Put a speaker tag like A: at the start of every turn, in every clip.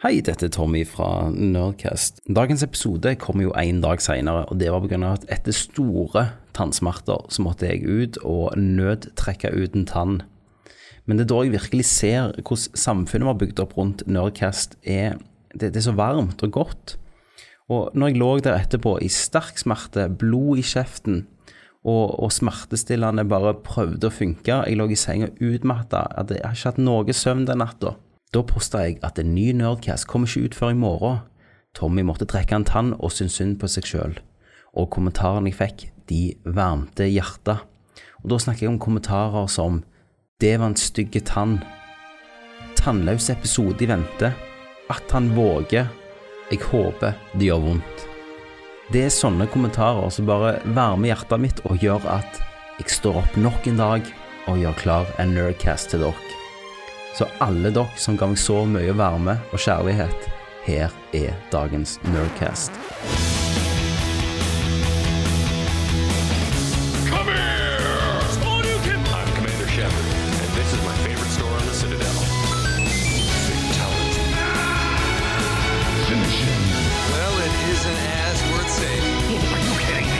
A: Hei, dette er Tommy fra Nerdcast. Dagens episode kom jo en dag senere, og det var pga. at etter store tannsmerter så måtte jeg ut og nødtrekke ut en tann. Men det er da jeg virkelig ser hvordan samfunnet var bygd opp rundt Nerdcast. Er, det, det er så varmt og godt. Og når jeg lå der etterpå i sterk smerte, blod i kjeften og, og smertestillende bare prøvde å funke, jeg lå i senga utmatta, at jeg har ikke hatt noe søvn den natta. Da posta jeg at en ny Nerdcast kom ikke ut før i morgen. Tommy måtte trekke en tann og syntes synd på seg sjøl. Og kommentarene jeg fikk, de varmte hjertet. Og da snakker jeg om kommentarer som Det var en stygg tann. Tannløs episode i vente. At han våger. Jeg håper det gjør vondt. Det er sånne kommentarer som bare varmer hjertet mitt og gjør at jeg står opp nok en dag og gjør klar en Nerdcast til dere. Så alle dere som ga meg så mye varme og kjærlighet, her er dagens Nerdcast.
B: Come here! Spawn, you can- I'm Commander Shepard, and this is my favorite store on the Citadel. Fatality.
C: Well, it isn't as worth saying.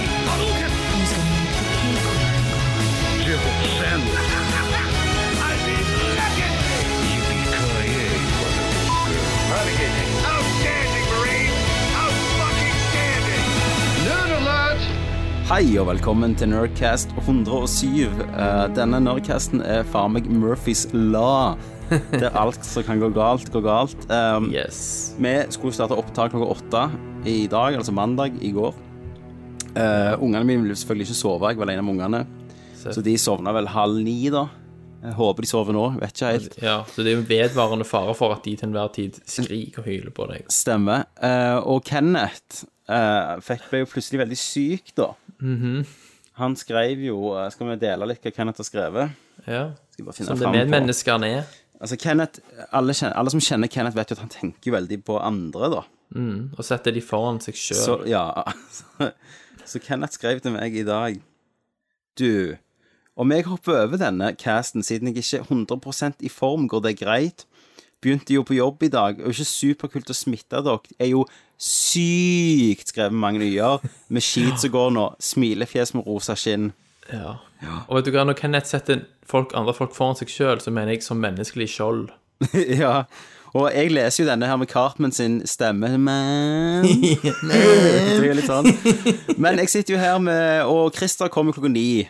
D: Outstanding, Marine! Out fucking standing!
A: Hei og velkommen til Nerdcast 107. Eh, Denne Nerdcasten er faen meg Murphys Law. Der alt som kan gå galt, går galt. Um,
E: Yes.
A: Vi skulle starte opptak klokka åtte i dag, altså mandag i går. Eh, ungene mine ville selvfølgelig ikke sove, jeg var alene med ungene. Så de sovna vel halv ni, da. Jeg håper de sover nå, vet ikke helt.
E: Ja, så det er jo en vedvarende fare for at de til enhver tid skriker og hyler på deg.
A: Stemmer. Eh, og Kenneth eh, fikk, ble jo plutselig veldig syk, da.
E: Mhm.
A: Han skrev jo eh, Skal vi dele litt hva Kenneth har skrevet?
E: Ja.
A: Skal bare finne
E: Som det
A: fram på-
E: medmenneskene er.
A: Altså, Kenneth, alle, kjen- alle som kjenner Kenneth, vet jo at han tenker veldig på andre, da.
E: Og setter de foran seg sjøl.
A: Så, ja. så, så Kenneth skrev til meg i dag Du, om jeg hopper over denne casten siden jeg ikke er 100 i form, går det greit? Begynte jo på jobb i dag, og ikke superkult å smitte dere. Er jo sykt skrevet mange nye med skit som går nå. Smilefjes med rosa skinn.
E: Ja. Og vet du hva, når Kenneth setter folk, andre folk foran seg sjøl, så mener jeg som menneskelig skjold.
A: ja. Og jeg leser jo denne her med Cartman sin stemme. Men Det er litt sånn. Men jeg sitter jo her med Og Christer kommer klokka ni.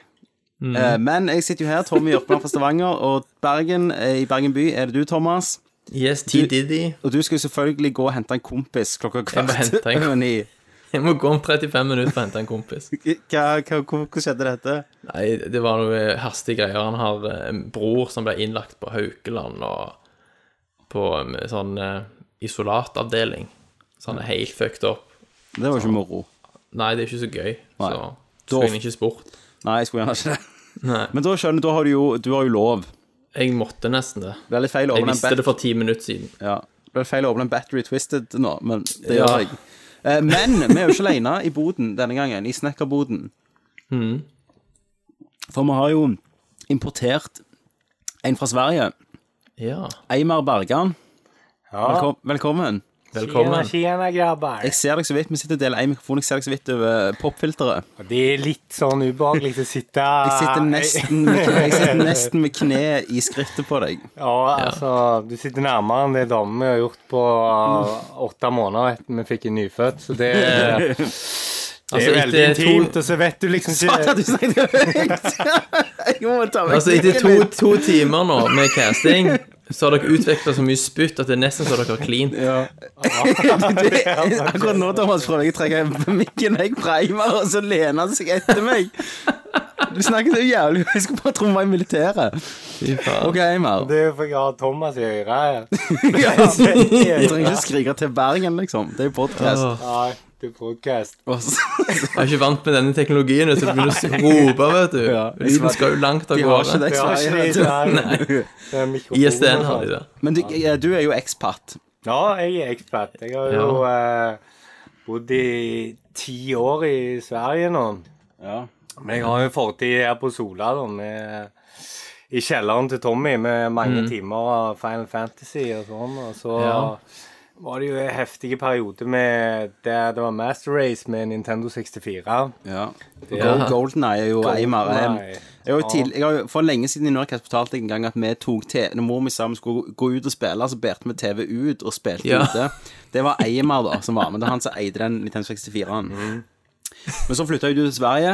E: Mm.
A: Eh, Men jeg sitter jo her, Tommy Jørpeland fra Stavanger, og Bergen, eh, i Bergen by er det du, Thomas.
E: Yes, T. Diddy.
A: Og du skal jo selvfølgelig gå og hente en kompis klokka
E: Jeg må
A: kvart
E: hente en
A: over ni.
E: Jeg må gå om 35 minutter for å hente en kompis.
A: Hva, hva, hvor, hvor skjedde dette?
E: Nei, det var noe hastige greier. Han har eh, en bror som ble innlagt på Haukeland og på en sånn eh, isolatavdeling. Så han er helt fucked up.
A: Det var ikke moro.
E: Nei, det er ikke så gøy.
A: Nei.
E: Så
A: Da-
E: skulle jeg ikke spurt.
A: Nei, jeg skulle gjerne ikke det.
E: Nei.
A: Men da skjønner du, da har du jo, du har jo lov.
E: Jeg måtte nesten det.
A: Det er litt feil å
E: Jeg
A: åpne en
E: visste
A: bet-
E: det for ti minutter siden.
A: Ja. Det ble feil å åpne en Battery Twisted nå, men det
E: Ja.
A: gjør jeg. Eh, Men vi er jo ikke alene i boden denne gangen, i snekkerboden.
E: Hmm.
A: For vi har jo importert en fra Sverige.
E: Ja,
A: Eimar Bergan. Velkom velkommen.
E: velkommen.
F: Tjena, grabbar.
A: Jeg ser deg så vidt. Vi sitter og deler én mikrofon. Jeg ser deg så vidt over eh, popfilteret.
F: Det er litt sånn ubehagelig å
A: Jeg
F: sitte
E: Ah,
A: sitter nesten med, jeg sitter nesten med kneet i skrittet på deg.
F: Ja, altså, du sitter nærmere enn det damen vi har gjort på uh, åtte måneder etter vi fikk en nyfødt, så det, det
E: Altså,
F: er veldig
E: etter to,
F: intimt, og så vet du liksom ikke
A: Du snakket høyt! Jeg må ta meg
E: altså, etter to, to timer nå med casting, så har dere utvikla så mye spytt at det er nesten så dere har klint.
A: Det, akkurat nå, Thomas, prøver jeg å trekke mikken jeg preimer, og så lener han seg etter meg. Du snakker så jævlig Jeg skulle bare tromme i militæret. OK, Eimar.
F: Det er jo fordi jeg har Thomas i øret.
A: Ja, Du trenger ikke skrike til Bergen, liksom. Det er jo podkast.
E: Åh,
F: Ja, du podcast.
E: jeg er ikke vant med denne teknologien, så jeg begynner å rope, vet du.
A: Ja.
E: Lyden skal jo langt av
A: De har ikke
E: gårde.
A: det
F: Jeg har ikke
A: i
F: det
A: Sverige.
F: der. Det er mikrofonen
E: ISDN
F: og
E: har de
F: sånn.
E: det.
A: Men du, ja, du er jo ekspat.
F: Ja, jeg er ekspert. Jeg har jo eh, bodd i ti år i Sverige nå.
A: Ja.
F: Men jeg har jo fortid her på Sola, da, med, i kjelleren til Tommy med mange timer av Final Fantasy og sånn. Og så
E: Ja.
F: var det jo en heftig periode med der det var Master Race med Nintendo 64.
G: Ja.
E: Ja.
G: Golden Eye er jo ei mer
F: Golden
G: em.
F: Eye.
G: jeg har jo tidlig- jeg har jo- For lenge siden i Nordkast fortalte jeg en gang at vi tok te, når mor mi sammen skulle gå ut og spille, så bærte vi TV ut og spilte
E: Ja.
G: ute. Det var Eimer da som var med. Det var han som eide den Nintendo 64-en. Men så flytta jo du til Sverige,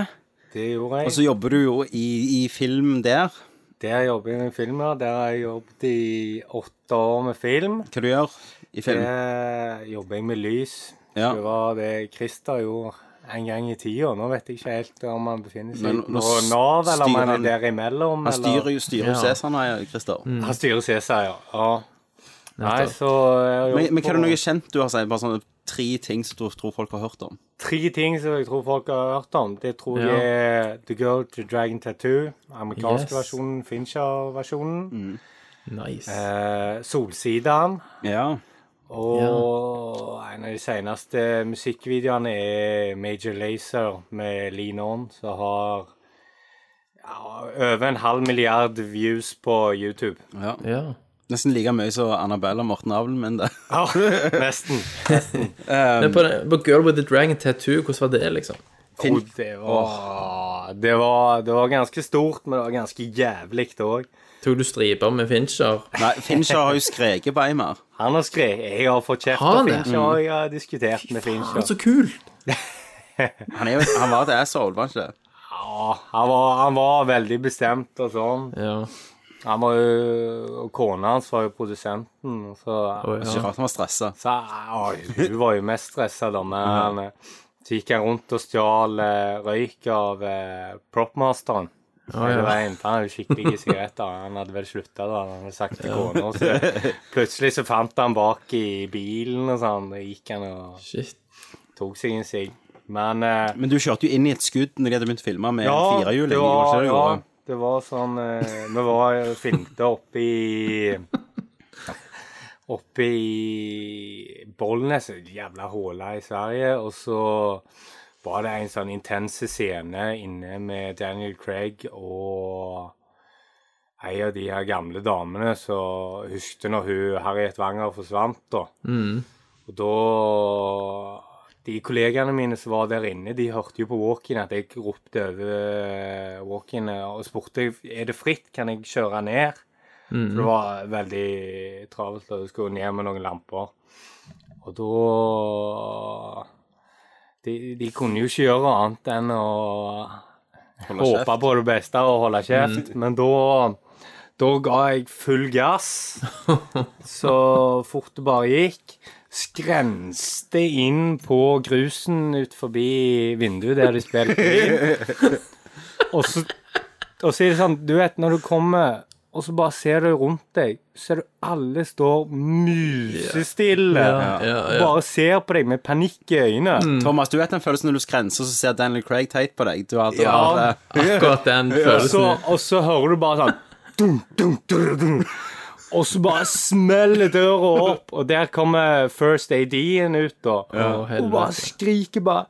F: Det gjorde jeg.
G: og så jobber du jo i, i film der.
F: der jobber jeg med filmer. Der har jeg jobbet i åtte år med film.
G: Hva du gjør i film?
F: Der jobber jeg med lys.
G: Ja.
F: Det var det Christer gjorde en gang i tida. Nå vet jeg ikke helt om han befinner seg
G: Men nå
F: på Nav, eller om
G: styrer
F: han
G: han-
F: er der imellom.
G: Han styrer
F: eller... Mm.
G: jo styrer jo
E: Ja.
G: Cæsar, Christer.
F: Han styrer Cæsar, ja. ja. Nei, så jeg har
G: Men,
F: jobbet
G: men hva er det
F: på
G: noe kjent du har sagt? Bare sånne tre ting som du tror folk har hørt om?
F: tre ting som jeg tror folk har hørt om. Det tror
E: Ja.
F: jeg er The Girl to Dragon Tattoo, amerikansk
E: Yes.
F: versjonen, Fincher-versjonen,
G: Mm.
E: Nice.
F: eh, Solsidan.
G: Ja.
F: Og en av de seneste musikkvideoene er Major Lazer med Lean On, som har ja, over en halv milliard views på YouTube.
E: Ja.
G: Nesten like mye som Annabelle og Morten Avlen, men det
F: Ja, nesten.
E: Men på, på Girl with the Dragon Tattoo, hvordan var det, liksom?
G: Fin-
F: Og det, var, det, var, det var ganske stort, men det var ganske jævlig òg.
E: Tok du striper med Fincher?
G: Nei, Fincher har jo skreket på Eimer.
F: Han har skrevet Jeg har fått kjeft
E: Har han
F: av
E: det? Mm.
F: Fincher, og jeg har diskutert med Fincher.
E: Så kult!
G: Han, er jo, han var et asshole, var han ikke det?
F: Ja, han, var, han var veldig bestemt og sånn.
E: Ja.
F: Han var jo, og kona hans var jo produsenten, så
E: Å,
G: Det er Ikke
E: ja.
G: rart han var stressa.
F: Så oi, du var jo mest stressa, da. Men han, eh, så gikk han rundt og stjal eh, røyk av eh, propmasteren. Hele
E: ja.
F: veien, for Han hadde jo skikkelige sigaretter. Han hadde vel slutta da han hadde sagt til kona. Så plutselig så fant han bak i bilen, og sånn. Da gikk han og
E: Shit.
F: tok seg en sigg. Men eh,
G: Men du kjørte jo inn i et skudd når de hadde begynt å filme med
F: ja,
G: en firehjuling.
F: det
G: gjorde ikke
F: var,
G: det du
F: ja,
G: gjorde?
F: det var sånn eh, Vi var filmte oppe i Oppe i Bollnes, en jævla håla i Sverige, og så var det en sånn intense scene inne med Daniel Craig og ei av de her gamle damene som huskte når hun Harriet Wanger forsvant, da.
E: Mm.
F: Og da De kollegaene mine som var der inne, de hørte jo på walk-in at jeg ropte over eh, walk-in og spurte er det fritt, kan jeg kjøre ned. For det var veldig travelt, og jeg skulle ned med noen lamper. Og da de, de kunne jo ikke gjøre annet enn å
G: kjeft.
F: håpe på det beste og holde kjeft, men da da ga jeg full gass så fort det bare gikk. Skrenste inn på grusen ut forbi vinduet der de spilte inn. Og så, og så er det sånn, du vet, når du kommer og så bare ser du rundt deg, så ser du alle står musestille.
E: ja,
F: Og Bare ser på deg med panikk i øynene.
G: Thomas, du vet den følelsen når du skrenser, så ser Daniel Craig teit på deg. Du har, du har,
F: Ja.
G: eh,
E: Akkurat den
F: Og så,
E: følelsen.
F: og så hører du bare sånn dun, dun, dun, dun. Og så bare smeller døra opp, og der kommer First AD-en ut, da.
E: Å,
F: Og bare
E: helvete.
F: skriker bare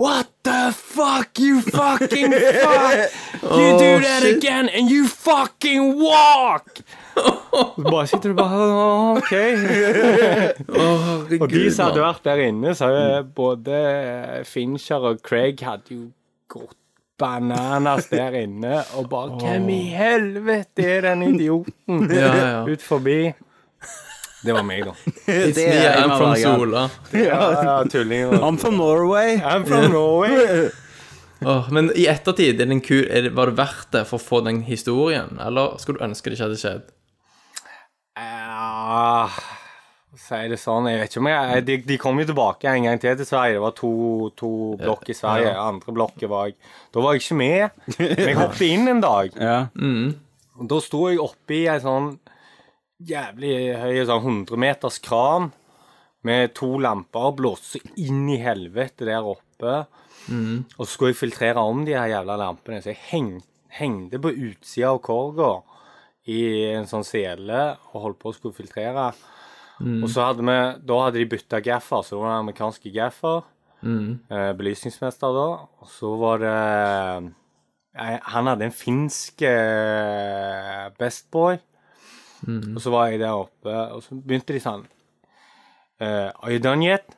F: What the fuck, you fucking fuck! You do that again, and you fucking walk! Og så bare sitter du bare «Å, OK. Og de
E: Gud,
F: som hadde
E: mann.
F: vært der inne, så eh, både Fincher og Craig hadde jo gått bananas der inne og bare Hvem i helvete er den idioten
E: Ja, ja.
F: ut forbi? Det var meg, da.
G: det
E: Me,
G: er
E: I'm
G: Eimer
E: from
G: hver gang.
E: Sola.
F: Ja, tulling.
G: I'm from Norway.
F: I'm from Norway.
E: Åh, men i ettertid, er det en kul, er det, var det verdt det for å få den historien? Eller skulle du ønske det ikke hadde skjedd?
F: Ja Ah, Si det sånn, jeg vet ikke om jeg De, de kom jo tilbake en gang til til Sverige. Det var to, to blokk i Sverige. Andre blokket var jeg Da var jeg ikke med. Men jeg hoppet inn en dag.
G: Ja.
F: Og Da sto jeg oppe i en sånn jævlig høy sånn 100 meters kran med to lamper, blåste så inn i helvete der oppe. Og så skulle jeg filtrere om de her jævla lampene, så jeg heng, hengte på utsida av korga i en sånn sele og holdt på å skulle filtrere. Og så hadde vi, da hadde de bytta gaffer, så det var amerikanske gaffer. Eh, belysningsmester da. Og så var det eh, Han hadde en finsk eh, best boy. Og så var jeg der oppe, og så begynte de sånn eh, Are you done yet?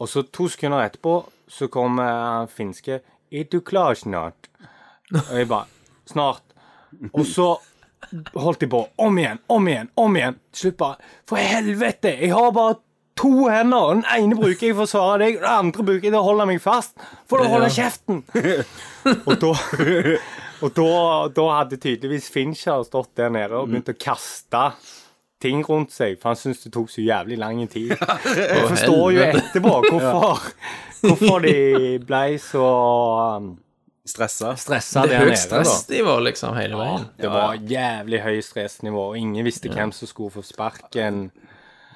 F: Og så to sekunder etterpå så kom eh, han finske Er du klar snart? Og jeg bare Snart. Og så holdt jeg på. Om igjen, om igjen, om igjen. Til slutt bare For helvete! Jeg har bare to hender. Den ene bruker jeg for å svare deg, og den andre bruker jeg til å holde meg fast. For å holde kjeften! og da Og da, da hadde tydeligvis Fincher stått der nede og begynt å kaste ting rundt seg, for han syntes det tok så jævlig lang tid. Jeg forstår jo
E: helvete.
F: etterpå hvorfor, hvorfor de ble så um,
G: Stressa.
F: stressa
E: Det
F: der
E: er høyt
F: nede. da.
E: stressnivå liksom hele veien.
F: Det var jævlig høy stressnivå, og ingen visste hvem som skulle få sparken.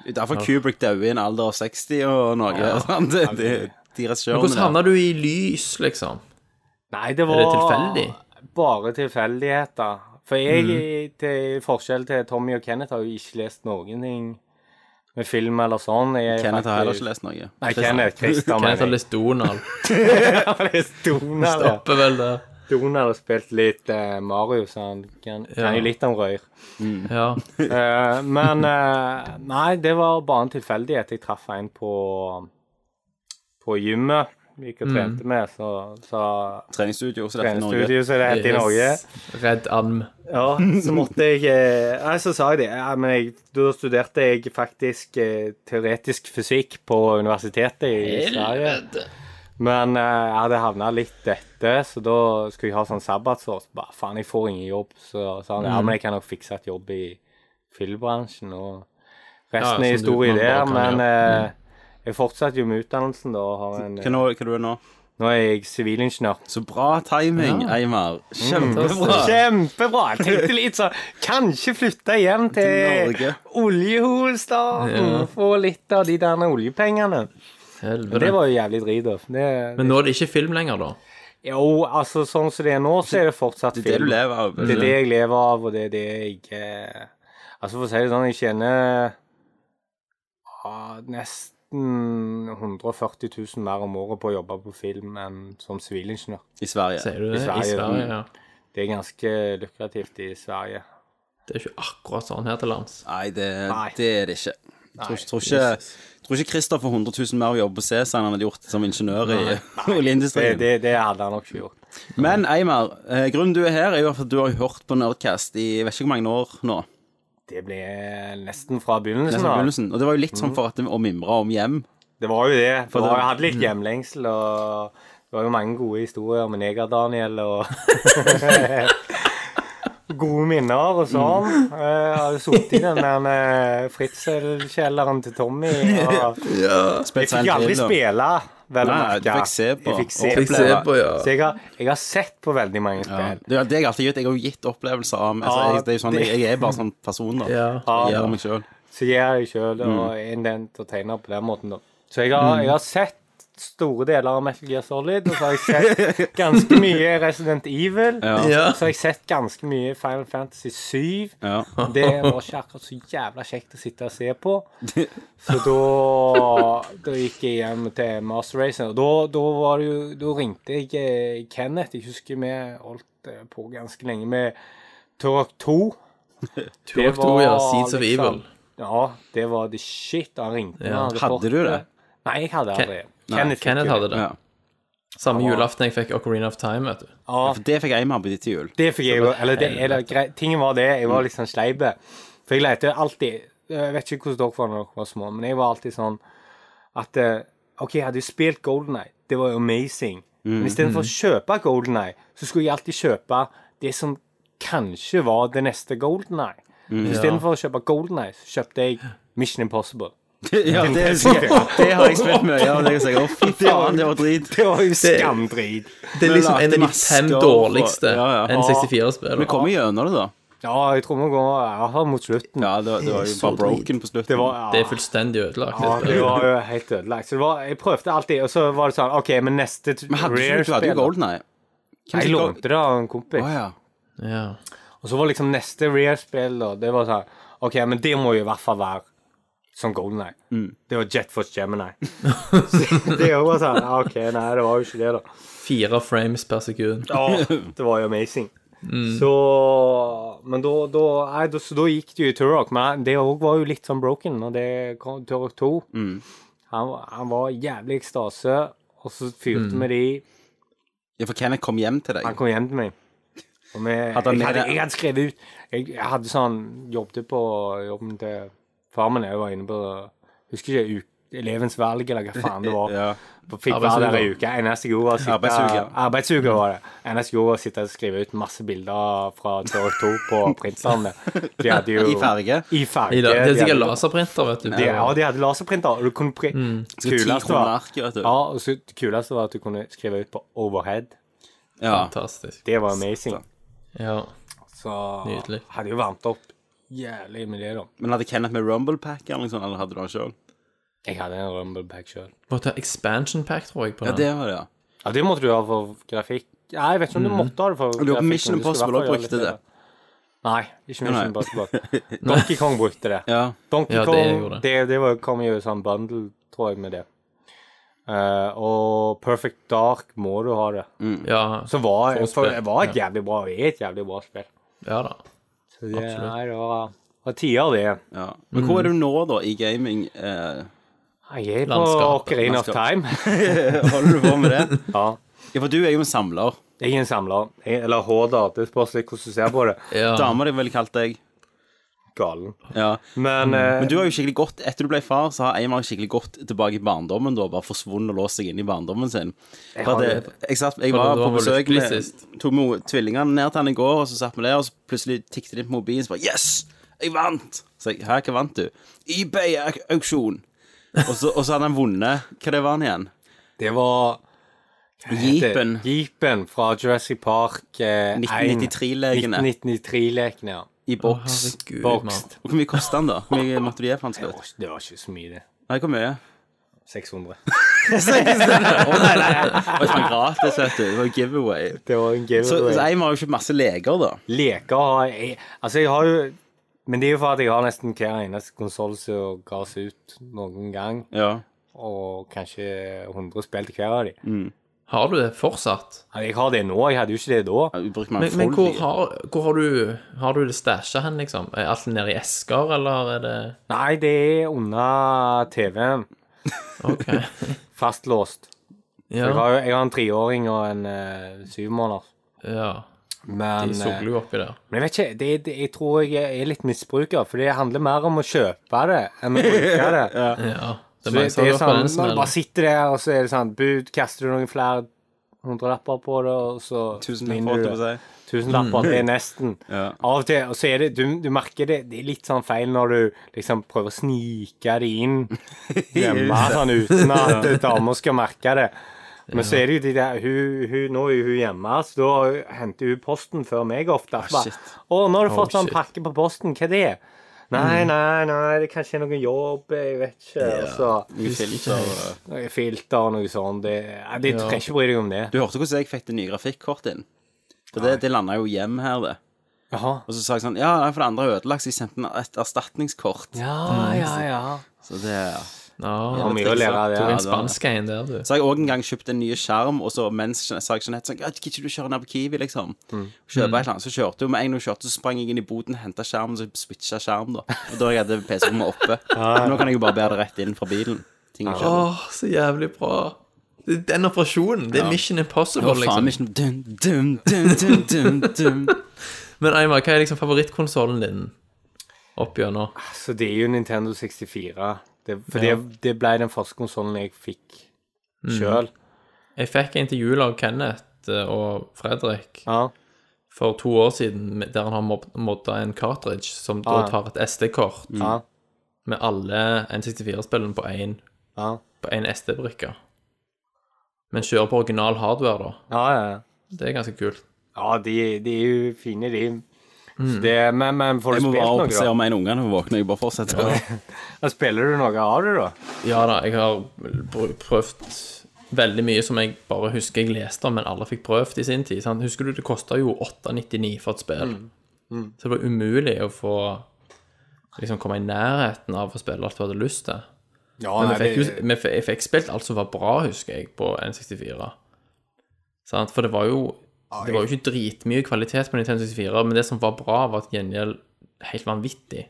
G: Derfor Kubrick døde i en alder av 60 og noe. sant? Det, det, de
E: Men
G: regissørene
E: hvordan
G: der.
E: havna du i lys, liksom?
F: Nei, det
E: Er
F: var
E: det tilfeldig?
F: bare tilfeldigheter. For jeg, til forskjell til Tommy og Kenneth, har jo ikke lest noen ting med film eller sånn. Jeg er
G: Kenneth har heller ikke
F: faktisk-
G: lest noe.
F: Nei, Kenneth.
E: Kenneth
F: Christer,
E: har
F: mener jeg.
E: lest Donald.
F: Han har lest Donald.
E: Stopper vel der.
F: Donald har spilt litt eh, Mario, så han kan, kan jo litt om røyr.
E: Ja.
F: Eh, men eh, Nei, det var bare en tilfeldighet. Jeg traff en på på gymmet vi gikk og trente med, så, så
G: Treningsstudio, så dette er Norge.
F: treningsstudio, som det heter i Norge.
E: Yes. Redd and.
F: Ja, så måtte jeg eh, Nei, så sa jeg det. Ja, men jeg, da studerte jeg faktisk eh, teoretisk fysikk på universitetet i Sverige. Men eh, jeg hadde havna litt etter, så da skulle jeg ha sånn sabbatsår. Så bare faen, jeg får ingen jobb. Så sa han ja, men jeg kan nok fikse et jobb i filmbransjen. Og
E: Ja,
F: resten
E: som du-
F: er historie
E: man bare
F: der.
E: kan
F: Men
E: gjøre.
F: eh, jeg fortsatte jo med utdannelsen, da. og Har en,
G: Hva nå- hva du er nå?
F: nå er jeg sivilingeniør.
G: Så bra timing, Eimar.
F: Mm.
G: Kjempebra.
F: Kjempebra! Jeg tenkte litt sånn Kanskje flytte hjem til,
G: Norge.
F: oljehovedstaden og få litt av de der oljepengene. Men det
E: Helvete.
F: var jo jævlig drit, da. Det,
E: Men nå er det ikke film lenger, da.
F: jo, altså sånn som det er nå, så er det fortsatt
G: Det er
F: film.
G: det du lever av.
F: Det er det jeg lever av, og det er det jeg eh, Altså, for å si det sånn, jeg tjener ah, nesten 140 000 mer om året på å jobbe på film enn som sivilingeniør.
G: I Sverige.
E: Ser du det? I
F: Sverige,
E: Sverige,
F: mm.
E: ja.
F: Det er ganske lukrativt i Sverige.
E: Det er ikke akkurat sånn her til lands.
G: Nei, det,
F: Nei.
G: det er det ikke. Jeg tror, tror ikke, tror ikke Christer får 100 000 mer å jobbe på CESA enn han hadde gjort som ingeniør i
F: Det,
G: oljeindustrien.
F: det, det hadde han nok ikke gjort.
G: Men Eimar, eh, grunnen du er her, er jo at du har hørt på Nerdcast i jeg vet ikke hvor mange år nå.
F: Det ble nesten fra
G: Det
F: begynnelsen
G: er
F: av.
G: begynnelsen. Og det var jo litt
F: Mm.
G: sånn for at det- å mimre om hjem.
F: Det var jo det. For
G: det-
F: jeg hadde litt hjemlengsel, og det var jo mange gode historier med Neger-Daniel og Gode minner og sånn. Jeg har jo sittet i den der eh, fritzelkjelleren til Tommy. Og jeg fikk aldri spille, vel å
G: Nei,
F: merke.
G: du fikk se på.
F: Jeg fikk se
G: Og
E: Fikk se på, ja.
F: Så jeg har, jeg har sett på veldig mange
G: Ja.
F: spill.
G: Det er det jeg alltid gitt. Jeg har jo gitt opplevelser av altså,
F: Ja,
G: jeg, det er jo sånn, jeg, jeg er bare sånn person, da.
E: Ja.
G: Jeg
F: Ja.
G: gjør meg selv.
F: Så gjør jeg det sjøl,
E: Mm.
F: og er en entertainer på den måten, da. Så jeg har, jeg har sett store deler av Metal Gear Solid, og så har jeg sett ganske mye Resident Evil.
E: Ja.
F: Så har jeg sett ganske mye Final Fantasy 7.
G: Ja.
F: Det var ikke akkurat så jævla kjekt å sitte og se på. Så da, da gikk jeg hjem til Master Racer. Og da, da, var det jo, da ringte jeg eh, Kenneth. Jeg husker vi holdt eh, på ganske lenge med Turok 2.
E: Turok 2, ja. Seeds of
F: liksom
E: Evil.
F: Ja, det var the shit. Han ringte
E: Ja.
F: meg.
G: Hadde du det?
F: Nei, jeg hadde aldri det.
E: Kenneth,
F: fikk jo
E: hadde det.
G: Ja.
E: Samme julaften jeg fikk Ocarina of Time, vet du.
F: Ja,
G: For det fikk Eimar på ditt til jul.
F: Det fikk jeg jo Eller det, eller, grei, tingen var det, jeg
E: Mm.
F: var liksom sleipe. For jeg lette alltid Jeg vet ikke hvordan dere var da dere var små, men jeg var alltid sånn at eh, OK, jeg hadde jo spilt Golden Eye. Det var jo amazing. Men istedenfor å
E: Mm-hmm.
F: kjøpe Golden Eye, så skulle jeg alltid kjøpe det som kanskje var det neste Golden Eye. Mm. Istedenfor å kjøpe Golden Eye, så kjøpte jeg Mission Impossible.
G: Ja, det, er sikkert- det har jeg spilt mye av. Det, er sikkert- Å, fy faen, det var drit.
F: Det var jo skamdrit.
E: Det er liksom
G: lagde
E: en av de
G: masker
E: fem
G: og-
E: dårligste
G: Ja, ja.
E: N64-spillene.
G: Vi kom gjennom det, da.
F: Ja, jeg tror vi går ja, mot slutten.
G: Ja, det var, det var jo bare broken på slutten.
F: Det var, ja.
E: Det er fullstendig ødelagt.
F: Ja,
E: det
F: det
E: spillet.
F: var jo helt ødelagt. Så det var, jeg prøvde alltid, og så var det sånn OK, men neste
G: Men hadde du, du hadde jo Golden Eye.
F: Jeg lånte det av en kompis.
G: Å ja.
E: ja.
F: Og så var liksom neste Rare-spill, og det var sånn OK, men det må jo i hvert fall være som Golden Eye.
G: Mm.
F: Det var Jet Force Gemini. så det var sånn OK, nei, det var jo ikke det, da.
E: Fire frames per sekund.
F: Åh, det var jo amazing. Så Men da, da, nei, da, så da gikk det jo i Turok. Men det òg var jo litt sånn broken når det kom Turok 2. Han, han var jævlig i ekstase, og så fyrte vi de
G: Ja, for Kenneth kom hjem til deg.
F: Han kom hjem til meg. Og vi,
G: Hadde han
F: jeg,
G: med
F: hadde,
G: deg-
F: jeg hadde skrevet ut Jeg, jeg hadde sånn Jobbet på jobben til far min. Jeg var inne på Husker ikke u- Elevens valg, eller hva faen det var.
G: Ja.
F: På- Fikk være der ei
E: Arbeidsuke.
F: uke. Eneste gode var å sitte
G: Arbeidsuke.
F: Arbeidsuke var det. Eneste gode var å sitte og skrive ut masse bilder fra Tørk 2 på printerne. De hadde jo
G: I farge.
F: I farge.
E: I dag- Det
F: De
E: er sikkert
F: hadde-
E: laserprinter, vet du.
F: de, ja, de hadde laserprinter. Og du kunne pri
E: Mm.
G: Ti
F: kuleste
G: kroner
F: var,
G: arket, vet du.
F: ja, og så det kuleste var at du kunne skrive ut på overhead.
G: Ja.
E: Fantastisk.
F: Det var amazing.
E: Ja.
F: Så
E: Nydelig.
F: hadde jo varmt opp jævlig med det, da.
G: Men hadde Kenneth med Rumble Pack eller noe sånt, eller hadde du det sjøl?
F: Jeg hadde en rumble bag sjøl.
E: Måtte ha expansion pack, tror jeg, på
G: Ja,
E: den.
G: det var det, ja.
F: Ja, det måtte du ha for grafikk. Mm. Nei, jeg vet ikke om du måtte ha det for
G: Jeg lurer på om
F: grafikk,
G: Mission
F: men du skulle i
G: Impossible
F: hvert fall
G: også brukte
F: gjøre litt mer. Nei, ikke Mission
G: Nei.
F: Impossible. Donkey Kong brukte det.
G: Ja.
F: Donkey
E: Ja, det
F: Kong
E: gjorde det.
F: det, det var, kom jo i sånn bundle, tror jeg, med det. Eh, og Perfect Dark må du ha det.
G: Mm.
E: Ja,
F: Så var,
E: For å
F: for,
E: spille,
F: det var et jævlig bra er et jævlig bra spill.
E: ja da.
F: Så det,
E: Absolutt.
F: nei, det var, det var tider, det.
G: ja. Men hvor er du nå, da, i gaming? Eh,
F: Jeg er på
E: Landskapet.
F: Ocarina of Time.
G: holder du på med det?
F: ja.
G: Ja, for du er jo en samler.
F: Jeg er en samler. Jeg, eller hoarder. Det spørs litt hvordan du ser på det.
E: Ja.
G: Dama di ville kalt deg.
F: Galen.
G: Ja.
F: Men, eh,
G: Men du har jo skikkelig gått, etter du ble far, så har Eymar skikkelig gått tilbake i barndommen da, bare forsvunnet og låst seg inn i barndommen sin. For
F: har
G: at jeg, jeg, satt, jeg
E: For
G: var
E: da var
G: på
E: du
G: besøk
E: lykkelig
G: med,
E: sist.
G: tok med tvillingene ned til han i går, og så satt vi der, og så plutselig tikket det inn på mobilen, så bare, yes, jeg vant! Så jeg, hæ, hva vant du? eBay-auksjon! Og så, og så hadde han vunnet, hva det var han igjen?
F: det var
G: Jeepen.
F: Jeepen fra Jurassic Park eh,
G: 1993-legene.
F: 1993-lekene, ja.
G: I boks.
E: Herregud,
F: Boxed.
G: Og hvor mye kostet han da? Hvor mye måtte du gi for han
F: Det
G: slutt?
F: var, det var ikke så mye, det.
G: Nei, hvor mye?
F: 600.
G: Det var ikke gratis, vet du. Det var giveaway.
F: Det var en
G: Så, så
F: giveaway.
G: Eymar har jo kjøpt masse leker da.
F: Leker har jeg Altså, jeg har jo Men det er jo for at jeg har nesten hver eneste konsoll som ga seg ut noen gang,
G: Ja.
F: og kanskje 100 spill til hver av de.
E: Har du det fortsatt?
F: Altså, jeg har det nå, jeg hadde jo ikke det da.
G: Ja, du bruker mange
E: Men, men hvor,
G: folder.
E: har, hvor har du Har du det stæsja hen, liksom? Er alt nede i esker, eller er det
F: Nei, det er under TV-en.
E: OK.
F: Fastlåst. Jeg,
E: Ja.
F: har, jo- jeg har en treåring og en eh, syvmåneder.
E: ja. De
F: Men, eh,
E: sugler jo oppi der.
F: men jeg vet ikke, det, det, jeg tror jeg er litt misbruker, for det handler mer om å kjøpe det enn å bruke det.
E: Ja. Det
F: Så
E: er mange som har gått på
F: sånn,
E: den
F: når du
E: smellen.
F: bare sitter der, og så er det sånn bud, kaster du noen flere hundrelapper på det, og så
G: Tusen
F: vinner
G: takk
F: du
G: for
F: det.
G: alt jeg får si.
E: Mm.
F: Tusenlapper, det er nesten.
G: Ja.
F: Av og til, og så er det, du, du merker det, det er litt sånn feil når du liksom prøver å snike det inn hjemme, sånn uten at damer skal merke det. Men så er det jo de der, hun, hun, nå er jo hun hjemme, så da henter hun posten før meg ofte. Så bare,
G: Ah, shit.
F: Å, nå har du fått sånn
E: Oh, shit.
F: pakke på posten, hva er det?
G: Mm.
F: Nei, nei, nei, det kanskje er noe jobb, jeg vet ikke. altså. Og
G: Noen filter. og-
F: så noe filter og noe sånt. Det, nei, det, du
E: Ja.
F: trenger ikke bry deg om det.
G: Du hørte hvordan jeg fikk det nye grafikkortet inn? For det, det landa jo hjem her, det.
F: Jaha.
G: Og så sa jeg sånn Ja, nei, for det andre er ødelagt, så jeg sendte en- et erstatningskort.
F: Ja,
G: Mm.
F: ja, ja.
G: Så det
E: Ja,
F: Har mye å lære av det.
E: Tok
F: ja.
E: en spansk en der, du.
G: Så har jeg òg en gang kjøpt en ny skjerm, og så mens sa jeg Jeanette sånn «Ja, Kan ikke du kjøre ned på Kiwi, liksom?
E: Mm.
G: Kjøper et eller annet, Så kjørte hun med en gang hun kjørte, så sprang jeg inn i boden, henta skjermen, så switcha skjerm, da. Og da hadde jeg PC-rommet oppe. Nå kan jeg jo bare bære det rett inn fra bilen. Ting jeg
E: Åh,
G: kjøper.
E: så jævlig bra. Det er Den operasjonen. Det er Mission Impossible,
G: Å, faen,
E: liksom.
G: ikke noe dum, dum, dum, dum, dum, dum.
E: Men Eimar, hva er liksom favorittkonsollen din opp gjennom?
F: Så det er jo Nintendo 64. Det, for det, det ble den første konsollen jeg fikk
G: Mm.
F: sjøl.
E: Jeg fikk en til jul av Kenneth eh, og Fredrik
F: Ja.
G: Mm.
E: for to år siden, med- der han har mob- modda en cartridge som da
F: Ah. Mm.
E: tar et SD-kort
F: Ja.
E: med alle N64-spillene på én
F: Ja.
E: på en SD-brikke. Men kjører på original hardware, da.
F: Ja, ja.
E: Det er ganske kult.
F: ja de, de er jo fine, de. Så det, men, men får
G: Mm. Jeg må
F: du spilt
G: bare
F: noe,
G: opp og se
F: da?
G: om en unge nå våkner. Jeg bare fortsetter.
F: Ja, Spiller du noe av det, da?
E: Ja da, jeg har pr- prøvd veldig mye som jeg bare husker jeg leste om, men alle fikk prøvd i sin tid. Sant? Husker du, det kosta jo 8,99 for et spill. Så det var umulig å få liksom komme i nærheten av å spille alt du hadde lyst til.
F: Ja,
E: Men
F: nei,
E: vi fikk, jo, vi f- jeg fikk spilt alt som var bra, husker jeg, på N64. Sant? For det var jo Det var jo ikke dritmye kvalitet på Nintendo 64, men det som var bra, var at gjengjeld helt vanvittig.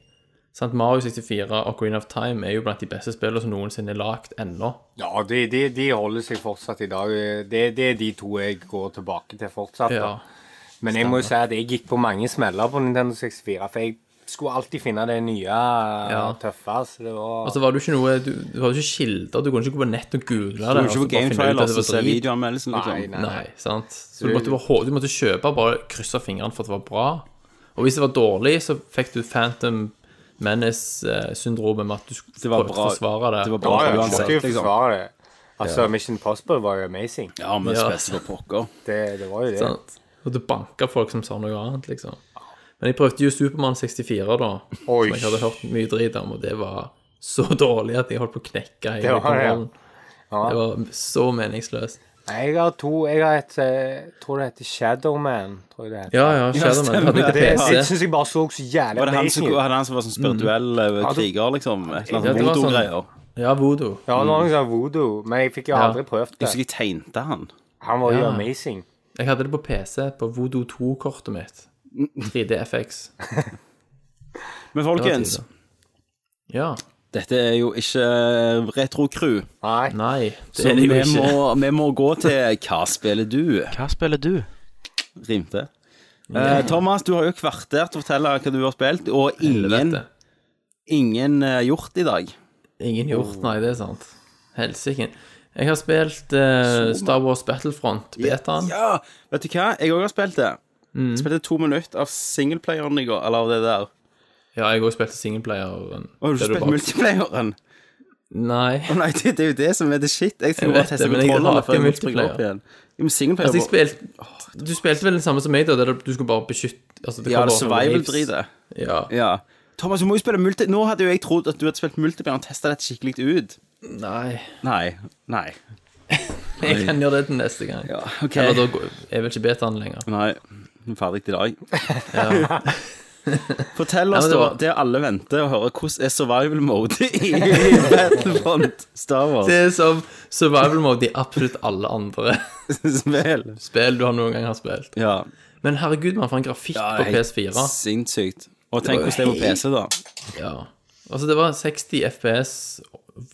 E: Sant? Mario 64 og Green of Time er jo blant de beste spillene som noensinne er lagd ennå.
F: Ja, de, de, de holder seg fortsatt i dag. Det, det er de to jeg går tilbake til fortsatt.
E: Ja.
F: da. Men jeg må jo si at jeg gikk på mange smeller på Nintendo 64, for jeg skulle alltid finne det nye,
E: Ja.
F: tøffe. Så det var
E: Altså, var det jo ikke noe, du, du hadde ikke kilder, du kunne ikke gå på nett og google det.
G: Du må
E: og så
G: ikke på altså,
E: bare finne ut at det
G: GameTrailers
E: var
G: og se
E: drit.
G: videoanmeldelsen,
F: Nei,
G: liksom.
F: nei.
E: Nei, sant. Så du måtte, bare, hå- du måtte kjøpe bare krysse av fingrene for at det var bra. Og hvis det var dårlig, så fikk du Phantom Menace-syndromet med at du skulle
G: Det var
E: prøve å
G: bra.
E: forsvare det.
G: Det var
F: Ja,
G: bra
F: ja,
G: uansett,
F: jeg måtte jo
G: liksom.
F: forsvare det. Altså, Mission Possible var jo amazing.
G: Ja, men
E: Ja.
G: spesielt på pokker.
F: Det, det var jo det.
E: sant? Og du banka folk som sa noe annet, liksom. Men jeg prøvde jo Supermann 64, da,
F: Oi.
E: som jeg hadde hørt mye drit om, og det var så dårlig at jeg holdt på å knekke hele
F: Det var det, ja.
E: kontrollen. Det var så meningsløst.
F: Nei, Jeg har to Jeg har et eh, tror det heter Shadowman. Tror jeg det heter.
E: Ja, ja, Shadowman. Hadde
F: Det,
E: ikke
F: det
E: PC.
F: syns jeg bare så så jævlig
G: Var det han
F: amazing
G: som,
F: ut.
G: var det han som var sånn spirituell eh,
F: du-
G: kriger, liksom? Et eller
E: Mm. Ja,
G: annet
E: det var sånn-
G: voodoo-greier.
E: Ja, Voodoo.
F: Ja, det var noe sånn voodoo, men jeg fikk jo aldri prøvd
G: Jeg
F: det.
G: husker jeg tegnte han.
F: Han var jo
E: Ja.
F: amazing.
E: Jeg hadde det på PC, på Voodoo 2-kortet mitt. 3DFX.
G: Men folkens,
E: Ja.
G: dette er jo ikke eh, Retro Crew.
F: Nei.
E: Nei, det
G: Så
E: er det jo
G: vi
E: ikke.
G: må, vi må gå til Hva spiller du?
H: Hva spiller du?
G: Rimte.
E: Mm.
G: Eh, Thomas, du har jo kvartert å fortelle hva du har spilt, og ingen,
E: Helvete.
G: ingen eh, gjort i dag.
E: Ingen gjort, nei, det er sant. Helsike. Jeg har spilt eh, Star Wars Battlefront, betaen. Mm.
G: Ja, vet du hva? Jeg òg har spilt det. Spilte to minutter av singleplayeren i går, eller av det der.
E: Ja, jeg har også spilt singleplayeren.
G: Og har du
E: Det er
G: spilt
E: bak-
G: multiplayeren?
E: Nei.
G: Å nei, det, det er jo det som er det shit. Jeg skal
E: Jeg
G: bare
E: vet
G: teste
E: det, men jeg
G: kontrollene
E: hater
G: før jeg multiplayer
E: multiplayer.
G: opp igjen. Jo, men singleplayer
E: Altså, jeg spilte Du spilte vel den samme som meg, da? Der du skulle bare beskytte altså, kommer
G: Ja, det
E: bare sånne waves.
G: survival-dritet.
E: Ja.
G: Ja. Thomas, du må jo spille multi... Nå hadde jo jeg trodd at du hadde spilt multiplayer og testa dette skikkelig ut.
E: Nei.
G: Nei. Nei.
E: Jeg kan gjøre det til neste gang.
G: Ja, OK.
E: Eller da går- er vel ikke betaen lenger.
G: Nei. vi er Ferdig i dag. Fortell oss,
E: Nei, men det
G: det
E: var-
G: da, det alle venter å høre, hvordan er survival mode i Battlefront Star
E: Det
G: Wars?
E: er som survival mode i absolutt alle andre
G: Spill.
E: spill du har noen gang har spilt.
G: Ja.
E: Men herregud, man får en grafikk på
G: helt
E: PS4.
G: Sinnssykt. Og tenk
E: Det var
G: hvordan det er på
E: helt-
G: PC, da.
E: Ja. Altså, det var 60 FPS,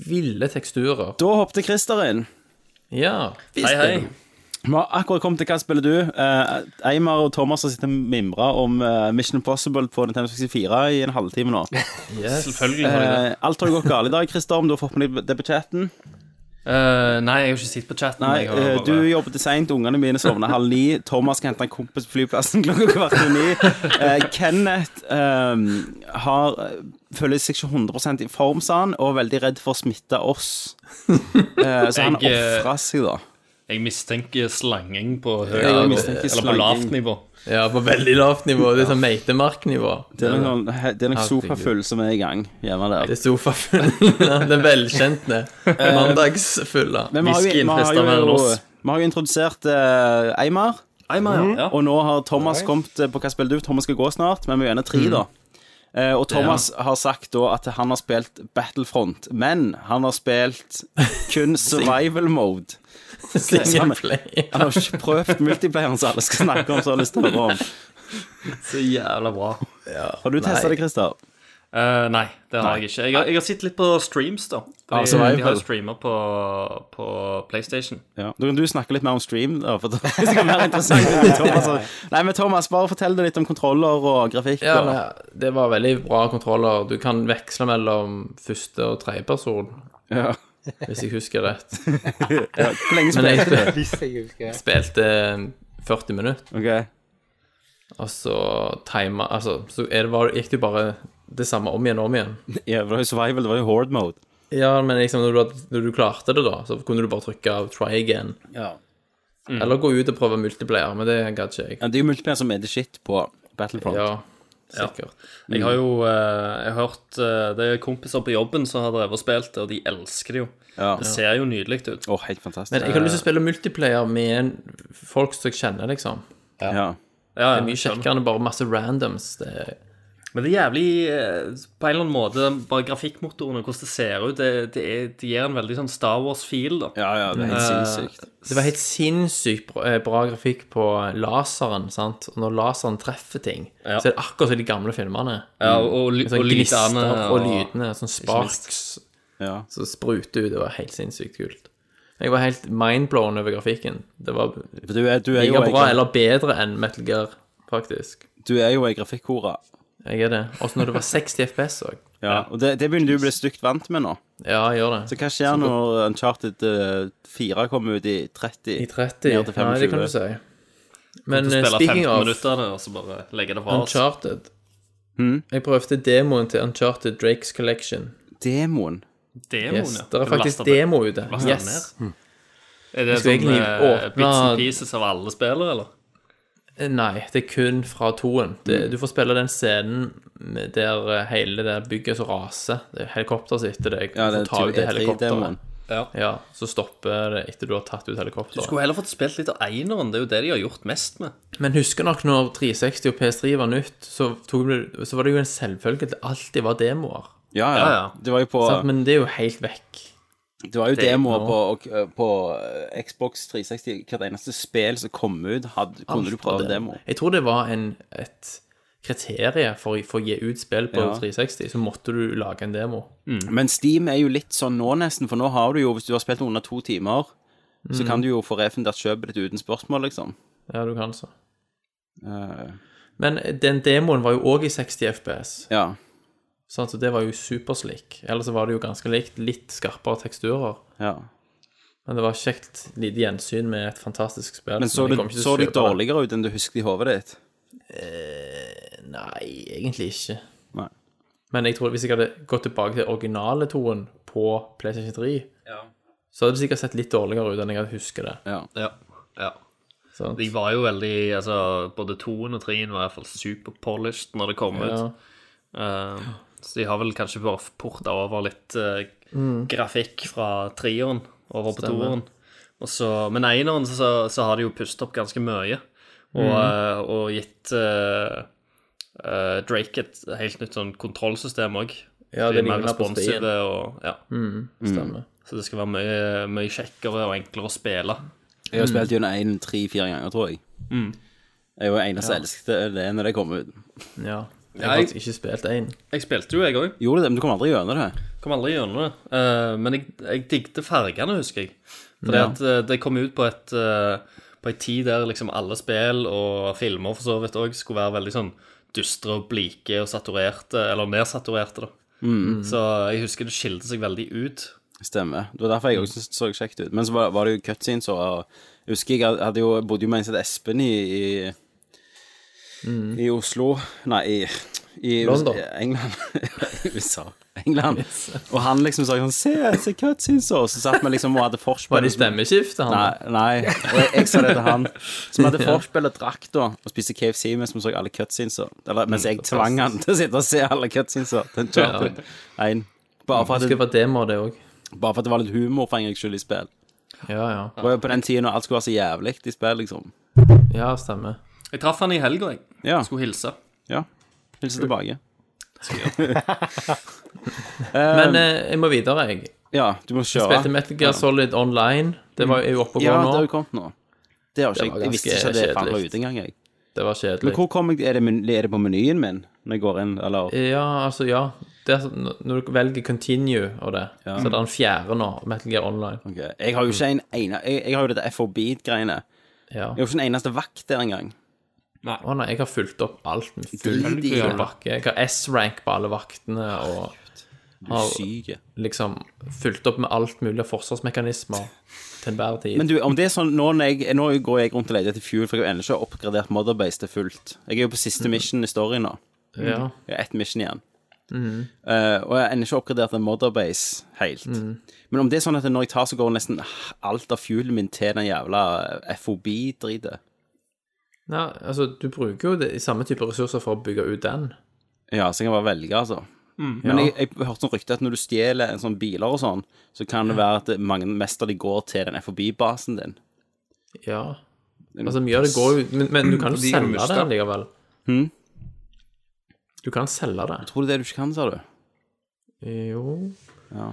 E: ville teksturer.
G: Da hoppet Christer inn.
E: Ja. Hei, hei.
G: Vi har akkurat kommet til Hva spiller du? Eh, Eimar og Thomas har sittet og mimra om eh, Mission Impossible på Nintendo 64 i en halvtime nå.
E: Yes.
H: Selvfølgelig har jeg det.
G: Eh, alt har jo gått galt i dag, Christer, om du har fått med deg det på chatten.
H: Eh, nei, jeg har ikke sett på chatten.
G: Nei,
H: jeg har
G: eh,
H: bare-
G: du jobbet seint, ungene mine sovna halv ni. Thomas skal hente en kompis på flyplassen klokka kvart over ni. Eh, Kenneth eh, har, føler seg ikke 100 i form, sa han, og er veldig redd for å smitte oss. Eh, så han
H: Jeg, eh,
G: ofra seg, da.
H: Jeg mistenker slanging på høyt
G: Jeg
H: nivå.
G: mistenker
H: Eller på
G: slanging.
H: lavt nivå.
E: Eh, Ja, på veldig lavt nivå. Det er sånn meitemarknivå.
G: Det er nok, det er nok
E: Herregud.
G: sofafull som er i gang hjemme der.
E: Det er sofafylla. Den velkjente mandagsfylla.
G: Eh, Men vi har, jo,
H: Whiskyen
G: vi, har
H: fester mer enn
G: jo,
H: oss.
G: vi har jo introdusert eh, Eimar,
H: Nei, men, ja.
G: og nå har Thomas kommet eh, på hva spiller du? Thomas skal gå snart, men vi er gjerne tre, da. Eh, og Thomas har sagt da at han har spilt Battlefront, men han har spilt kun survival mode.
E: Singleplay.
G: Han har ikke prøvd multiplayeren som alle skal snakke om, så har lyst til å høre om.
H: Så jævla bra.
G: Har du testa det, Christer?
H: Eh, nei, det har jeg ikke. Jeg har, jeg har sett litt på streams, da. Fordi
E: survival.
H: de har jo streamer på, på PlayStation.
G: Ja. Da kan du snakke litt mer om stream. Da, for det skal være interessant enn det Thomas har- Nei, men Thomas, bare fortell det litt om kontroller og grafikk.
E: Ja,
G: og-
E: nei, det var veldig bra kontroller. Du kan veksle mellom første og tredje person,
G: Ja.
E: hvis jeg husker rett.
G: Ja, Hvor lenge
E: Men
G: spilte du?
E: jeg
F: Hvis jeg husker det.
E: spilte 40 minutter,
G: Ok.
E: og så tima Altså, så er det bare, gikk det jo bare det samme om igjen og om igjen.
G: Ja, det var jo survival, det var jo horde mode.
E: Ja, men liksom når du, hadde- når du klarte det, da, så kunne du bare trykke av 'try again'.
H: Mm.
E: Eller gå ut og prøve multiplayer, men det gadd ikke jeg.
G: Ja, det er jo multiplayer som er the shit på Battlefront.
E: Ja, sikkert.
H: Jeg har jo eh, jeg har hørt eh, Det er kompiser på jobben som har drevet og spilt det, og de elsker det jo.
G: Ja.
H: Det ser jo nydelig ut.
G: Åh, helt fantastisk.
E: Men jeg har lyst til å spille multiplayer med en- folk som jeg kjenner, liksom.
G: ja.
H: Ja,
E: Det er mye kjekkere enn bare masse randoms. Det er
H: Men det er jævlig eh, På en eller annen måte, bare grafikkmotoren og hvordan det ser ut, det, det, er, det gir en veldig sånn Star Wars-feel, da.
G: Ja, ja, det er helt sinnssykt.
E: Det var helt sinnssykt bra, eh, bra grafikk på laseren, sant? Og når laseren treffer ting,
H: Ja.
E: så er det akkurat som i de gamle filmene.
H: Ja, og, og, ly-
E: Med sånn
H: og
E: gnistene
H: lydene
E: og lydene, sånn sparks
G: Ja.
E: som spruter ut. Det var helt sinnssykt kult. Jeg var helt mindblown over grafikken. Det var
G: For du er, du er, jo,
E: like
G: en,
E: bra
G: graf-
E: eller bedre enn Metal Gear, faktisk.
G: du er jo en grafikkhore.
E: Jeg er det. Også når det var 60 FPS òg.
G: Ja. Og det, det begynner du å bli stygt vant med nå.
E: Ja, jeg gjør
G: Så
E: det.
G: hva skjer når Uncharted eh, 4 kommer ut i 30?
E: I 30.
G: Ned til
E: Nei, det kan du
G: 25.
E: si. Men eh,
H: Spille 15
E: speaking of
H: minutter av det, og Hmm? så bare legge det fra oss.
E: Uncharted Jeg prøvde demoen til Uncharted Drakes Collection.
G: Demoen.
H: Demoen,
E: Yes,
H: ja.
E: det er
H: Du
E: faktisk
H: laster det-
E: demo ute.
H: laster den
E: Yes.
H: ned. Er det
E: skal
H: sånn
E: egentlig
H: eh,
E: åpne-
H: bits and pieces av alle spillere, eller?
E: Eh, Nei, det er kun fra toen.
G: Mm.
E: Det, du får spille den scenen med- der eh, hele det bygget som raser. Det er helikopter som etter deg.
G: Ja,
E: Du
G: det
E: får ta ut
G: er E
E: det
G: E3-demoen.
E: helikopteret. Ja, så stopper det etter du har tatt ut
H: Du
E: helikopteret.
H: skulle heller fått spilt litt av eineren. Det er jo det de har gjort mest med.
E: Men husker nok når 360 og PS3 var nytt, så, tok, det- så var det jo en selvfølge at det alltid var demoer.
G: Ja,
H: Ja,
G: ja.
H: ja.
G: Det var jo på,
E: Sant? Men det er jo helt vekk.
G: det var jo
H: er
G: demoer
E: nå.
G: på, og- på eh, Xbox 360. Hvert eneste spill som kom ut, hadde, kunne du
E: Alt var
G: prøve
E: demo.
G: demo.
E: Jeg tror det var en, et kriterie for, å- for å gi ut spill på
G: Ja.
E: 360, så måtte du lage en demo.
G: Men Steam er jo litt sånn nå, nesten, for nå har du jo, hvis du har spilt under to timer,
E: Mm.
G: så kan du jo få refundert kjøpet ditt uten spørsmål, liksom.
E: Ja, du kan så.
G: Eh,
E: Men den demoen var jo òg i 60 FPS,
G: ja.
E: sant? så Sånn det var jo superslik. Ellers så var det jo ganske likt, litt skarpere teksturer.
G: ja.
E: Men det var kjekt lite gjensyn med et fantastisk spill.
G: Men så
E: jeg
G: det,
E: kommer ikke til å
G: så det
E: kjøpe
G: dårligere ut enn du husker i hodet ditt?
E: Nei, egentlig ikke.
G: Nei.
E: Men jeg tror hvis jeg hadde gått tilbake til originale toen på PlayStation 3, så hadde det sikkert sett litt dårligere ut enn jeg hadde husket det.
G: Ja.
H: Ja. ja.
E: sant?
H: De var jo veldig altså, Både toen og treen var i hvert fall superpolished når det kom
E: Ja.
H: ut. Eh, så de har vel kanskje bare porta over litt eh, grafikk fra treeren over på
E: Stemmer.
H: toeren. Og så- Men eneren så, så, så har de jo pustet opp ganske mye. Og, eh, og gitt eh, eh, Drake et helt nytt sånn kontrollsystem òg.
E: Ja,
H: de
E: det
H: er mer
E: ligner på spien.
H: responsive og ja.
G: Mm.
E: Stemmer.
H: Så det skal være mye, mye kjekkere og enklere å spille.
G: Jeg har
E: Mm.
G: spilt gjennom én tre-fire ganger, tror jeg. Jeg var den eneste som elsket det når det kom ut.
E: Ja. Jeg
H: Nei.
E: har faktisk ikke spilt én.
H: Jeg spilte jo, jeg òg.
G: Gjorde det, men du kom aldri gjennom det.
H: Kom aldri gjennom det. Eh, men jeg, jeg digget fargene, husker jeg. Fordi at eh, det kom ut på et eh, På en tid der liksom alle spill og filmer for så vidt òg skulle være veldig sånn dystre og blike og saturerte, eller nedsaturerte, da. Så jeg husker det skilte seg veldig ut.
G: Stemmer. Det var derfor jeg også
E: Mm.
G: syntes det så kjekt ut. Men så var, var det jo cutscenes og Jeg husker jeg hadde- hadde jo, bodde jo med en som het Espen i i, i Oslo Nei, i, i US-
E: Mm. London.
G: England. USA. England. Og han liksom sa sånn Se, se cutscenes! Og så satt vi liksom og hadde forspill.
E: Var det stemmeskifte, han?
G: Nei, nei. Og jeg, jeg sa det til han. Som hadde forspill og drakk da, og spiste KFC mens vi så alle cutscenesa. Eller mens
E: Mm,
G: jeg tvang han til å sitte og se alle cutscenesa. Den charted en. Bare for,
E: Jeg
G: at
E: husker
G: det,
E: det var demo, det òg.
G: bare for at det var litt humor for en gangs skyld i spill.
E: Ja, ja.
G: Det var jo på den tiden når alt skulle være så jævlig i spill, liksom.
E: Ja, stemmer.
H: Jeg traff han i helga, jeg.
G: Ja.
H: Skulle hilse.
G: ja. Hilse tilbake. Um,
E: Men eh, jeg må videre, jeg.
G: Ja, du må kjøre.
E: Spilte Metal Gear Solid Online. Det var jo oppe og
G: Ja,
E: går
G: det har jo
E: nå.
G: kommet nå. Det har ikke
E: Det
G: jeg,
E: var
G: jeg visste
E: ganske
G: ikke at det faen var
E: kjedelig.
G: ute engang, jeg.
E: Det var
G: Men
E: kjedelig.
G: hvor kom jeg, er det, men- er det på menyen min når jeg går inn, eller?
E: Ja, altså, ja. Det er, sånn- når du velger continue og det, så er det en fjerde nå. Metal Gear Online.
G: Ok. Jeg har jo ikke en ene, jeg, jeg har jo dette FOB-greiene.
E: Ja.
G: Jeg var ikke den eneste vakt der engang.
E: Å nei, jeg har fulgt opp alt med full
G: Drit i
E: full
G: det.
E: bakke. Jeg har S-rank på alle vaktene og
G: Du er syk.
E: liksom fulgt opp med alt mulig av forsvarsmekanismer til enhver tid.
G: Men du, om det er sånn, nå, når jeg, nå går jeg rundt og leter etter fuel, for jeg har ennå ikke oppgradert Motherbase til fullt. Jeg er jo på
E: Mm.
G: siste mission i storyen nå.
E: ja.
G: Jeg har ett mission igjen. Eh, og jeg har ennå ikke oppgradert en Motherbase helt. Men om det er sånn at når jeg tar, så går nesten alt av fuelen min til den jævla eh, FOB-dritet.
E: Nei, altså, du bruker jo det, samme type ressurser for å bygge ut den.
G: Ja, så jeg kan bare velge, altså. Men jeg, jeg hørte sånn rykte at når du stjeler en sånn biler og sånn, så kan det være at det- mange, mest av de går til den FOB-basen din.
E: Ja. Mm. Altså, mye av det går jo Men, men du kan jo
I: Fordi jeg
G: Hmm?
E: selge det
I: mister-
E: likevel. Du kan selge det.
G: Tror du det du ikke kan, sa du?
E: Jo
G: Ja.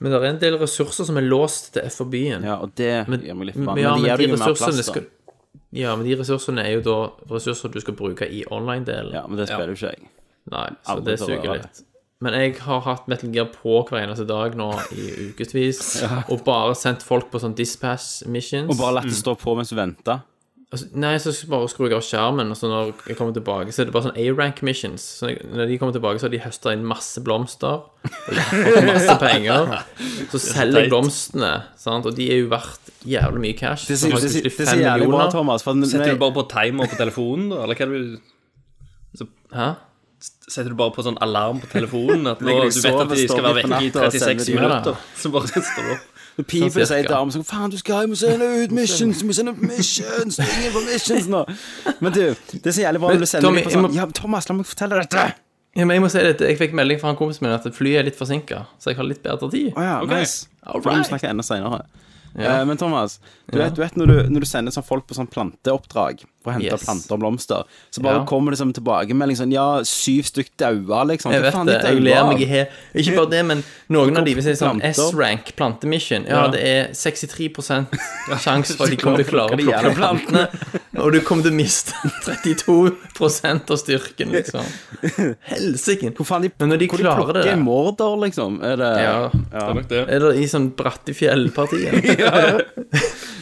E: Men det er en del ressurser som er låst til FOB-en.
G: Ja, og det
E: Men,
G: gjør meg litt
E: men,
G: forbanna.
E: ja,
G: Men det
E: men
G: gir
E: de
G: deg jo mer plass,
E: ressursene
G: da.
E: skal Ja, men de ressursene er jo da ressurser du skal bruke i online-delen.
G: Ja, men det spiller jo ikke jeg.
E: Nei, så
G: Aldri
E: det
G: til å
E: suger
G: røre
E: litt. Men jeg har hatt Metal Gear på hver eneste dag nå i ukevis, og bare sendt folk på sånn dispatch missions.
G: Og bare latt det stå på mens du venter.
E: altså, nei, så bare skrur jeg av skjermen, og så når jeg kommer tilbake, så er det bare sånn A-rank missions. Så jeg, når de kommer tilbake, så har de høsta inn masse blomster, og de har fått masse penger. Så selger jeg blomstene, sant, og de er jo verdt jævlig mye cash.
G: Det
E: Så
G: sier
E: har jeg
G: det sier-
E: plutselig
G: det
E: fem
G: sier jævlig bra,
E: millioner.
G: Thomas. For når
H: Setter
G: jeg,
H: du bare på timer på telefonen, da? Eller hva er det du
E: Hæ?
H: Setter du bare på sånn alarm på telefonen? At nå,
G: Ligger du
H: du
G: og
H: vet at
G: sover,
H: de skal
G: står
H: være
G: midt på
H: vekke i
G: natta og
H: 36
E: ut, da.
G: sender de
H: minutter, så bare står du opp.
G: People sier
E: cirka.
G: til damer sånn Faen, du skal jo må sende ut missions! Du må sende ut missions! Det er ingen på missions nå! Men du, det er så jævlig bra når du sender
E: Tommy,
G: ut på
E: jeg
G: sånn
E: må-
G: Ja, Thomas, la meg fortelle dette!
E: Ja, men jeg må si dette, jeg fikk melding fra en kompis min at flyet er litt forsinka, så jeg har litt bedre tid.
G: Å ja, nice.
E: All
G: Da må
E: right.
G: vi snakke enda senere. Eh, men Thomas, du vet, du vet når, du, når du sender sånn folk på sånn planteoppdrag for å hente
E: Yes.
G: planter og blomster, så bare
E: Ja.
G: kommer det som tilbakemelding sånn Ja, syv stykk daua, liksom.
E: Jeg
G: Hva
E: vet
G: faen,
E: det,
G: de
E: jeg
G: daua
E: ler
G: av?
E: meg i hæ. Ikke bare det, men noen av de vil si sånn
G: Planter.
E: S-rank plantemission. Ja, det er 63 sjanse for at de kommer til å klare å
G: de jævla
E: plukke plantene. Og du kommer til å miste 32 av styrken, liksom. Helsike.
G: Hvor faen de,
E: Men når de
G: hvor
E: klarer det
G: plukker
E: der.
G: morder, liksom? Er det
E: Ja.
H: Det er nok det.
E: Eller i sånn Brattefjell-partiet.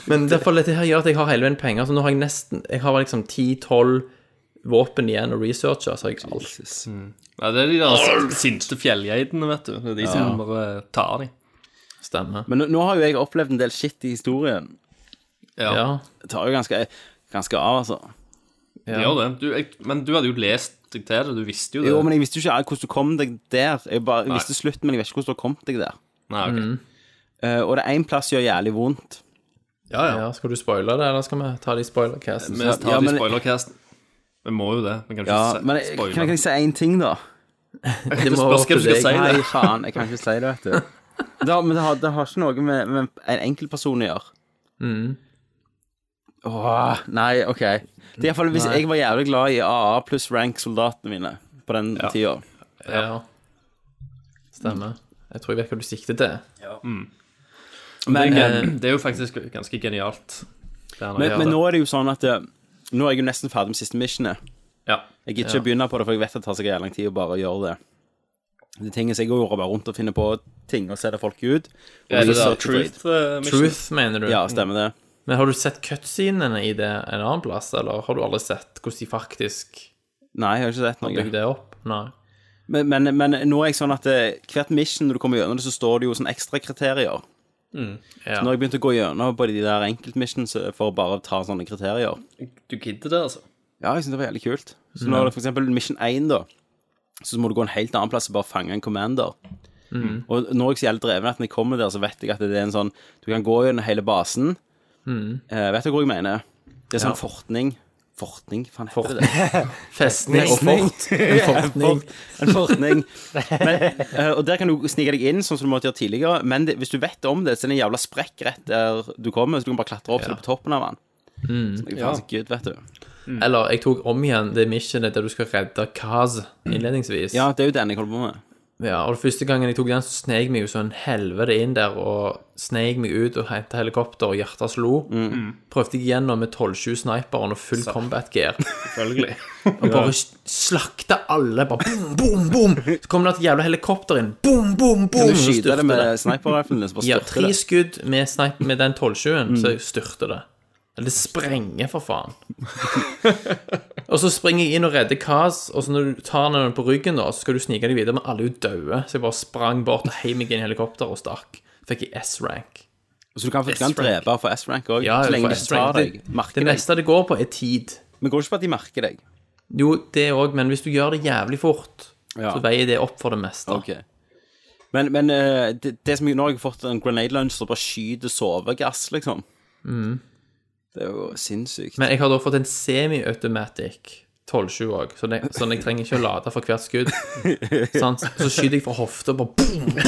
E: Men derfor dette her gjør at jeg har hele veien penger. Så nå har jeg nesten Jeg har liksom 10-12 våpen igjen å researche. Så har jeg alt.
H: Nei, det er de der sinte fjellgeitene, vet du. Det er de som bare tar de.
E: Stemmer.
G: Men nå, nå har jo jeg opplevd en del shit i historien.
H: Ja,
E: Ja.
G: Det tar jo ganske, ganske av, altså.
H: de gjør det. Du, jeg, men du hadde jo lest deg til det, du visste jo det.
G: Jo, men jeg visste jo ikke hvordan du kom deg der. Jeg, bare, jeg visste slutten, men jeg vet ikke hvordan du har kommet deg der.
H: Nei, ok.
G: Eh, og det er én plass som gjør jævlig vondt.
H: Ja, ja.
E: ja. Skal du spoile det, eller skal vi ta det i spoilercasten?
H: Vi tar
G: Ja,
H: de
G: men-
H: spoilercasten. Vi må jo det. Vi kan ikke
G: Ja,
H: se-
G: men jeg, kan,
H: spoile.
G: kan jeg si én ting, da?
H: Det
E: må være
H: spørs hva du
E: opp til
H: skal si.
E: deg.
H: det.
G: Nei, faen, jeg kan ikke si det, vet du. Det har, men det har, det har ikke noe med, med en enkeltperson å gjøre.
H: Mm.
G: Åh, nei, OK. Det er i hvert fall hvis jeg var jævlig glad i AA pluss rank-soldatene mine på den tida.
E: Ja. Stemmer. Jeg tror jeg vet hva du sikter til.
H: Men,
G: Men,
H: eh, det er jo faktisk ganske genialt. det han har
G: Men,
H: gjort.
G: men nå er det jo sånn at eh, Nå er jeg jo nesten ferdig med siste missionet.
H: ja.
G: Jeg gidder ikke å begynne på det, for jeg vet det tar seg jævlig lang tid å bare gjøre det. Det ting er så jeg går bare rundt og finner på ting og selger folk ut. Og
H: Er det
G: så
H: der
G: searcher for
H: Truth eh, Mission?
E: Truth, mener du?
G: Ja, stemmer det.
E: Men har du sett cutscenene i det en annen plass, eller har du aldri sett hvordan de faktisk
G: Nei, jeg har ikke sett noe.
E: bygde det opp? Nei.
G: Men, men, men nå er jeg sånn at eh, hvert mission når du kommer gjennom det, så står det jo sånn ekstra kriterier.
E: Ja.
G: Så Nå har jeg begynt å gå gjennom på de der enkeltmissions for å bare ta sånne kriterier.
H: Du gidder det, altså?
G: Ja, jeg synes det var jævlig kult.
E: Mm.
G: Så når det for eksempel Mission 1, da, så må du gå en helt annen plass og bare fange en commander.
E: Mm.
G: Og når jeg er så jævlig dreven at når jeg kommer der, så vet jeg at det er en sånn Du kan gå gjennom hele basen.
E: Mm.
G: Eh, vet du hvor jeg mener? Det er sånn fortning. Fortning, hva faen heter det?
E: Festning og fort. En fortning.
G: En fortning. Men, eh, og der kan du snike deg inn, sånn som du måtte gjøre tidligere. Men det, hvis du vet om det, så er det en jævla sprekk rett der du kommer, så du kan bare klatre opp så du er på toppen av den.
E: Mm.
G: Så det er faen så good, vet du.
E: Eller jeg tok om igjen det missionet der du skal redde Kaz innledningsvis.
G: Ja, det er jo den jeg holder på med.
E: Ja, og første gangen jeg tok den, så sneik jeg meg jo sånn helvete inn der, og sneik meg ut og hentet helikopter, og hjertet slo.
G: Mm.
E: Prøvde jeg igjennom med 12-7 sniperen og full combat gear.
H: Selvfølgelig.
E: Og bare s- slakta alle, bare boom, boom, boom. Så kom det et jævla helikopter inn, boom, boom, boom.
G: Du
E: og
G: skyter
E: styrte
G: det med sniper-riflen din, så bare
E: Ja,
G: styrter
E: tre
G: det.
E: skudd med, snipe, med den 12-20-en,
G: Mm.
E: så styrter det. Eller det sprenger, for faen. og så springer jeg inn og redder Kaz, og så når du tar den på ryggen, da, så skal du snike deg videre, men alle er jo døde. Så jeg bare sprang bort og heiv meg inn i helikopteret og stakk. Fikk jeg S-rank.
G: Så du kan, du kan drepe for S-rank òg,
E: Ja,
G: så lenge
E: for
G: de ikke tar
E: S-rank.
G: deg.
E: Det-
G: Merker
E: Det
G: deg.
E: neste det går på, er tid.
G: Men går det ikke på at de merker deg.
E: Jo, det òg, men hvis du gjør det jævlig fort,
G: Ja.
E: så veier det opp for det meste.
G: Men, men eh, det, det som jeg, nå har jeg fått en grenade launch som bare skyter sovegass, liksom. Det er jo sinnssykt.
E: Mm. Men jeg har da fått en semi-automatic 12-7 òg, så det- sånn jeg trenger ikke å lade for hvert skudd. sant? Så skyter jeg fra hofta, bare boom!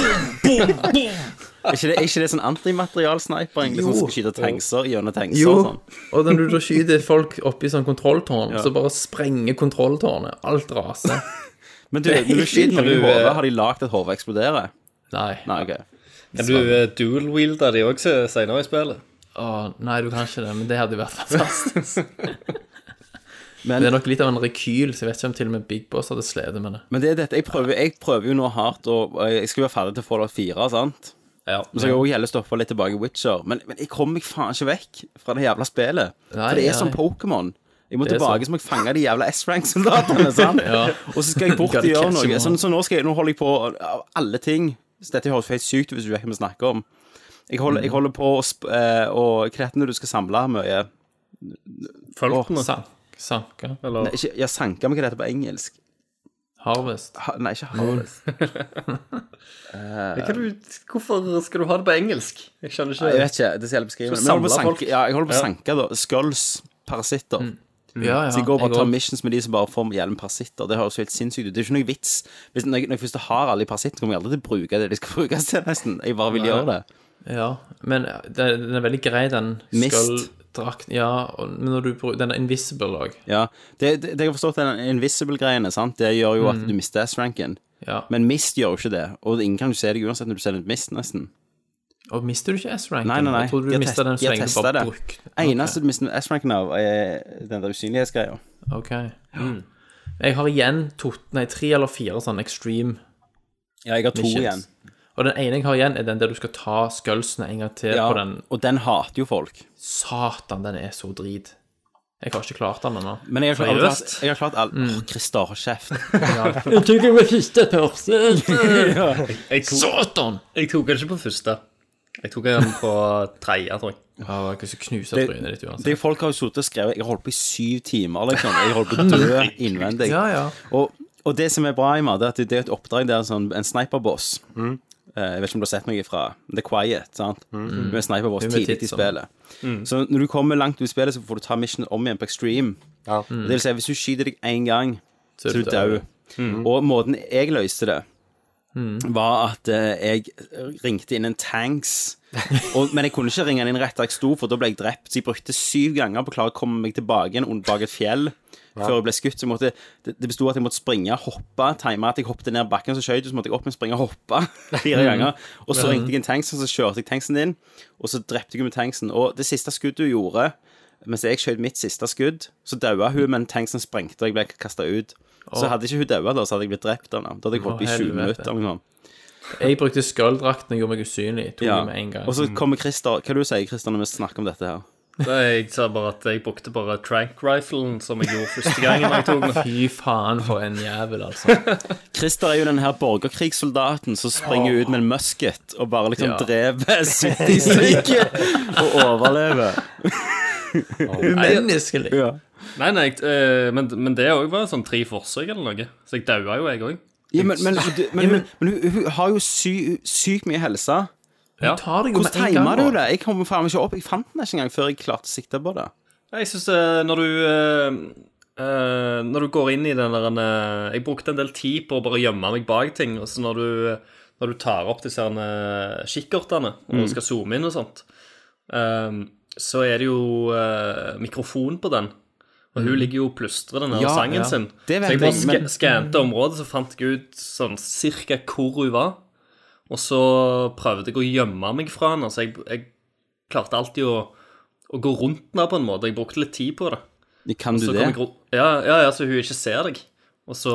G: er, ikke det, er ikke det sånn antimaterialsniper, egentlig, Sånn som
E: Jo.
G: skal skyte tankser gjennom tankser og
E: Jo,
G: sånn?
E: og når du da skyter folk oppi sånn kontrolltårn, så bare sprenger kontrolltårnet. Alt raser.
G: Men du, når du skyter noen i
E: eh,
G: hodet, har de lagd at hodet eksploderer?
E: Nei. Nei.
G: Nei, ok.
H: Kan du eh, dual-wielde de òg senere i spillet?
E: nei, du kan ikke det, men det hadde jo vært fantastisk.
G: Men-
E: det er nok litt av en rekyl, så jeg vet ikke om til og med Big Boss hadde slitt med det.
G: Men det er dette, jeg prøver, jeg prøver jo nå hardt, og og jeg skal være ferdig til Fallout 4, sant?
H: Ja.
G: Men så kan jeg også gjelde å stoppe litt tilbake i Witcher. Men, men jeg kommer meg faen ikke vekk fra det jævla spillet.
E: Nei,
G: For det er
E: nei.
G: som Pokémon. Jeg må
E: Det er
G: tilbake, så må jeg fange de jævla S-rank-soldatene, sant? Og så skal jeg bort
E: Gotta
G: og gjøre
E: catch them
G: noe.
E: all.
G: Så, så nå, skal jeg, nå holder jeg på av alle ting. Så dette høres helt sykt ut hvis du vet hva vi snakker om. Jeg holder,
E: Mm.
G: jeg holder på å sp- eh, Og krettene du skal samle mye
H: Folkene.
E: Sank, sanke,
G: Nei, ikke, Jeg sanker meg hva det heter på engelsk.
E: harvest.
G: Ha, nei, ikke Harvest.
H: Hva du, hvorfor skal du ha det på engelsk? Jeg skjønner ikke.
G: Jeg vet ikke, det skal jeg beskrive. Men jeg holder på å
H: samle folk.
G: sanke, ja, jeg holder på å
H: Ja.
G: sanke da. Skulls, parasitter.
E: Mm. Ja, ja.
G: Mm. Så jeg går bare og
E: jeg
G: tar
E: går-
G: missions med de som bare får hjelm parasitter. Det høres jo helt sinnssykt ut. Det er jo ikke noe vits. Hvis, når, jeg, når jeg først har alle de parasittene, kommer jeg aldri til å bruke det de skal brukes til, nesten. Jeg bare vil gjøre det.
E: Ja, men det, den er veldig grei, den
G: Mist.
E: skulldrakten. Ja, og, men når du bruker Den er invisible òg.
G: Ja. Det, det, det jeg har forstått, er den invisible-greiene, sant. Det gjør jo at
E: Mm.
G: du mister S-ranken.
E: Ja.
G: Men mist gjør jo ikke det. Og ingen kan jo se deg uansett når du sender et mist, nesten.
E: Og mister du ikke S-ranken?
G: Nei, nei, nei.
E: Jeg tror du
G: De har
E: mister
G: test-
E: den
G: de
E: så
G: har
E: lenge du
G: testet
E: bare
G: det.
E: bruker
G: Eneste du mister S-ranken av, er den der usynlighetsgreia.
E: Ok. Mm. Jeg har igjen to, nei, tre eller fire sånne extreme
G: Ja, jeg har to
E: missions.
G: igjen.
E: Og den ene jeg har igjen, er den der du skal ta skullsene en gang til
G: Ja,
E: på den.
G: og den hater jo folk.
E: Satan, den er så drit. Jeg har ikke klart den ennå.
G: Men jeg har klart, jeg har klart,
H: Seriøst?
G: jeg har klart
E: Mm.
G: alt. Åh, Christer, hold kjeft.
H: Jeg tok den på første første. jeg, tok,
E: Satan!
H: jeg tok den ikke på første. Jeg tok den på tredje, tror jeg.
E: Ja, Jeg kan ikke knuse trynet ditt uansett.
G: Det, folk har jo sittet og skrevet Jeg har holdt på i syv timer, liksom. Jeg holdt på å dø innvendig.
E: Ja, ja.
G: Og, og det som er bra, Ima, det er at det er et oppdrag der sånn, en sniperboss
E: Mm.
G: eh, Jeg vet ikke om du har sett noe fra The Quiet, sant? Hun er sniperboss
E: Hun Mm. med Mm.
G: tidlig i
E: tits,
G: spillet. Så når du kommer langt ut i spillet, så får du ta missionen om igjen på Extreme.
F: Ja.
G: Det vil si, hvis du skyter deg én gang, Mm. så er du
E: død.
G: død. Og måten jeg løste det var at eh, jeg ringte inn en tanks. Og, men jeg kunne ikke ringe den inn rett der jeg sto, for da ble jeg drept. Så jeg brukte syv ganger på å klare å komme meg tilbake igjen under- bak et fjell før jeg ble skutt. Så jeg måtte, det, det bestod at jeg måtte springe, hoppe, time at jeg hoppet ned bakken, så skjøt jeg, så måtte jeg opp og springe, hoppe
E: Mm.
G: fire ganger. Og så ringte jeg en tanks, og så kjørte jeg tanksen inn, og så drepte jeg henne med tanksen. Og det siste skuddet du gjorde mens jeg skjøt mitt siste skudd, så daua hun, men tanksen sprengte, og jeg ble kasta ut. Så hadde ikke hun daua da, så hadde jeg blitt drept av henne. Da hadde jeg holdt på i 20
E: helvete.
G: minutter. eller noe sånt.
E: Jeg brukte skulldrakten og gjorde meg usynlig. Tok
G: Ja.
E: det med en gang. Mm.
G: Og så kommer Christer. Hva er det du sier Christer, når vi snakker om dette her?
H: Da jeg sa bare at jeg brukte bare trank-riflen som jeg gjorde første gangen jeg tok den.
E: Fy faen, for en jævel, altså.
G: Christer er jo den her borgerkrigssoldaten som springer ut med en musket og bare liksom
E: Ja.
G: dreper 70 stykker og overlever.
E: Umenneskelig.
G: Ja.
H: Nei, nei, jeg- eh, men, men det òg var sånn tre forsøk eller noe. Så jeg daua jo, jeg òg.
G: men, men, du- men, men, men hun, hun har jo sy, sykt mye helse.
H: Ja.
E: Du tar deg jo
G: Hvordan
E: med en gang.
G: timer du
E: nå.
G: det? Jeg kom faen ikke opp. Jeg fant den ikke engang før jeg klarte å sikte på det.
H: Nei, Jeg syns når du eh, eh, Når du går inn i den der eh, Jeg brukte en del tid på å bare gjemme meg bak ting. Og så når du, når du tar opp disse uh, kikkertene og skal zoome inn og sånt, eh, så er det jo eh, mikrofon på den. Og hun ligger jo og plystrer den her
G: Ja,
H: sangen
G: ja.
H: sin. Så
G: Det vet
H: jeg bare
G: jeg,
H: sk
G: men-
H: skante området, så fant jeg ut sånn cirka hvor hun var. Og så prøvde jeg å gjemme meg fra henne. Så jeg, jeg klarte alltid å, å gå rundt henne på en måte. Jeg brukte litt tid på det.
G: Kan du
H: Så
G: det?
H: kom jeg ro- ja, ja, ja, så hun ikke ser deg. Og så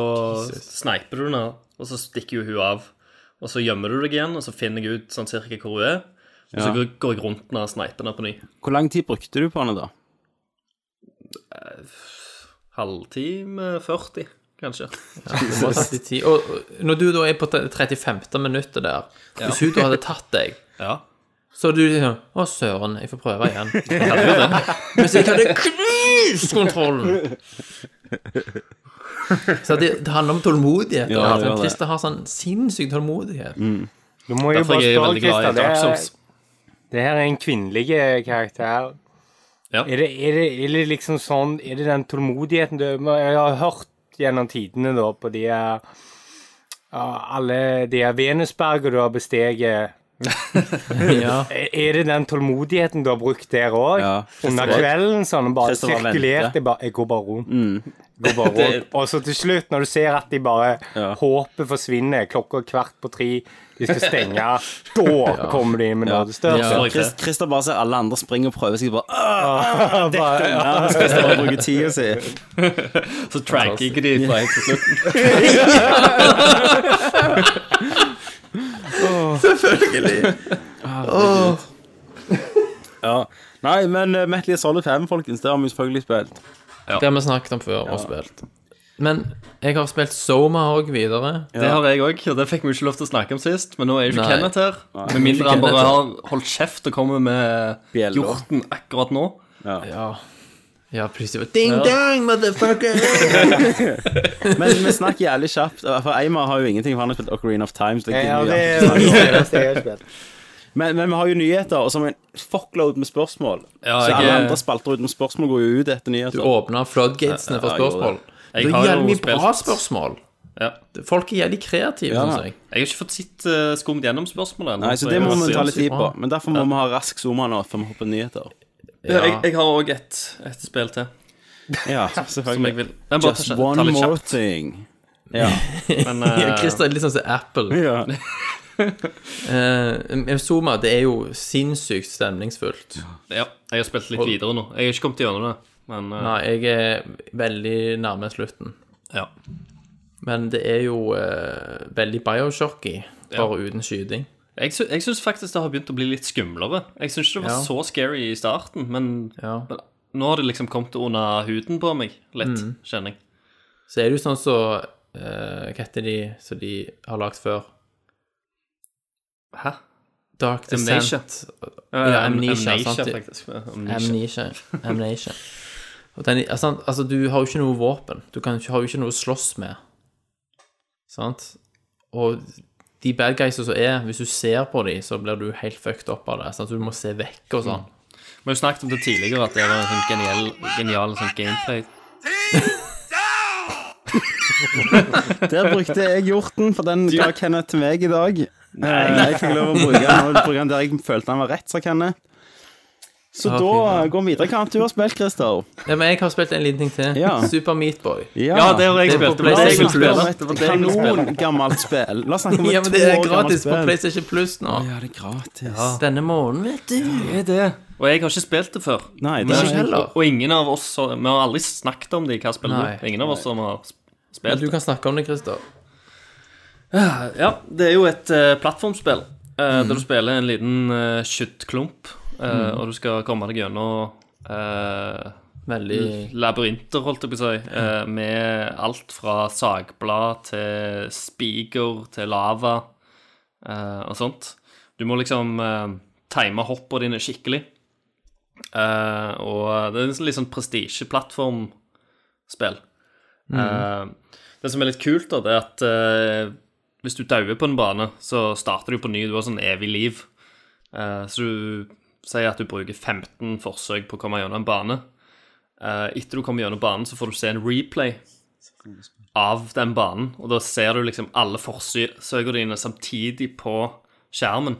H: sneiper du henne, og så stikker jo hun av. Og så gjemmer du deg igjen, og så finner jeg ut sånn cirka hvor hun er. Og så
G: Ja.
H: går- går jeg rundt henne og sneiper henne på ny.
G: Hvor lang tid brukte du på den da?
H: Halvtime 40, kanskje.
E: Det må ha tatt litt tid. Og og når du da er på 35. minuttet der, hvis hun da hadde tatt deg,
H: Ja.
E: så hadde du liksom Å, søren, jeg får prøve igjen. Hvis jeg hadde knust kontrollen! Så det, det handler om tålmodighet.
G: Ja,
E: Ja,
G: det gjør det.
E: Christer har sånn sinnssyk tålmodighet.
F: Du må jo
H: Derfor
F: bare
H: er jeg
F: spørre,
H: veldig glad
F: Christer.
H: i
F: Det
H: Dark
F: er,
H: Souls.
F: det her er en kvinnelig karakter.
H: Ja.
F: Er, det, er, det, er det liksom sånn Er det den tålmodigheten du men Jeg har hørt gjennom tidene da på de her- ja, alle de her Venusberger du har besteget
E: Ja.
F: Er er det den tålmodigheten du har brukt der òg?
G: Ja.
F: Under
G: Christopher-
F: kvelden sånn, og bare
G: Christopher
F: sirkulert
G: venter.
F: jeg, bare, jeg går bare rundt. Går bare rundt. Og så til slutt, når du ser at de bare
G: Ja.
F: Håpet forsvinner, klokka er kvart på tre, de skal stenge, da kommer de med
E: Ja.
F: nådestørrelse.
H: Sorry,
G: Chris, Christer bare ser alle andre springe og prøve seg bare
F: Bare-
G: «Åh, Christer bare bruker tida si.
H: Så tracker ikke de fra helt til slutt.
G: Ja. Nei, men uh, Metal Gear Solid 5, folkens, det har vi selvfølgelig spilt.
E: Det har vi snakket om før og spilt. Men jeg har spilt Soma òg videre.
H: Det har jeg òg, og det fikk vi ikke lov til å snakke om sist. Men nå er jo ikke
E: Nei.
H: Kenneth her. Med mindre han bare har holdt kjeft og kommer med
G: Bjeller.
H: hjorten akkurat nå.
E: Ja, ja plutselig var Ding
H: Ja.
E: dang, motherfucker!
G: Men vi snakker jævlig kjapt, for Eimar har jo ingenting, for han har spilt Ocarina of Time. Så det er
F: Ja,
G: ikke
F: det
G: mye annet å
F: er
G: snakke om.
F: det eneste jeg har spilt.
G: Men, men vi har jo nyheter, og så har vi en fuckload med spørsmål.
H: Ja,
G: så
H: jeg-
G: alle andre spalter uten spørsmål går jo ut etter nyheter.
E: Du åpna floodgatesene for
G: Ja, jeg gjorde
E: spørsmål.
H: Jeg
E: Det
H: har
E: er
H: jo
E: jævlig mye bra
H: spilt-
E: spørsmål.
H: Ja.
E: Folk er jævlig kreative,
G: Ja.
E: synes syns jeg.
H: Jeg har ikke fått sett uh, skumt gjennom spørsmålet ennå.
G: Nei, så det må
H: jeg-
G: vi ta litt tid på.
E: bra.
G: Men derfor må vi ha rask zooma nå, før vi hopper nyheter.
H: Ja. Jeg, jeg har òg ett et spill til
G: Ja,
H: som jeg
G: selvfølgelig.
H: vil Den bare
G: Just
H: ta, ta
G: one
H: litt
G: more
H: kjapt.
G: thing.
H: Men, eh,
E: Ja, Christer er litt sånn som Apple.
G: Ja.
E: Eh, Zuma, det er jo sinnssykt stemningsfullt.
H: ja, jeg har spilt litt videre nå. Jeg har ikke kommet gjennom det. Men eh,
E: Nei, jeg er veldig nærme slutten.
H: ja.
E: Men det er jo eh, veldig Bioshocky, bare uten skyting.
H: Jeg, sy jeg syns faktisk det har begynt å bli litt skumlere. Jeg syns ikke det var
E: Ja.
H: så scary i starten, men,
E: Ja.
H: men nå har det liksom kommet under huden på meg litt,
G: Mm.
H: kjenner jeg.
E: Så er det jo sånn så eh, Hva heter de som de har lagd før?
H: Hæ?
E: Dark
H: Amnesia.
E: Descent.
H: Ja,
E: Amnesia, sant?
H: faktisk. Ja, Amnesia.
E: Amnesia. Amnesia. Og den, altså, altså, du har jo ikke noe våpen. Du kan, ikke- har jo ikke noe å slåss med. Sant? Og de bad guysa som er, hvis du ser på dem, så blir du helt fucked opp av det. Sant? Du må se vekk og sånn.
H: Vi har jo snakket om det tidligere, at det var en sånn genial, genial sånn gameplay.
G: Der brukte jeg hjorten, for den ga Kenneth til meg i dag. Eh, Jeg fikk lov å bruke den, og bruke den der jeg følte den var rett, sa Kenneth. Så
E: Ah,
G: da
E: fy faen.
G: går vi videre. Hva annet du har spilt, Christer?
E: Ja, men jeg har spilt en liten ting til.
G: Ja.
E: Super Meatboy.
H: Ja, det har jeg
E: Det er
H: spilt.
E: på
H: Det var det jeg
E: PlayStation
H: ville spille.
E: Plus.
G: Det var det jeg ville spille. Kanon gammelt spill. La oss snakke om et
E: Ja, men det
G: to
E: er
G: år gammelt
E: gratis på
G: spill.
E: PlayStation Plus nå.
G: Ja, det er gratis.
E: Denne måneden, vet du.
H: Det er det. Og jeg har ikke spilt det før.
G: Nei, det
E: Ikke
G: er
E: heller.
H: Og, og ingen av oss har, Vi har aldri snakket om det i hva spillet
E: Nei.
H: er. Ingen av oss som har sp-
E: Ja,
H: spilt
E: du kan snakke om det, Christer.
H: Ja, det er jo et eh, plattformspill eh, der du spiller en liten eh, skyttklump, eh, og du skal komme deg gjennom eh,
E: Veldig
H: labyrinter, holdt jeg på å si, eh, med alt fra sagblad til spiker til lava eh, og sånt. Du må liksom eh, time hoppene dine skikkelig. Eh, og det er en litt sånn prestisjeplattformspill. Eh, det som er litt kult, da, det er at eh, hvis du dauer på en bane, så starter du på ny. Du har sånn evig liv. Eh, så du sier at du bruker 15 forsøk på å komme gjennom en bane. Eh, etter du kommer gjennom banen, så får du se en replay av den banen. Og da ser du liksom alle forsøkene dine samtidig på skjermen.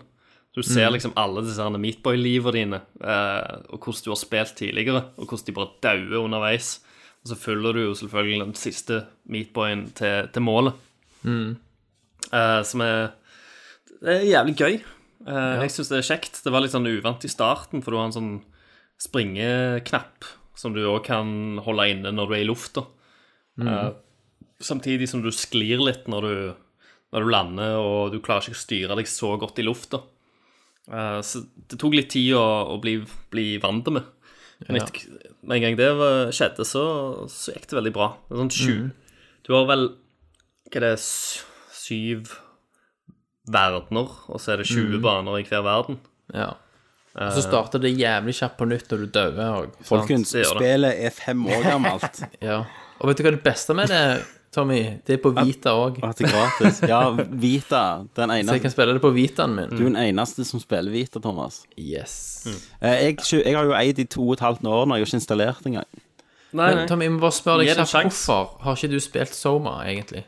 H: Du ser liksom alle disse her Meatboy-livene dine, eh, og hvordan du har spilt tidligere, og hvordan de bare dauer underveis. Og så følger du jo selvfølgelig den siste Meatboyen til, til målet. Eh, som er Det er jævlig gøy. Eh, Jeg syns det er kjekt. Det var litt sånn uvant i starten, for du har en sånn springeknapp som du òg kan holde inne når du er i lufta.
E: Mm.
H: Eh, samtidig som du sklir litt når du, når du lander, og du klarer ikke å styre deg så godt i lufta. Eh, så det tok litt tid å, å bli, bli vant med. Men etter, med en gang det var, skjedde, så, så gikk det veldig bra. Det er sånn sju.
E: Mm.
H: Du har vel hva er det, s- syv verdener, og så er det
E: Mm.
H: 20 baner i hver verden.
E: Ja. Og så starter det jævlig kjapt på nytt når du dauer òg.
G: Eh. Folkens,
H: det gjør det.
G: spillet er fem år gammelt.
E: Ja. Og vet du hva det beste med det, Tommy? Det er på Vita òg.
G: Og at det er gratis. Ja, Vita. Den
E: Så jeg
G: eneste,
E: kan spille det på Vitaen min.
G: du er
H: Mm.
G: den eneste som spiller Vita, Thomas.
E: Yes.
G: Eh, Jeg, kjø- jeg har jo eid i to og et halvt år når jeg har ikke installert engang.
H: Nei,
E: Men Tommy, jeg må bare spørre
H: Gi
E: deg
H: det en
E: kjapt
H: sjanse.
E: hvorfor har ikke du spilt Soma, egentlig?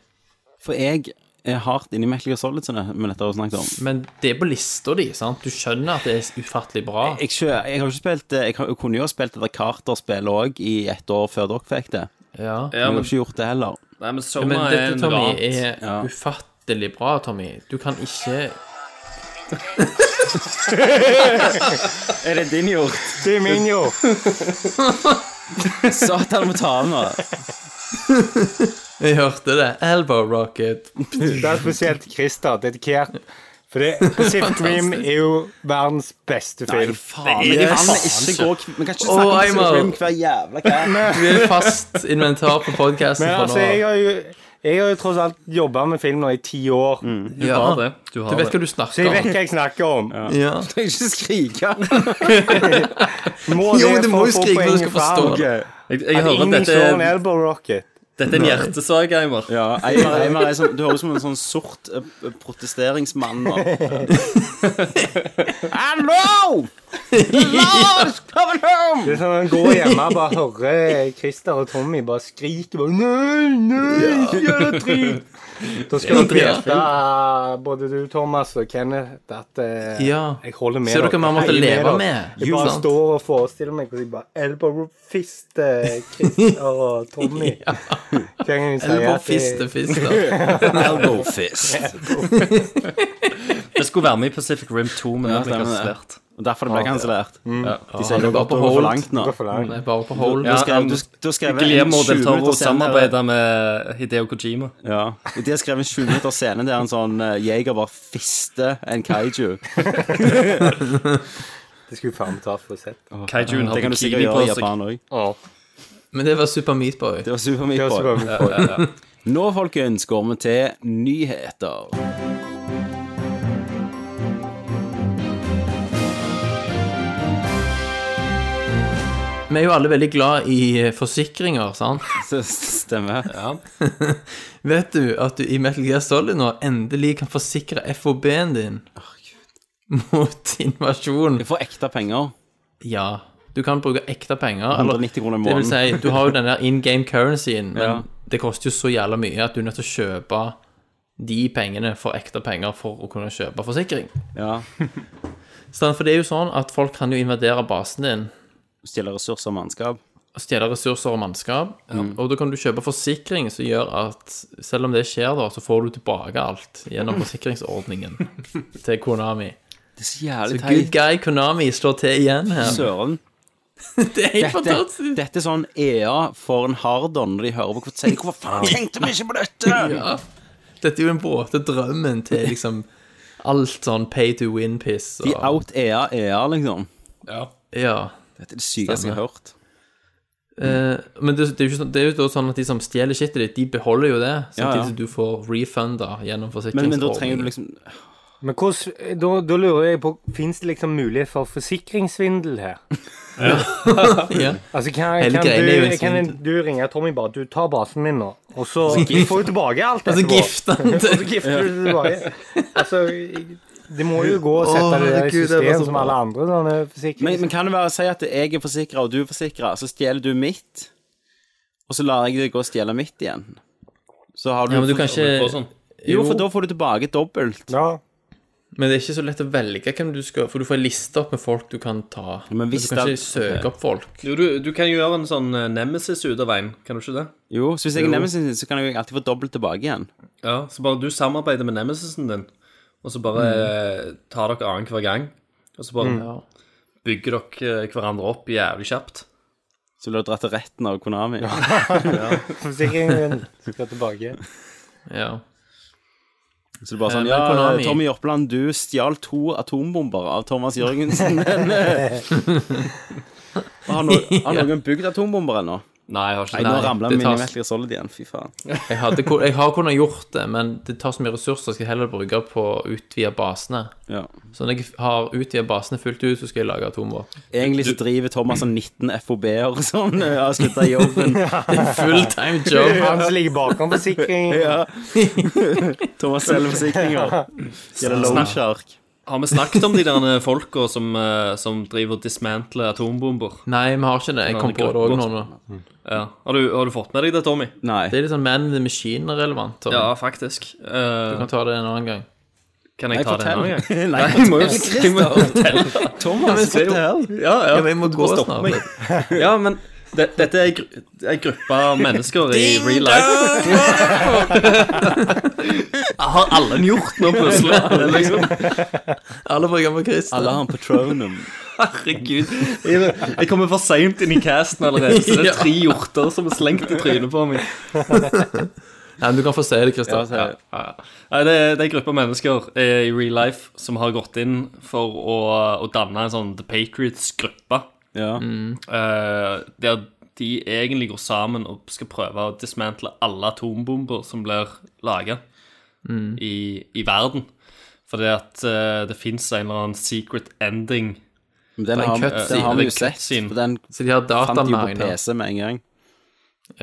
G: For jeg er hardt inni Metal Gear Solid, sånn som vi nettopp har snakket om.
E: Men det er på lista di, sant? Du skjønner at det er ufattelig bra.
G: Jeg, skjø, jeg har ikke spilt det- Jeg, har, jeg kunne jo ha spilt det Carter-spillet òg i ett år før dere fikk det.
E: Ja.
G: Men
H: Ja,
G: jeg
H: men,
G: har ikke gjort det heller.
H: nei, men
E: Ja, Men
H: Soma er
E: dette,
H: en
E: Tommy,
H: rart.
E: er ufattelig bra, Tommy. Du kan ikke
G: Er det din gjort?
F: Det er min jo.
G: Satan, må ta av nå.
E: Jeg hørte det. Elbow rocket.
F: Det er spesielt Christer dedikert. For det, Pacific Rim er jo verdens beste film.
G: Faen, vi kan ikke gå Vi kan ikke snakke
E: Åh,
G: om
E: Eimer.
G: Pacific Rim hver jævla kveld.
E: Du er fast inventar på podkasten
F: Men
E: fra
F: altså,
E: nå
F: jeg
E: av.
F: har jo, jeg har jo tross alt jobba med film nå i ti år,
H: Du
E: Ja.
H: har det. Du
E: Du
H: har
E: vet
H: det.
E: hva du
F: så
E: snakker
F: jeg vet
E: om.
F: hva jeg snakker om.
E: Mm. Ja.
G: Du kan ikke skrike.
F: Må
E: Jo,
F: det
E: du må
F: for å
E: jo skrike for
F: få
E: du
F: poenget
E: skal forstå Altså,
F: fram?
E: det.
H: Jeg, jeg
F: At
H: hører at
F: ingen
H: dette,
F: slår en
H: er-
F: elbow rocket.
H: dette er en hjertesak, Eimer.
G: Ja, Eimer, Eimer er som, du høres ut som en sånn sort eh, protesteringsmann nå. Hallo! Lars, come home!
F: Det er sånn, Han går hjemme og bare hører Christer og Tommy bare skrike bare, Nei, nei, ikke gjør det dritt! Da skal dere vite, både du, Thomas, og Kenneth, at eh,
E: Ja.
F: jeg holder med
E: Ser dere hva vi måtte
F: Jeg er
E: leve
F: dere.
E: med?
F: Jeg bare
E: Sant?
F: står og forestiller meg hvordan jeg bare elbow fist eh, Christer og Tommy. Hver gang jeg sier
E: Elbow
F: at
E: fiste,
F: jeg-
E: fiste.
G: Elbow fist.
H: Det skulle være med i Pacific Rim 2, men det ble
G: stemmer det.
H: kansellert.
G: Og derfor det ble kansellert. De sier
E: det var
G: det har gått
E: på
G: over
E: hold.
G: for langt nå.
F: Det er for langt.
E: Nei, bare på hold.
H: Ja,
G: Du skrev,
H: um,
G: du, du skrev
H: Guillermo del Toro
G: senere-
H: samarbeider med Hideo Kojima.
G: Ja. De har skrevet en 20 minutter scene der en sånn eh, jeger bare fister en kaiju.
F: Det skulle faen meg ta for å se.
H: Kaijuen har
G: Det kan du sikkert
H: bikini på
G: gjøre i
H: seg.
G: Japan òg.
E: Men det var Super Meat Boy.
G: Det var Super
F: Det
G: Meat
F: er også
G: Boy.
F: bare for-
G: Nå, folkens, går vi til nyheter.
E: Vi er jo alle veldig glad i eh, forsikringer, sant?
G: Så Stemmer.
E: Vet du at du i Metal Gear Solid nå endelig kan forsikre FOB-en din mot invasjon?
G: Du får ekte penger.
E: Ja. Du kan bruke ekte penger. eller-
G: 190 kroner i
E: Det vil
G: måneden.
E: si, du har jo den der in game currencyen, men
G: Ja.
E: det koster jo så jævla mye at du er nødt til å kjøpe de pengene for ekte penger for å kunne kjøpe forsikring.
G: Ja.
E: Så, for det er jo sånn at folk kan jo invadere basen din
G: Stjele ressurser og mannskap.
E: og stjele ressurser og mannskap,
G: Mm.
E: og da kan du kjøpe forsikring som gjør at selv om det skjer, da, så får du tilbake alt gjennom forsikringsordningen til Konami.
G: Det er så jævlig
E: The good
G: teit.
E: guy Konami slår til igjen her.
G: Søren.
E: Det er helt
G: Dette,
E: fantastisk.
G: dette er sånn EA får en hard on når de hører på hva sier. Hvorfor faen tenkte vi ikke på dette?
E: Ja. Dette er jo en bråte drømmen til liksom alt sånn pay to win-piss.
G: De
E: Og,
G: out E EA EA, liksom.
E: ja.
G: Dette er det sykeste jeg har hørt. Mm.
E: Eh, men det, det, er jo ikke sånn, det er jo da sånn at de som stjeler shitet ditt, de beholder jo det,
G: Ja, ja.
E: samtidig som du får refunda gjennom
G: Men,
E: forsikringsordningen.
G: men da trenger du liksom
F: Men hvordan, da, da lurer jeg på, fins det liksom mulighet for forsikringssvindel her?
E: ja.
F: Altså, kan,
E: Hele
F: kan,
E: greien er jo en sånn-
F: du, kan
E: svindel.
F: du ringe Tommy bare Du tar basen min nå, og så Vi får jo tilbake alt
E: Altså
F: etterpå.
E: gifter han
F: Og så
E: til
F: gifter du det tilbake. Altså, det må jo gå og sette
E: Åh,
F: det der i
E: herregud, det var så
F: system som
E: bra.
F: alle andre sånn, eh, sånne
G: men, men
F: forsikringer.
G: kan det være å si at jeg er forsikra, og du er forsikra, så stjeler du mitt, og så lar jeg deg gå og stjele mitt igjen? Så har du
E: Ja, men du kan
H: Og
E: ikke
H: sånn.
G: Jo, for da får du tilbake dobbelt.
F: Ja.
E: Men det er ikke så lett å velge hvem du skal For du får en liste opp med folk du kan ta. Altså,
G: men hvis
E: du kan
G: det-
E: ikke søke opp folk.
H: Jo, du, du kan jo gjøre en sånn eh, nemesis ut av veien, kan du ikke det?
G: Jo, så hvis jeg er nemesen din, så kan jeg jo alltid få dobbelt tilbake igjen.
H: Ja, Så bare du samarbeider med nemesisen din, og så bare eh, tar dere annenhver gang. Og så bare
G: Mm.
H: bygger dere eh, hverandre opp jævlig kjapt.
G: Så blir du dratt til retten av Konami.
F: Forsikringen skal tilbake.
E: Ja.
G: Så det er bare sånn,
E: Eh,
G: ja,
E: men Konami-
G: Tommy Jørpeland, du stjal to atombomber av Thomas Jørgensen. Og har, no har noen bygd atombomber ennå?
H: Nei, jeg har
G: Nei,
H: ikke
G: nå
E: Nei,
G: ramla
E: det
G: min
E: tas-
G: Metal Gear Solid igjen, fy faen.
E: Jeg, hadde, kun- jeg har kunnet gjort det, men det tar så mye ressurser. Skal jeg heller bruke på å utvide basene.
G: Ja.
E: Så når jeg har utvidet basene fullt ut, så skal jeg lage atomvåpen.
G: Egentlig så driver Thomas sånn 19 FOB-er og sånn, og har slutta i jobben.
E: Fulltime job.
F: Han som ligger bakom forsikringen.
G: Thomas selger forsikringer. Gjelder Loanshark.
H: Har vi snakket om de der folka som, eh, som driver og dismantler atombomber?
E: Nei, vi har ikke det. Jeg
H: Nei,
E: kom
H: det
E: på
H: er
E: det òg
H: godt.
E: nå. nå.
H: Ja. Har, du, har du fått med deg det, Tommy?
G: Nei.
E: Det er litt sånn Man in the Machine-relevant.
H: Ja,
E: Ja.
H: faktisk.
E: Du
H: Eh,
E: kan ta det en annen gang.
H: kan jeg ta det
G: fortell.
H: nå, jeg?
G: Nei,
H: jeg må jo jeg må jo
G: Christer.
H: fortelle.
G: Thomas,
H: det er jo- Ja, ja.
E: men jeg må
H: Du
E: gå
H: bare stopper
E: snart.
H: meg. Ja, men det, dette er ei gru, ei gruppe av mennesker i real life. har alle en hjort nå, plutselig? Liksom.
E: Alle bruker på Christer.
G: Alle har en patronum.
H: Herregud. Jeg, jeg kommer for seint inn i casten allerede, så det er tre hjorter som er slengt i trynet på meg.
E: Nei, men du kan få se det, Christer.
G: Ja, se det.
H: Ja, ja. Nei, det, er- det er en gruppe mennesker eh, i real life som har gått inn for å, å danne en sånn The Patriots-gruppe.
G: Ja.
H: Eh, der de egentlig går sammen og skal prøve å dismantle alle atombomber som blir laga i, i verden. Fordi at eh, det fins en eller annen secret ending.
G: Men
E: er
G: den
E: en
G: har,
E: cutscene.
G: den har
H: Det er
G: vi
H: en
G: jo sett.
H: cutscene.
G: for Den
E: Så de har
G: fant de jo på
E: datamagner.
G: PC med en gang.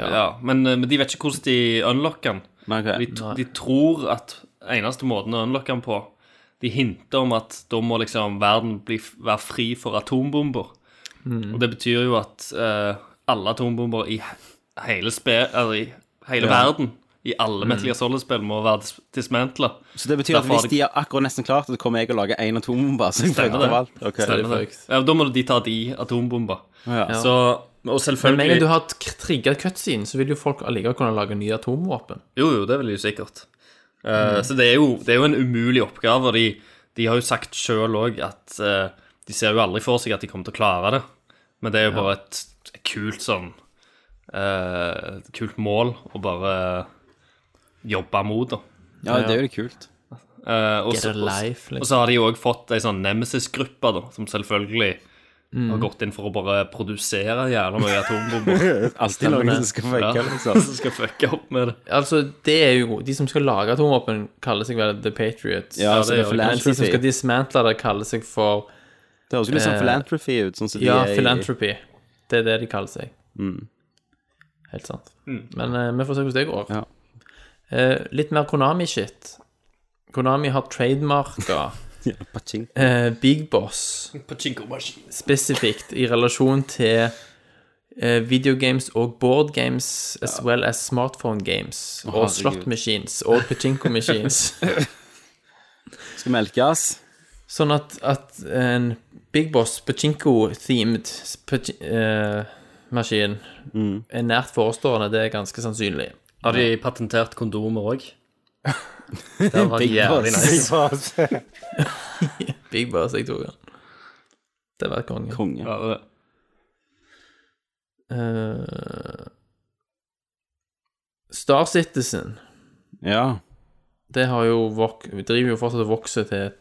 H: Ja. men, eh, men de vet ikke hvordan de unlocker den.
G: Nei,
H: De,
G: ok.
H: de tror at eneste måten å unlocke den på De hinter om at da må liksom verden bli, være fri for atombomber. Og det betyr jo at eh, alle atombomber i he- hele, spe, eller i hele verden, i alle Metal Gear Solid-spill, må være dis dismantla.
G: Så det betyr at
H: Derfor har
G: hvis de har akkurat nesten klart det, kommer jeg å lage én atombombe. Så jeg
H: Stemmer
G: flytter
H: det.
G: av alt. Ok.
H: Stemmer det. Ja, da må de ta de atombomber.
G: Ja.
H: Så,
E: Men med en gang
H: og
E: du
H: selvfølgelig
E: har tr- trigget cutscene, så vil jo folk allikevel kunne lage nye atomvåpen.
H: Jo, jo, det vil jeg jo sikkert. Eh, Så det er, jo, det er jo en umulig oppgave. og De, de har jo sagt sjøl òg at eh, de ser jo aldri for seg at de kommer til å klare det. Men det er jo bare et, et kult sånn eh, et Kult mål å bare jobbe mot, da.
G: Ja, det er jo litt kult.
H: Eh, og
E: Get
H: så-
E: a life,
H: og
E: liksom.
H: så har de jo òg fått ei sånn Nemesis-gruppe, da, som selvfølgelig
E: Mm.
H: har gått inn for å bare produsere jævla mye atombomber.
G: Alltid noen som skal fake,
H: ja,
G: liksom.
H: som skal fucke opp med det.
E: Altså, det er jo De som skal lage atomvåpen, kaller seg vel The Patriots. Altså,
G: Ja,
H: Ja,
G: så
H: det
G: det er
H: er jo
E: Mens de som skal
G: philanthropy.
E: dismantle det, kaller seg for
G: Det høres jo litt
E: Eh,
G: sånn philanthropy ut. Sånn som de
E: Ja,
G: er i-
E: philanthropy. Det er det de kaller seg. Helt sant. Men eh, vi får se hvordan det går.
G: Ja.
E: Eh, litt mer Konami-shit. Konami har trademarka
G: Ja, paching.
E: eh, Big Boss spesifikt i relasjon til eh, video games og board games as well as smartphone games og
G: herregud.
E: slot machines og pachinko machines.
G: Skal melkes.
E: sånn at, at en Big Boss pachinko-themed pachi eh, maskin er nært forestående, det er ganske sannsynlig.
H: Har de patentert kondomer òg? Det var
G: Big
H: jævlig
G: boss.
H: nice.
E: Big Boss, jeg tok den. Det var konge.
G: Konge.
H: Ja, det-
E: Eh, Star Citizen
G: Ja.
E: det har jo vok vi driver jo fortsatt og vokser til et,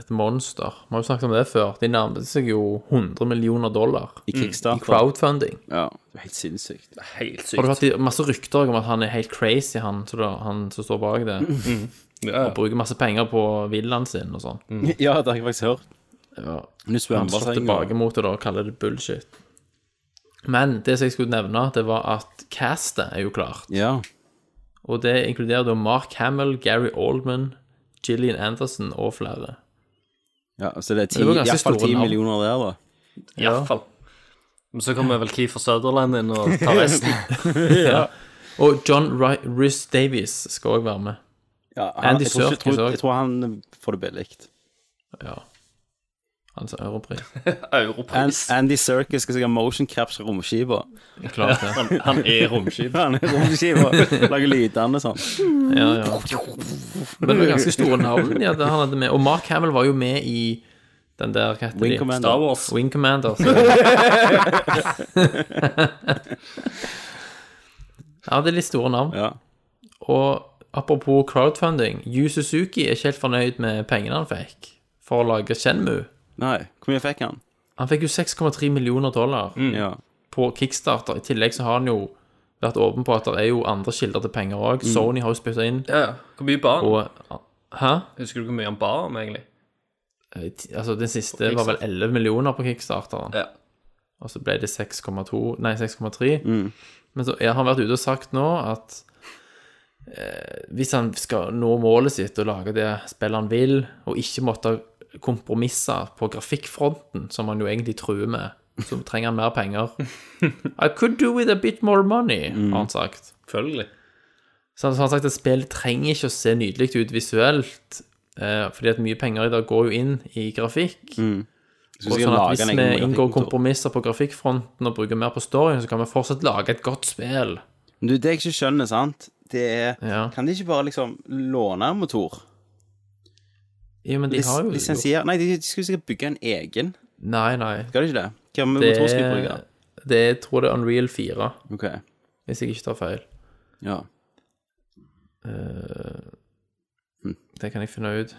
E: et monster. Vi har jo snakket om det før. De nærmer seg jo 100 millioner dollar
G: I
E: i
G: kickstart.
E: crowdfunding.
G: Ja. Det er helt sinnssykt.
H: Helt
E: Har du
H: sykt.
E: hørt de- masse rykter om at han er helt crazy, han, så da, han som står bak det?
H: Mm. Ja, ja.
E: Bruker masse penger på villaen sin og sånn.
G: Ja, det har jeg faktisk hørt.
E: Ja.
G: Nå
E: Han
G: svømmer
E: slår
G: seg
E: tilbake mot det da og kaller det bullshit. Men det som jeg skulle nevne, det var at castet er jo klart.
G: Ja.
E: Og det inkluderer da Mark Hamill, Gary Oldman, Gillian Anderson og flere.
G: ja. Så det er ti,
E: Det var ganske
G: i hvert fall
E: store
G: ti
E: navn.
G: millioner der, da.
H: Iallfall. Men så kommer vel Keefer Sutherland inn og tar resten.
E: Og John Rhys Davies skal òg være med.
G: Ja,
E: Andy
G: jeg, tror ikke,
E: Serkis også.
G: jeg tror han får det billig.
E: Ja. Altså europris.
G: An,
H: Europris.
G: Andy Circus skal sikkert motion capture romskipa.
E: Klart det.
H: Han, han er romskip.
G: Han er romskipa, lager lydene sånn.
E: Ja, ja. Men det var ganske store navn ja, det han hadde med. Og Mark Hamill var jo med i den der hva heter
G: Wing
E: de?
G: Commander.
H: Star Wars.
E: Wing Commander. Så. Ja, det er litt store navn.
G: Ja.
E: Og apropos crowdfunding, Yu Suzuki er ikke helt fornøyd med pengene han fikk for å lage Shenmu.
G: Nei, hvor mye fikk han?
E: Han fikk jo 6,3 millioner dollar.
G: Ja.
E: på Kickstarter. I tillegg så har han jo vært åpen på at det er jo andre kilder til penger òg. Sony har jo spytta inn.
H: Ja, ja. Hvor mye ba han?
E: Og Hæ?
H: Husker du hvor mye han ba om, egentlig?
E: Eh, ti- Altså, den siste var vel 11 millioner på Kickstarteren.
H: Ja.
E: Og så ble det 6,2 Nei, 6,3. Men så har han vært ute og sagt nå at eh, hvis han skal nå målet sitt og lage det spillet han vil, og ikke måtte kompromisser på grafikkfronten, som han jo egentlig truer med. Så trenger han mer penger. I could do with a bit more money, har han sagt.
H: Selvfølgelig.
E: Så han så han har sagt at spill trenger ikke å se nydelig ut visuelt, eh, fordi at mye penger i dag går jo inn i grafikk. Og
G: Så Mm. skal
E: sånn at
G: lage
E: Hvis
G: en egen
E: vi
G: grafikk-
E: inngår kompromisser på grafikkfronten og bruker mer på storyen, så kan vi fortsatt lage et godt spill.
G: Men du, det jeg ikke skjønner, sant, det er
E: Ja.
G: Kan de ikke bare liksom låne en motor?
E: Jo, men de
G: Lis,
E: har jo
G: lisensiere Nei, de, de skulle sikkert bygge en egen.
E: Nei, nei.
G: Skal de ikke det? Hva med
E: Det
G: motor skal de bruke?
E: er, det er, jeg tror det er Unreal 4,
G: Ok,
E: hvis jeg ikke tar feil.
G: ja.
E: Det kan jeg finne ut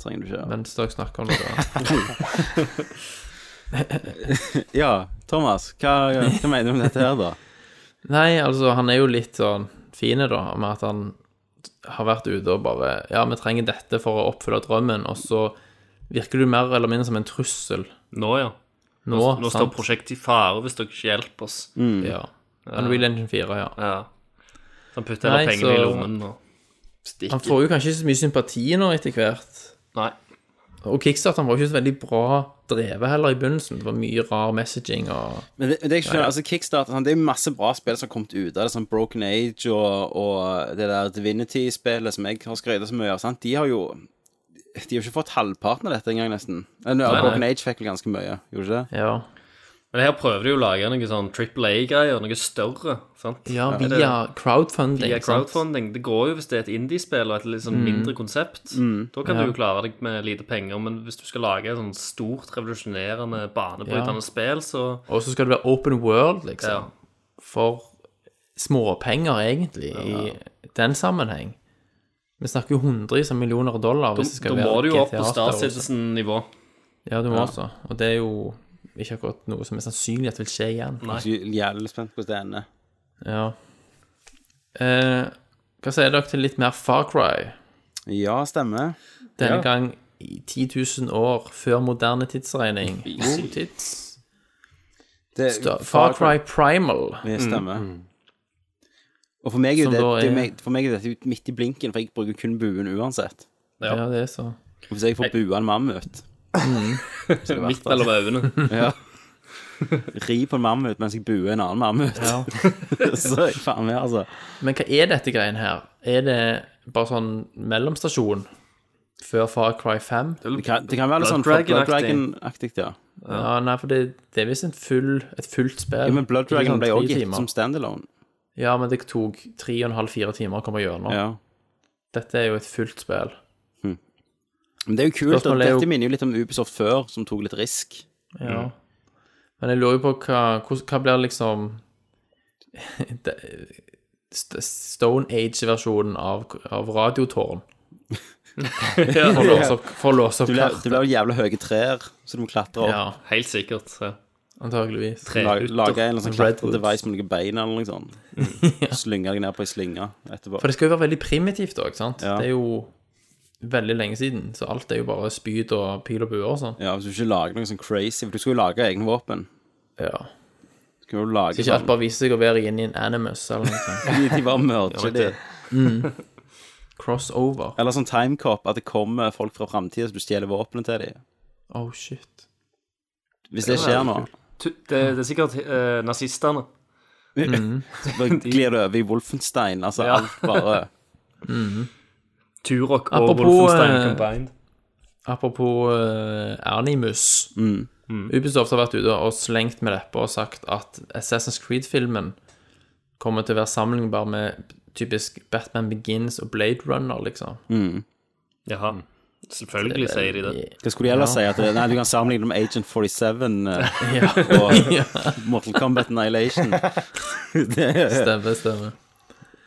G: Trenger du ikke det?
E: mens dere snakker om det. da.
G: Ja, Thomas, hva, hva mener du om dette her, da?
E: Nei, altså, han er jo litt sånn fin, da, med at han har vært ute og bare Ja, vi trenger dette for å oppfylle drømmen, og så virker du mer eller mindre som en trussel
H: Nå, ja.
E: nå.
H: Nå Mm. står
E: sant?
H: prosjektet i fare hvis dere ikke hjelper oss.
E: Ja. Unreal Engine 4, ja.
H: Ja. Så han putter heller
E: Nei,
H: pengene i
E: så-
H: lommen og
E: Han
H: stikker.
E: får jo kanskje ikke så mye sympati nå etter hvert.
H: Nei.
E: Og Kickstarter var jo ikke så veldig bra drevet heller i begynnelsen. Det var mye rar messaging og
G: Men det, det jeg ikke skjønner, altså Kickstarter sånn, Det er jo masse bra spill som har kommet ut av det, sånn Broken Age og, og det der Divinity-spillet som jeg har skrevet så mye av. sant? De har jo De har jo ikke fått halvparten av dette engang, nesten. Eller,
H: nei.
G: Broken Age fikk vel ganske mye, gjorde ikke det?
E: Ja.
H: Men her prøver de jo å lage noe sånn Triple A-greier, noe større. sant?
E: Ja,
H: Er det-
E: via crowdfunding.
H: Via
E: sant? Mm.
H: crowdfunding. Det går jo hvis det er et indiespill og et litt sånn mindre konsept. Da kan
E: Ja.
H: du jo klare deg med lite penger, men hvis du skal lage et sånn stort, revolusjonerende, banebrytende
E: Ja.
H: spill, så
E: Og så skal det være open world, liksom.
H: ja.
E: For småpenger, egentlig, i den sammenheng. Vi snakker jo hundrevis av millioner dollar
H: Da,
E: hvis det skal
H: da
E: være
H: må du jo opp på
E: GTA Star
H: Star
E: Wars.
H: Citizen-nivå.
E: Ja, du må også. Og det er jo ikke akkurat noe som er sannsynlig at vil skje igjen.
H: Nei.
G: Jeg er Jævlig spent på hvordan det ender.
E: Ja. Eh, hva sier dere til litt mer Far Cry?
G: Ja, stemmer.
E: Denne
H: Ja.
E: gang i 10 000 år før moderne tidsregning. God tids.
G: Det,
E: Da- Far Cry Primal.
G: Ja, stemmer. Og for meg er jo
E: Som
G: det,
E: da er-
G: det mm. er... meg- for meg er dette ut midt i blinken, for jeg bruker kun buen uansett.
E: Ja.
H: Ja.
E: det er så.
G: Og hvis jeg får bua en mammut
H: Midt mellom øynene.
G: ja. Ri på en mammut mens jeg buer en annen mammut.
E: Ja.
G: så er jeg faen med, altså.
E: Men hva er dette greien her? Er det bare sånn mellomstasjon før Far Cry 5?
G: Det kan, det kan være litt sånn
H: Blood Dragon-aktig.
G: Blood Dragon-aktig, ja.
E: Ja, nei, for det, det er visst en full, et fullt spill.
G: ja. Men Blood
E: Ikke
G: Dragon
E: sånn
G: ble
E: tre
G: også gitt
E: timer.
G: som standalone.
E: Ja, men det tok tre og en halv, fire timer å komme gjennom.
G: Ja.
E: Dette er jo et fullt spill.
G: Men det er jo kult, og
E: Spørsmålet er jo-
G: dette minner jo litt om Ubisoft før, som tok litt risk.
E: Ja. Mm. Men jeg lurer jo på hva, hvordan- hva blir liksom det- St- Stone Age-versjonen av, av Radiotårn. For å låse opp, for å låse opp
G: Du blir du
E: kartet.
G: blir jo jævla høye trær, så du må klatre opp.
E: Ja,
H: Helt sikkert. Ja.
E: antageligvis.
G: Lage, lage en eller annen sånn
E: Redwood.
G: klatredevice med noen bein eller noe sånt. Slynge deg ned på ei slynge etterpå.
E: For det skal jo være veldig primitivt òg, sant?
G: Ja.
E: Det er jo veldig lenge siden, så alt er jo bare spyd og pil og buer og sånn.
G: Ja, hvis du ikke lager noe sånn crazy, for du skulle jo lage egne våpen.
E: Ja.
G: Du skulle jo lage
E: Så ikke alt
G: sånn,
E: bare viser seg å være inne i en animus eller noe sånt.
G: de, de bare merger de.
E: Crossover.
G: Eller sånn timecop, at det kommer folk fra framtida, så du stjeler våpenet til dem.
E: Oh shit.
G: Hvis det skjer nå,
H: Tu- Det, det er sikkert eh, nazistene.
G: bare glir det over i Wolfenstein. Altså
H: Ja.
G: alt bare
H: Turok og
E: Apropos,
H: Wolfenstein
E: eh,
H: combined.
E: Apropos eh, Animus.
G: Mm.
E: Ubisoft har vært ute og slengt med leppa og sagt at Assassin's Creed-filmen kommer til å være sammenlignbar med typisk Batman Begins og Blade Runner, liksom.
H: Jaha. Selvfølgelig sier de det.
G: Hva skulle de ellers si? At det, nei, du kan sammenligne det med Agent 47 eh,
E: Ja,
G: og Mortal Kombat Annihilation. Det,
E: stemmer, stemmer.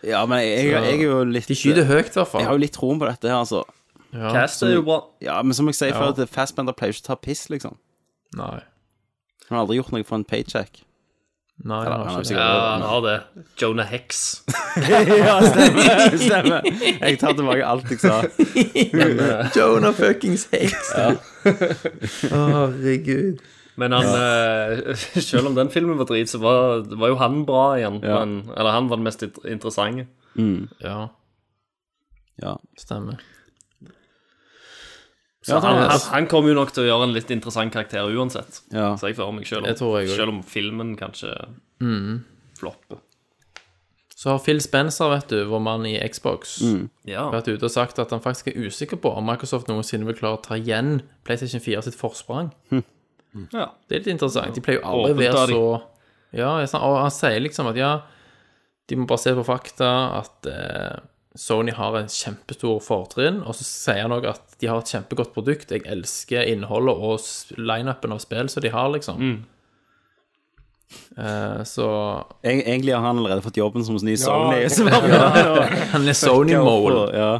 G: ja, men jeg, jeg, jeg er jo litt eh,
E: De skyter høyt, i hvert
G: Jeg
E: fall.
G: har jo litt troen på dette her, altså.
E: Ja.
H: Cast er jo bra.
G: Ja, Men som jeg sier før, at Fastbender pleier jo ikke å ta piss, liksom.
E: Nei.
G: Han har aldri gjort noe for en paycheck.
E: Nei, jeg
G: Han
E: har
G: har
E: ikke det.
H: Ja,
G: sikkert
H: han har det. Jonah Hex.
G: Ja, stemmer. stemmer. Jeg tar tilbake alt jeg sa.
E: Jonah fuckings Hex. Herregud.
H: Men han, eh, selv om den filmen var drit, så var, var jo han bra igjen.
G: Ja.
H: Men, eller han var den mest int- interessante.
E: Ja,
G: Ja.
E: stemmer.
H: Så
G: Ja, det er
H: han,
G: det.
H: han, han kommer jo nok til å gjøre en litt interessant karakter uansett.
G: Ja.
H: Så jeg fører meg selv
E: Det tror jeg
H: om,
E: også.
H: selv om filmen kanskje
G: Mm.
H: flopper.
E: Så har Phil Spencer, vet du, vår mann i Xbox,
H: Ja.
E: vært ute og sagt at han faktisk er usikker på om Microsoft noensinne vil klare å ta igjen PlayStation 4 sitt forsprang.
H: ja.
E: Det er litt interessant. De pleier jo aldri å
H: Åpent
E: være
H: av de.
E: så Ja, jeg sa- og han sier liksom at ja, de må bare se på fakta, at eh, Sony har en kjempestor fortrinn, og så sier han òg at de har et kjempegodt produkt. Jeg elsker innholdet og s- lineupen av spill som de har, liksom.
H: Mm.
E: Eh, så
G: Eg- Egentlig har han allerede fått jobben som ny Sony.
F: Ja.
G: så bare-
E: Han er Sony-mole.
G: Ja.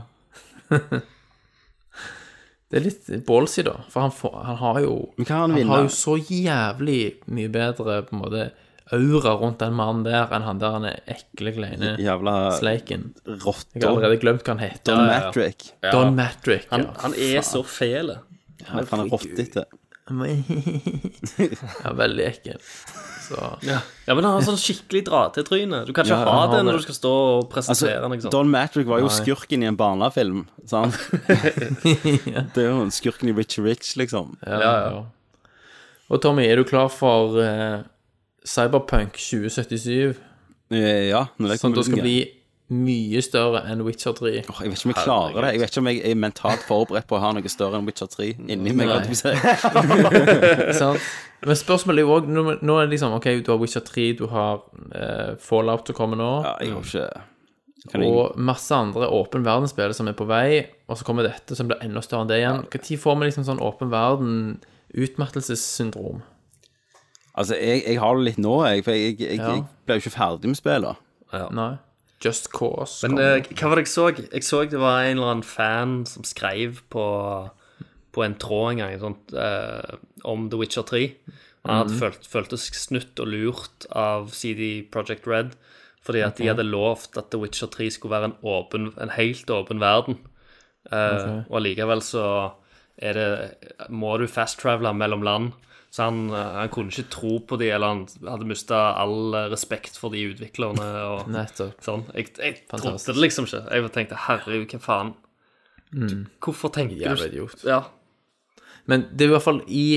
E: Det er litt ballsy, da. For han, får, han har jo
G: Men hva har han
E: Han
G: vinner?
E: har jo så jævlig mye bedre på en måte aura rundt den mannen der enn han der han er ekle, kleine
G: Jævla
E: sleiken. Jeg
G: rotter.
E: har allerede glemt hva han heter.
G: Don Matrick.
E: Don Matrick.
H: Han,
E: ja.
H: han er så fæl.
G: Ja, for han er rottete.
E: ja, veldig ekkel. Så
H: Ja, men han har sånn skikkelig dra-til-tryne. Du kan ikke
G: Ja,
H: ha
G: han
H: det
E: har
H: når
E: det. Altså,
H: du skal stå og presentere han,
E: sånn?
H: ikke sant.
G: Altså, Don Matrick var jo skurken i en barnefilm, sant? Det er jo en skurken i Rich Rich, liksom.
E: ja, ja, ja. Og Tommy, er du klar for eh, Cyberpunk 2077?
G: Eh, Ja, når det
E: Som
G: kommer
E: Sånn da skal
G: ut-
E: bli mye større enn Witcher 3.
G: Åh, Jeg vet ikke om jeg klarer det. Jeg vet ikke om jeg er mentalt forberedt på å ha noe større enn Witcher 3 inni meg.
E: Nei.
G: holdt jeg på å si.
E: Sant? Men spørsmålet er jo òg nå, nå er det liksom OK, du har Witcher 3, du har eh, Fallout som kommer nå.
G: Ja, jeg har ikke kan jeg,
E: Og masse andre åpen verden-spill som er på vei, og så kommer dette som blir enda større enn det igjen. Når får vi liksom sånn åpen verden-utmattelsessyndrom?
G: Altså, jeg, jeg har det litt nå, jeg, for jeg, jeg, jeg,
E: Ja.
G: jeg ble jo ikke ferdig med spillet.
E: Nei. Just Cause.
H: Men
E: kommer.
H: eh, hva var det jeg så? Jeg så det var en eller annen fan som skrev på, på en tråd en gang sånt, eh, om The Witcher 3. Han hadde følt, føltes snutt og lurt av CD Project Red fordi at de hadde lovt at The Witcher 3 skulle være en, åpen, en helt åpen verden. Eh, Og allikevel så er det, må du fast-travele mellom land. Så han, eh, han kunne ikke tro på de, eller han hadde mista all eh, respekt for de utviklerne. Og,
E: Nettopp.
H: Sånn. Jeg, jeg
E: Fantastisk.
H: trodde det liksom ikke. Jeg tenkte herregud, hva faen? Du, hvorfor tenker
E: Jævla
H: du
E: idiot.
H: Ja.
E: Men det er i hvert fall i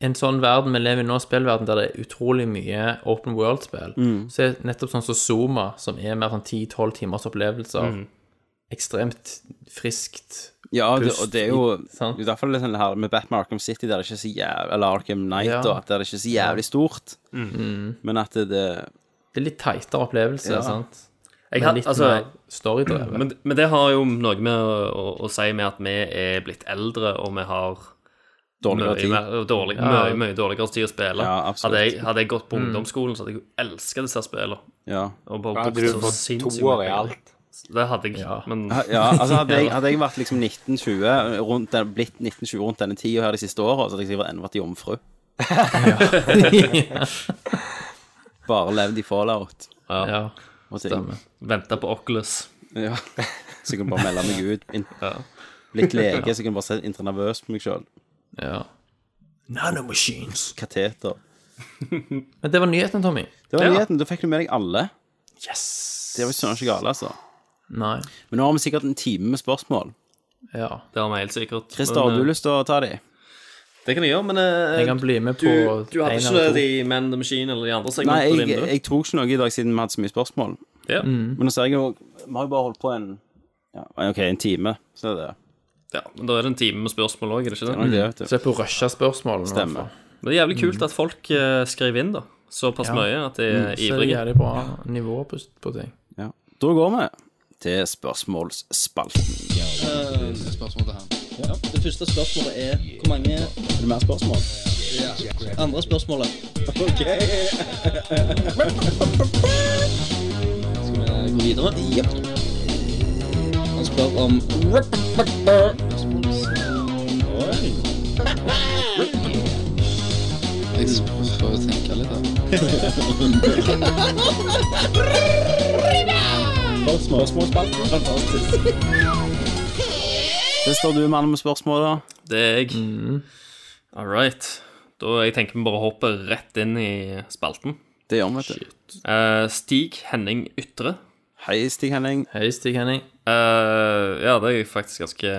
E: en sånn verden vi lever i nå, spillverden der det er utrolig mye open world-spill, så er nettopp sånn som Zoma, som er mer sånn 10-12 timers opplevelser, ekstremt friskt.
G: Ja, det,
E: Pust
G: og det er jo
E: i- sant?
G: i hvert fall litt sånn det her med Batman Arkham City, der det ikke er så jævlig Eller Arkham Knight,
E: Ja.
G: da, at det er ikke så jævlig stort. Men at det, det
E: Det er litt teitere opplevelse, sant?
H: Jeg
E: Men
H: har,
E: litt
H: altså,
E: mer storydrevet.
H: men, men det har jo noe med å, å, å si med at vi er blitt eldre, og vi har
G: dårligere
H: mye,
G: tid.
H: mer- og dårlig, mye, mye dårligere tid å spille.
G: Ja, absolutt.
H: hadde, jeg, hadde jeg gått på ungdomsskolen, så hadde jeg jo elska disse spillene.
G: Ja.
H: Og bare
F: Hadde
H: brukt
F: du
H: så
F: fått
H: sinnssykt
F: toer i
H: mye penger.
F: alt?
H: Det hadde jeg, men
G: ja, altså hadde jeg, hadde jeg vært liksom 1920 rundt den, blitt 1920 rundt denne tida her de siste åra, så hadde jeg sikkert ennå vært jomfru. Bare levd i fallout.
E: Ja,
G: Og ting.
E: stemmer.
H: venta på Oculus.
G: Ja. Så jeg kunne bare melde meg ut. In, Blitt lege, så jeg kunne bare se intranervøs på meg sjøl.
E: Ja. Nanomachines.
G: Kateter.
E: Men det var nyheten, Tommy.
G: Det var
H: Ja.
G: nyheten. Da fikk du med deg alle.
E: Yes.
G: Det var jo søren ikke gale, altså.
E: Nei.
G: Men nå har vi sikkert en time med spørsmål.
E: Ja.
H: Det har vi helt sikkert.
G: Christer,
H: Men,
G: har
H: eh,
G: du lyst til å ta de?
H: Det kan jeg gjøre, men eh,
E: Jeg kan bli med
H: du,
E: på
H: du hadde
E: en
H: ikke
E: eller to.
H: de Man the Machine eller de andre
G: Nei,
H: segmentene
G: jeg,
H: dine?
G: jeg tok ikke noe i dag siden vi hadde så mye spørsmål.
H: Ja.
E: Mm.
G: Men nå ser jeg jo Vi har jo bare holdt på en ja, OK, en time. Så er det
H: ja, men da er det en time med spørsmål òg, er det ikke
G: det. er nok
H: det?
G: det vet du.
E: Så jeg er på å rushe spørsmålene.
G: Stemmer.
H: Det er jævlig kult at folk eh, skriver inn da såpass mye at de er
E: Mm. Så det er
H: ivrige.
E: jævlig bra nivå på, på ting.
G: Ja. Da går vi til spørsmålsspalten.
I: Det første spørsmålet er hvor mange Er det mer spørsmål? Andre spørsmålet. Ok. Skal vi gå videre? Jepp. Han spør om Oi. Jeg får jo tenke litt her. Spørsmålsspalten. Fantastisk.
G: Det står du, mannen med spørsmål, da.
H: Det er jeg.
E: Mm.
H: All right. Da jeg tenker vi bare hopper rett inn i spalten.
G: Det gjør vi, vet du.
H: Eh, Stig Henning Ytre.
G: Hei, Stig Henning.
E: Hei, Stig Henning.
H: Eh, ja, det er jeg faktisk ganske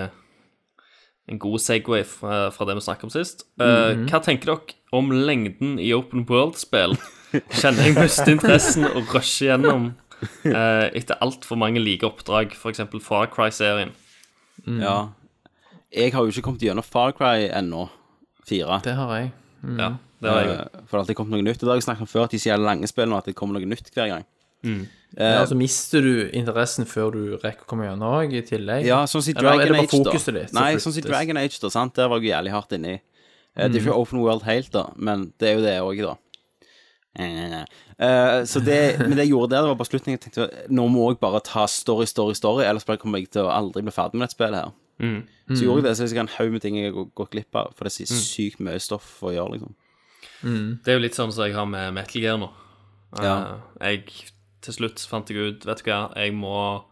H: en god Segway fra, fra det vi snakket om sist. Eh, Hva tenker dere om lengden i Open World-spill? Kjenner jeg mister interessen og rusher gjennom eh, etter altfor mange like oppdrag, f.eks. Far Cry-serien? Mm.
G: Ja. Jeg har jo ikke kommet gjennom Far Cry ennå. Fire.
E: Det har jeg.
H: Ja, det har jeg.
G: Eh, For det har alltid kommet noe nytt. I dag har jeg snakket om før at de sier lange spill nå, at det kommer noe nytt hver gang.
E: Ja, så mister du interessen før du rekker å komme gjennom òg, i tillegg.
G: Ja, sånn som i
E: Eller
G: Dragon
E: er det bare
G: Age, da.
E: fokuset ditt som
G: Nei, sånn som i
E: flyttes? Mhm.
G: Dragon Age, da, sant? Der var jeg jo jævlig hardt inni. Eh, Det er ikke Open World helt, da, men det er jo det òg, da. Eh, eh, så det, men det jeg gjorde der, det var bare slutningen. Jeg tenkte nå må jeg bare ta story, story, story, ellers bare kommer jeg til å aldri bli ferdig med dette spillet her.
E: Mhm.
G: Så gjorde jeg det, så jeg kan en haug med ting jeg har gå- gått glipp av, for det er sykt mye stoff å gjøre, liksom.
H: Det er jo litt sånn som jeg har med Metal Gear nå. Eh,
G: Ja.
H: Jeg til slutt fant jeg ut, vet du hva, jeg må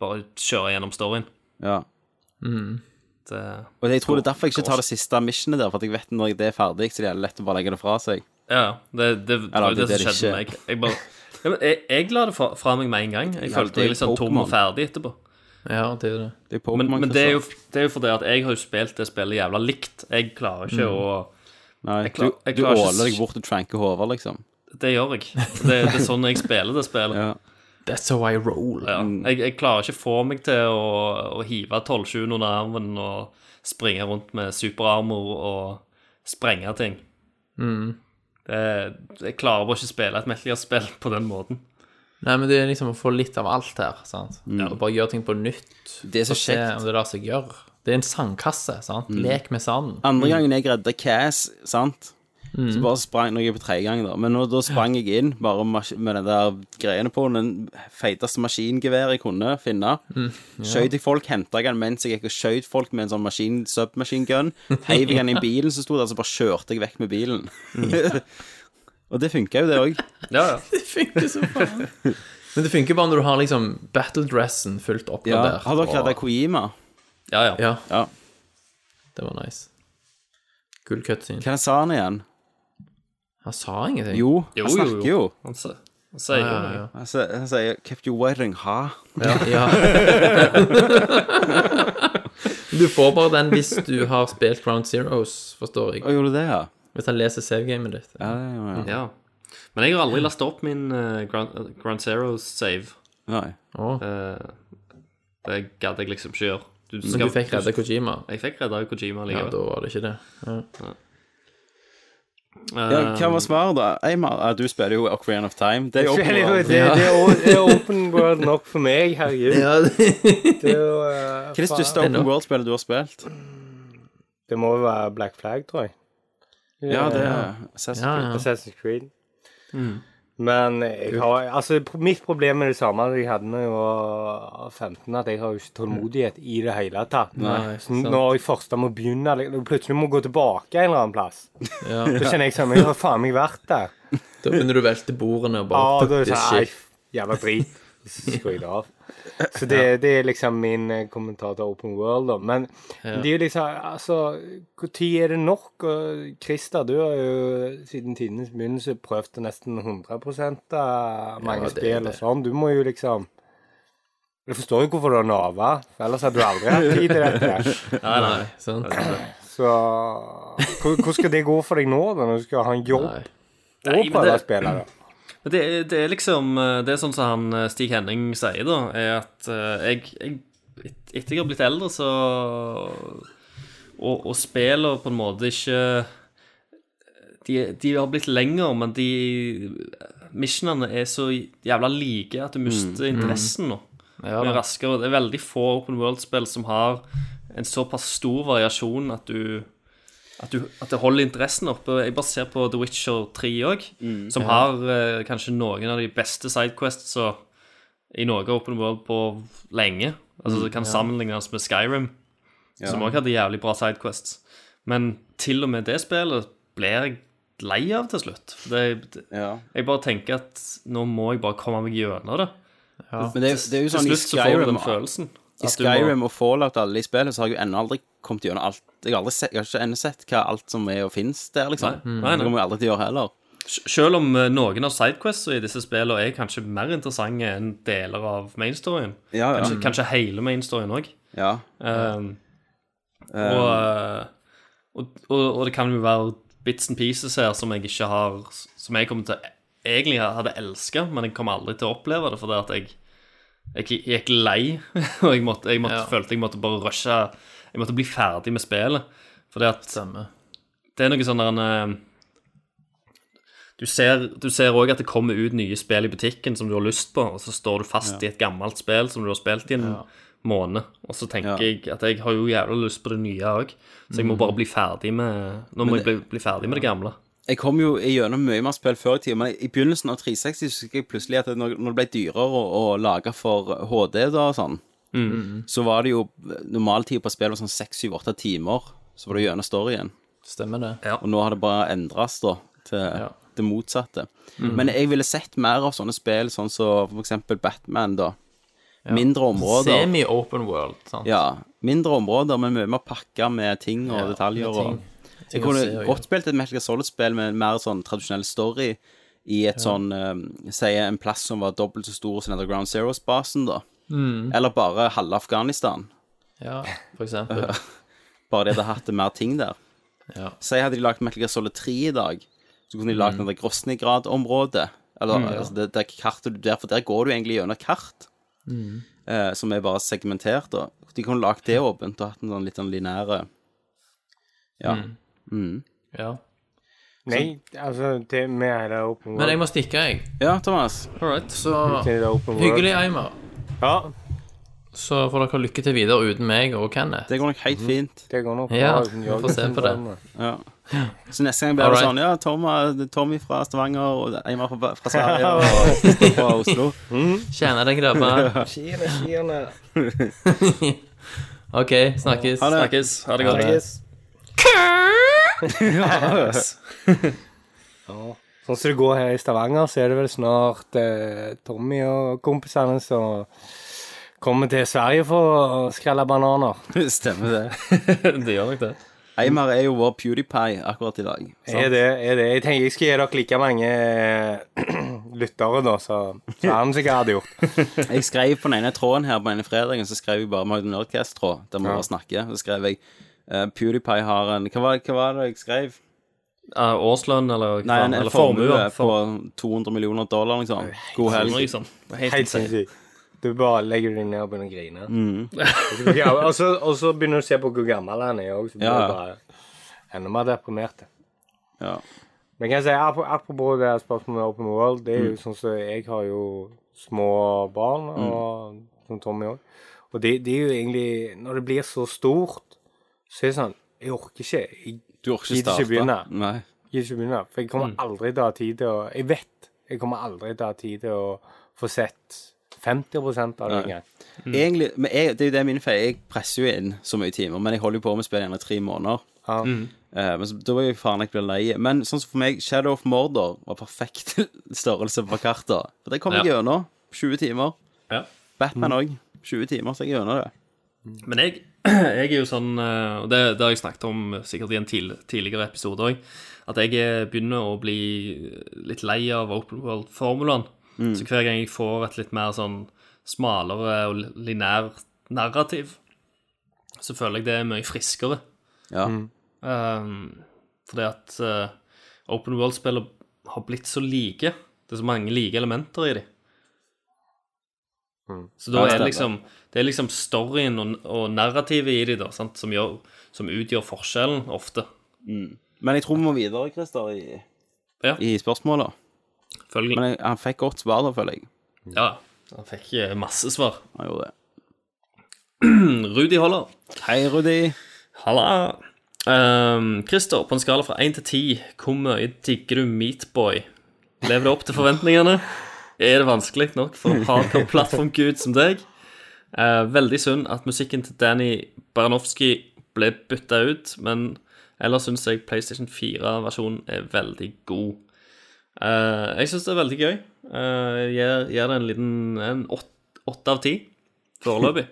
H: bare kjøre gjennom storyen.
G: Ja.
H: Det,
G: Og jeg tror det er derfor jeg ikke tar det siste missionet der, for at jeg vet når det er ferdig, så det er lett å bare legge det fra seg.
H: Ja, det, det, det var jo
G: det
H: det,
G: er
H: som
G: det
H: skjedde med meg. Jeg, bare, ja, men jeg, jeg la det fra, fra meg med en gang. Jeg
G: Ja,
H: følte
G: det er
H: meg litt sånn tom og
G: Pokémon.
H: ferdig etterpå.
E: Ja, det er det.
G: Det er
H: Men,
G: Pokémon,
H: men det er jo
G: Christian.
H: det er jo fordi at jeg har jo spilt det spillet jævla likt. Jeg klarer
G: Mm.
H: ikke å
G: Nei,
H: jeg klar-
G: du-
H: jeg
G: Du
H: klarer ikke-
G: åler deg bort og tranker hodet, liksom.
H: Det gjør jeg. Det, det er sånn jeg spiller det spillet.
G: Ja. Mm.
E: That's how I roll.
H: Ja. Jeg, jeg klarer ikke få meg til å, å hive 12-7 under armen og springe rundt med superarmor og sprenge ting.
E: Mm.
H: Det, jeg klarer bare ikke å spille et Metal Gear-spill på den måten.
E: Nei, men det er liksom å få litt av alt her, sant. Og bare gjøre ting på nytt.
G: Det er så
E: Og se
G: kjekt.
E: om det lar seg gjøre. Det er en sandkasse, sant. Lek med sand.
G: Andre gangen jeg redda Cass, sant
H: Mm.
G: Så bare sprang Nå er jeg på tredje gang, da. Men nå, da sprang jeg inn bare mas- med den der greiene på den feiteste maskingeværet jeg kunne finne.
H: Mm.
G: Skjøt jeg folk, henta jeg den mens jeg gikk og skjøt folk med en sånn maskin, submachine gun. Heiv jeg den i bilen som sto der, så bare kjørte jeg vekk med bilen.
H: Mm.
G: og det funka jo, det òg.
H: Ja, ja.
E: Men det funker bare når du har liksom battledressen fullt
G: Ja.
E: oppgradert.
G: Har dere
E: og-
G: redda Kojima?
H: ja, ja.
E: Ja,
G: Ja.
E: det var nice. Gull cutscene.
G: Hva sa han igjen?
E: Han sa ingenting.
G: Jo,
H: Jo,
G: han
H: jo,
G: snakker jo.
H: Han sa- han sier jo
E: Ja,
H: noe.
E: ja.
G: Han sier- han sier 'kept you waiting, ha'.
E: Ja. Du får bare den hvis du har spilt Ground Zeroes, forstår
G: Å,
E: jeg.
G: gjorde du det, ja?
E: Hvis han leser savegamet ditt.
G: Ja, det gjorde jeg.
H: Ja. Men jeg har aldri lasta opp min eh, Grand, Grand Zero-save.
G: Nei.
E: Å.
H: Eh, Det gadd jeg liksom ikke gjøre. Du
E: Men
H: skal-
E: du fikk redda Kojima.
H: Jeg fikk redda Kojima
E: Ja,
H: likevel.
E: da var det ikke det. Ja.
G: Ja,
H: Eh,
G: hva var svaret, da? Eymar, ja, du spiller jo Ocarina of Time. Det er jo
F: Det, er jo-
G: Ocarina.
F: det, det, er, o- det er open world nok for meg, herregud. Det, er jo, eh,
G: Hva er det største
F: faen.
G: Open World-spillet du har spilt?
F: det må jo være Black Flag, tror jeg.
G: Ja, det er Assassin's
E: Ja,
G: Creed.
E: ja.
F: Assassin's Creed. Men jeg har, altså, pro- mitt problem er det samme som jeg hadde da jeg var 15, at jeg har jo ikke tålmodighet i det hele tatt. så
E: sant.
F: når jeg først må begynne, eller plutselig må gå tilbake en eller annen plass,
E: Ja.
F: da kjenner jeg sånn Jeg har faen meg vært der.
E: Da begynner du å velte bordene og
F: Ja,
E: bare
F: da
E: fuck
F: er det
E: this
F: sånn Ei,
E: shit.
F: jævla drit. Så skrur jeg det av. Så det, det er liksom min eh, kommentar til Open World, da. Men det er jo liksom Altså, når er det nok? Og Christer, du har jo siden tidenes begynnelse prøvd å nesten 100 av mange
E: Ja, det er
F: spill
E: det.
F: og sånn. Du må jo liksom Jeg forstår jo hvorfor du har nava, for ellers hadde du aldri hatt tid til dette.
E: Nei, nei. Sant?
F: Så hvor- hvordan skal det gå for deg nå, da, når du skal ha en jobb
E: Nei.
F: og
H: men
F: prøve å
H: det-
F: spille? da?
H: Men Det, er- det er liksom eh, Det er sånn som han eh, Stig Henning sier, da, er at eh, jeg, jeg et- Etter jeg har blitt eldre, så Og, og spiller på en måte ikke de, de har blitt lengre, men de missionene er så jævla like at du mister
E: Mm,
H: interessen nå.
E: Ja,
H: Mye
E: da.
H: raskere. Det er veldig få open world-spill som har en såpass stor variasjon at du at, du, at det holder interessen oppe. Jeg bare ser på The Witcher 3 òg, som har eh, kanskje noen av de beste sidequests i Norge open world på lenge. Altså Det kan sammenlignes med Skyrim, som òg hadde jævlig bra sidequests. Men til og med det spillet blir jeg lei av til slutt. Det, det,
G: Ja.
H: jeg bare tenker at nå må jeg bare komme meg gjennom det.
G: Men det, er- det er jo
H: Til
G: sånn i
H: slutt så får du
G: Skyrim
H: den følelsen.
G: I
H: at du må-
G: Skyrim og Fallout og alle de spillene, så har jeg jo ennå aldri kommet gjennom alt Jeg har aldri sett, jeg har ikke ennå sett hva alt som er og finnes der, liksom.
H: Nei, nei, nei.
G: Det kommer jeg aldri til å gjøre heller.
H: Sj- Selv om eh, noen av sidequests i disse spillene er kanskje mer interessante enn deler av mainstoryen.
G: Ja, ja.
H: Kanskje, kanskje hele mainstoryen òg.
G: ja.
H: Ehm, Og, eh, og, og, og det kan jo være bits and pieces her som jeg ikke har Som jeg kommer til egentlig hadde elska, men jeg kommer aldri til å oppleve det fordi at jeg, jeg gikk lei. Og jeg, måtte, jeg måtte,
E: Ja.
H: følte jeg måtte bare rushe Jeg måtte bli ferdig med spillet. Fordi at
E: Stemmer.
H: det er noe sånn der en eh, Du ser du ser òg at det kommer ut nye spill i butikken som du har lyst på, og så står du fast i et gammelt spill som du har spilt i en måned, og så tenker
G: Ja.
H: jeg at jeg har jo jævla lyst på det nye òg, så jeg må bare bli ferdig med Nå må jeg bli, bli ferdig med Mm. det gamle.
G: Jeg kom jo gjennom mye mer spill før i tida, men i begynnelsen av 360 så husker jeg plutselig at når, når det ble dyrere å, å lage for HD da og sånn, så var det jo normaltid på spill var sånn 6-7-8 timer, så var det gjennom storyen.
E: Stemmer det.
G: Og nå har det bare endres da, til det motsatte. Men jeg ville sett mer av sånne spill, sånn som for eksempel Batman da. Mindre områder.
E: Semi-open world, sant.
G: Ja, mindre områder, men mye mer pakka med ting og detaljer.
E: med ting.
G: og...
E: Ting
G: Jeg
E: å se og
G: kunne
E: gjøre.
G: godt spilt et Metal Gear Solid-spill med en mer sånn tradisjonell story i et sånn
A: ehm,
G: eh, Si en plass som var dobbelt så stor som Underground Zeros-basen, da.
E: Mm.
G: Eller bare halve Afghanistan.
E: Ja, for eksempel.
G: Bare de hadde hatt mer ting der.
E: Ja.
G: Si hadde de lagd Metal Gear Solid 3 i dag, så kunne de lagd mm. det Grosnigrad-området. Eller altså, det, det kartet du der, for der går du egentlig gjennom kart. eh, som er bare segmentert. Da. De kunne lagd det åpent og hatt en sånn litt sånn linær Ja.
E: Ja.
F: Nei, altså det med det open world.
E: Men jeg må stikke, jeg.
G: ja, Thomas.
H: All right.
E: Så
F: Til det open world.
E: hyggelig, Eimer.
F: Ja,
E: Så får dere ha lykke til videre uten meg og Kenneth.
G: Det går nok helt fint.
F: det går nok bra.
E: Ja,
F: uten
E: vi får se
F: Jørgensen
E: på det.
F: drømmer.
G: Ja. Så neste gang blir det
E: Alright.
G: sånn Ja, Tommy, Tommy fra Stavanger og Eimar fra, fra Sverige og Kristoffer fra Oslo.
E: Tjener deg, grabber.
I: Skiene, skiene.
E: OK, snakkes.
G: Ha det.
H: Snakkes. Ha det godt.
F: Sånn som det går her i Stavanger, så er det vel snart eh, Tommy og kompisene som kommer til Sverige for å skrelle bananer.
G: Stemmer det.
H: det gjør nok det.
G: Eimar er jo vår PewDiePie akkurat i dag.
F: Er det, er det. Jeg tenker jeg skal gi dere like mange eh, lyttere, da, så så er han sikkert hadde gjort.
G: Jeg skrev på den ene tråden her på denne fredagen, så skrev jeg bare Magnus Nerdcast-tråd, der vi bare snakker. Så skrev jeg eh, PewDiePie har en hva var, hva var det jeg skrev?
H: Eh, årslønn eller, hva
G: Nei,
H: faen,
G: en, en
H: eller
G: formue på
H: For,
G: 200 millioner dollar, liksom. God helg.
H: liksom. Helt
F: Helt
H: insane.
F: sinnssykt. Du bare legger deg ned og begynner å grine.
G: Mm.
F: Ja, og, så, og så begynner du å se på hvor gammel han er òg, så blir
G: Ja,
F: du
G: ja.
F: bare enda mer deprimert.
G: Ja.
F: Men kan jeg si, ap- apropos det her spørsmålet med Open World, det er
G: Mm.
F: jo sånn som jeg har jo små barn, og som Tommy òg. Og det, det er jo egentlig Når det blir så stort, så er det sånn Jeg orker ikke. Jeg
G: Du orker
F: Gidder
G: ikke
F: ikke
G: starte.
F: begynne.
G: Nei.
F: gidder ikke begynne. For jeg
G: Mm.
F: kommer aldri til å ha tid til å Jeg vet jeg kommer aldri til å ha tid til å få sett 50 av det
G: Nei.
F: engang.
G: Egentlig, men jeg, det er jo det min feil. Jeg presser jo inn så mye timer, men jeg holder jo på med å spille gjerne tre måneder.
F: Ja.
G: Eh, men så, da var jeg faen jeg ble lei. Men sånn som for meg, Shadow of Mordor var perfekt størrelse på kartet. For det kom jeg gjennom. 20 timer.
H: Ja.
G: Batman
F: Mm.
G: òg. 20 timer, så jeg er gjennom det.
H: Men jeg, jeg er jo sånn, eh, og det, det har jeg snakket om sikkert i en tidl- tidligere episode òg, at jeg eh, begynner å bli eh, litt lei av open world-formulaen.
G: Mm.
H: Så hver gang jeg får et litt mer sånn smalere og li- linær narrativ, så føler jeg det er mye friskere.
G: Ja.
H: Um, fordi at eh, open world-spillene har blitt så like. Det er så mange like elementer i dem. Så da
G: Ja,
H: er det
G: stemmer.
H: liksom Det er liksom storyen og, og narrativet i dem da, sant, som, gjør, som utgjør forskjellen ofte.
G: Men jeg tror vi må videre, Christer, i,
H: Ja.
G: i spørsmålet. Men
H: Følgelig.
G: jeg, han fikk godt svar, da, føler jeg.
H: Ja, han fikk eh, masse svar.
G: Han gjorde det.
H: Rudi Holler.
G: Hei, Rudi.
H: Halla. Um, Christer, på en skala fra 1 til 10, hvor mye digger du Meatboy? Lever det opp til forventningene? Er det vanskelig nok for en hardcore plattformgud som deg? Eh, veldig synd at musikken til Danny Baranowski ble bytta ut, men ellers syns jeg PlayStation 4-versjonen er veldig god. Eh, jeg syns det er veldig gøy. Eh, Gir gir det en liten en åt- åtte av ti foreløpig.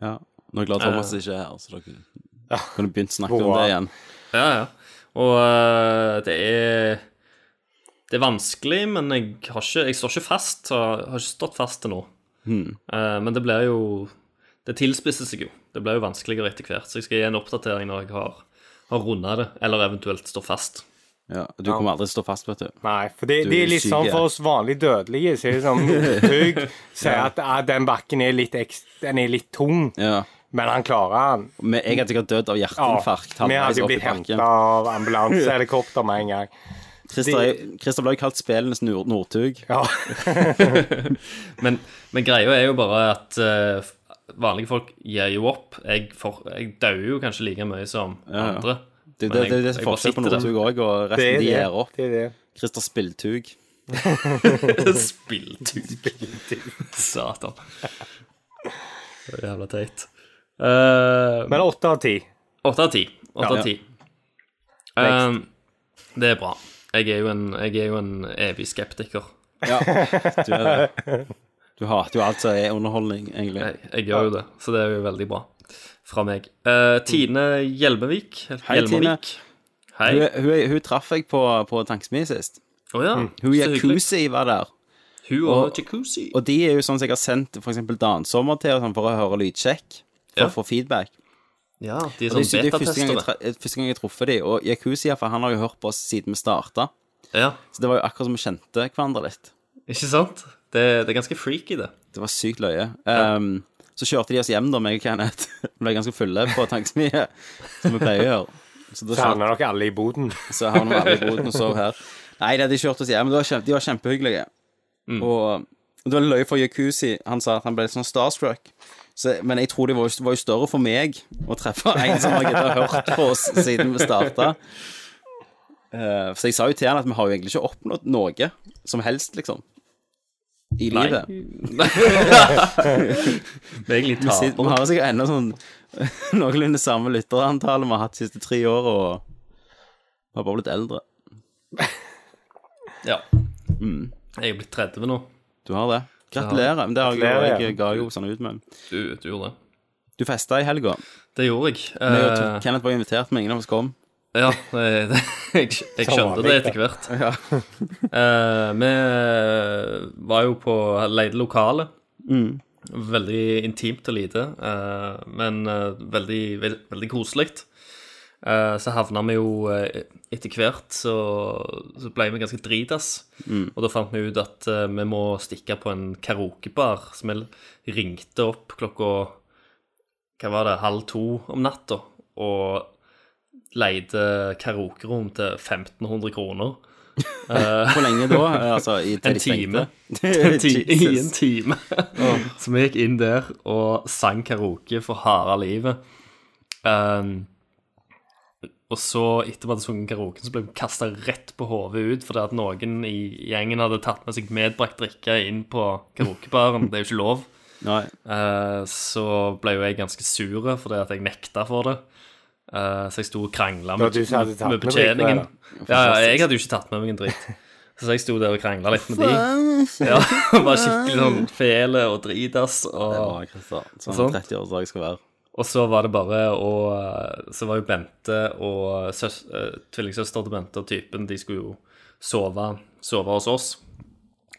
G: Ja. Nå er jeg glad Thomas
H: Eh.
G: ikke er her, så dere kunne begynt å snakke om det igjen.
H: Ja, ja. Og øh, det er Det er vanskelig, men jeg
G: Hmm.
H: har ikke Jeg står ikke fast. Har, har ikke stått fast til nå. Eh, men det blir jo det tilspisser seg jo. Det blir jo vanskeligere etter hvert. Så jeg skal gi en oppdatering når jeg har, har runda det, eller eventuelt står fast.
G: Ja, og du kommer aldri til å stå fast, vet du.
F: Nei, for det,
G: Du
F: det
G: er
F: er litt
G: syk,
F: sånn
G: ja.
F: for oss vanlig dødelige. Så er det sånn Northug sier at ah, den bakken er litt, eks- den er litt tung,
G: Ja.
F: men han klarer den.
G: Men jeg hadde sikkert dødd av hjerteinfarkt.
F: Vi hadde
G: halvveis
F: jo
G: opp i
F: blitt henta
G: banken.
F: av ambulansehelikopter med en gang.
G: Christer er- Christer ble jo kalt spillenes Nord- Northug.
F: Ja.
H: Men, men greia er jo bare at eh, vanlige folk gir jo opp. Jeg, for, jeg dør jo kanskje like mye som
G: ja.
H: andre.
G: Det
H: Men
G: det- det er
H: jeg-
G: det som
H: jeg
G: er
H: bare
G: forskjell på
H: sitter der.
G: Northug òg, og
F: Det
G: resten de
F: er det.
G: gir opp.
F: det, er det.
G: Christer Spilltug.
H: Mhm. Spilltug. Satan. Det er jævla teit. Eh,
F: Men åtte av ti.
H: Åtte av ti. Åtte av ti. Ehm, det er bra. Jeg er jo en, jeg er jo en evig skeptiker.
G: Ja, du er det. Du hater jo alt som er underholdning, egentlig.
H: Jeg, jeg gjør jo det, så det er jo veldig bra fra meg. Eh, Tine Hjelmevik.
G: Hei, Tine.
H: Hei.
G: Hun, hun, hun traff jeg på, på Tanksmi sist.
H: Å ja.
G: Mm. Hun
H: så hyggelig.
G: Yakuzi var der.
H: Hun og jacuzzi.
G: Og de er jo sånn som jeg har sendt for eksempel Dansommer til og sånn, for å høre lydsjekk. For
H: Ja.
G: å få feedback.
H: Ja, de er
G: Og
H: sånn
G: det, er- det er første gang jeg,
H: betatester.
G: tra- eh, første gang jeg truffet dem. Og Yakuzi for han har jo hørt på oss siden vi starta.
H: Ja,
G: Så det var jo akkurat som vi kjente hverandre litt.
H: ikke sant? Det, det er ganske freaky, det.
G: Det var sykt løye. Ehm, så kjørte de oss hjem, da, meg og Kenneth. Vi ble ganske fulle på Tanksmie, som vi pleier å gjøre. Så da
F: Så
G: kjørte
F: havner dere alle i boden.
G: så havner vi alle i boden og sover her. Nei, det hadde de kjørt oss hjem. men De var, kjempe, de var kjempehyggelige.
H: Mm.
G: Og det var løye for Yakuzi. Han sa at han ble litt sånn starstruck. Så, men jeg tror det var, jo- var jo større for meg å treffe en som har giddet å hørt på oss siden vi starta. Eh, så jeg sa jo til han at vi har jo egentlig ikke oppnådd noe som helst, liksom. I
H: Nei.
G: livet.
H: Det er egentlig
G: Vi sit- vi
H: taper.
G: har jo sikkert ennå sånn noenlunde samme lytterantallet vi har hatt de siste tre åra, og vi har bare blitt eldre.
H: Ja. Jeg er blitt 30 nå.
G: Du har det. Gratulerer. Men det har jeg,
F: Gratulerer,
G: jo-
F: ja.
G: jeg ga jo sånn ut med.
H: Du, du gjorde det.
G: Du festa i helga.
H: Det gjorde jeg.
G: Jeg og
H: Eh,
G: Tor- Kenneth var invitert, men ingen av oss kom.
H: Ja, det, det, jeg, jeg skjønte det etter hvert. Eh, vi var jo på leide lokale. Veldig intimt og lite, eh, men eh, veldig, veld, veldig koselig. Eh, så havna vi jo eh, Etter hvert så, så ble vi ganske dritas. Og da fant vi ut at eh, vi må stikke på en karaokebar. Så vi ringte opp klokka Hva var det? Halv to om natta. Og leide karaokerom til 1500 kroner.
G: Hvor lenge da? Altså, i, til
H: En
G: de stengte.
H: time. En ti- I en
G: Jesus.
H: time. Så vi gikk inn der og sang karaoke for harde livet. Um, og så, etter vi hadde sunget karaoken, så ble vi kasta rett på hodet ut fordi at noen i gjengen hadde tatt med seg medbrakt drikke inn på karaokebaren. Det er jo ikke lov.
G: Nei.
H: Eh, så ble jo jeg ganske sur fordi at jeg nekta for det. Eh, så jeg sto og krangla
F: var
H: med,
F: du som hadde tatt
H: med
F: med drikke,
H: betjeningen.
F: eller?
H: Ja, ja, jeg hadde jo ikke tatt med meg en dritt. Så jeg sto der og krangla litt med de. Ja, Var skikkelig sånn fele og dritass.
G: Det
H: Og,
G: var Christer. Sånn
H: Sånn.
G: 30-årsdag skal være.
H: og så var det bare å Så var jo Bente og søs, eh, tvillingsøster til Bente og typen, de skulle jo sove, sove hos oss.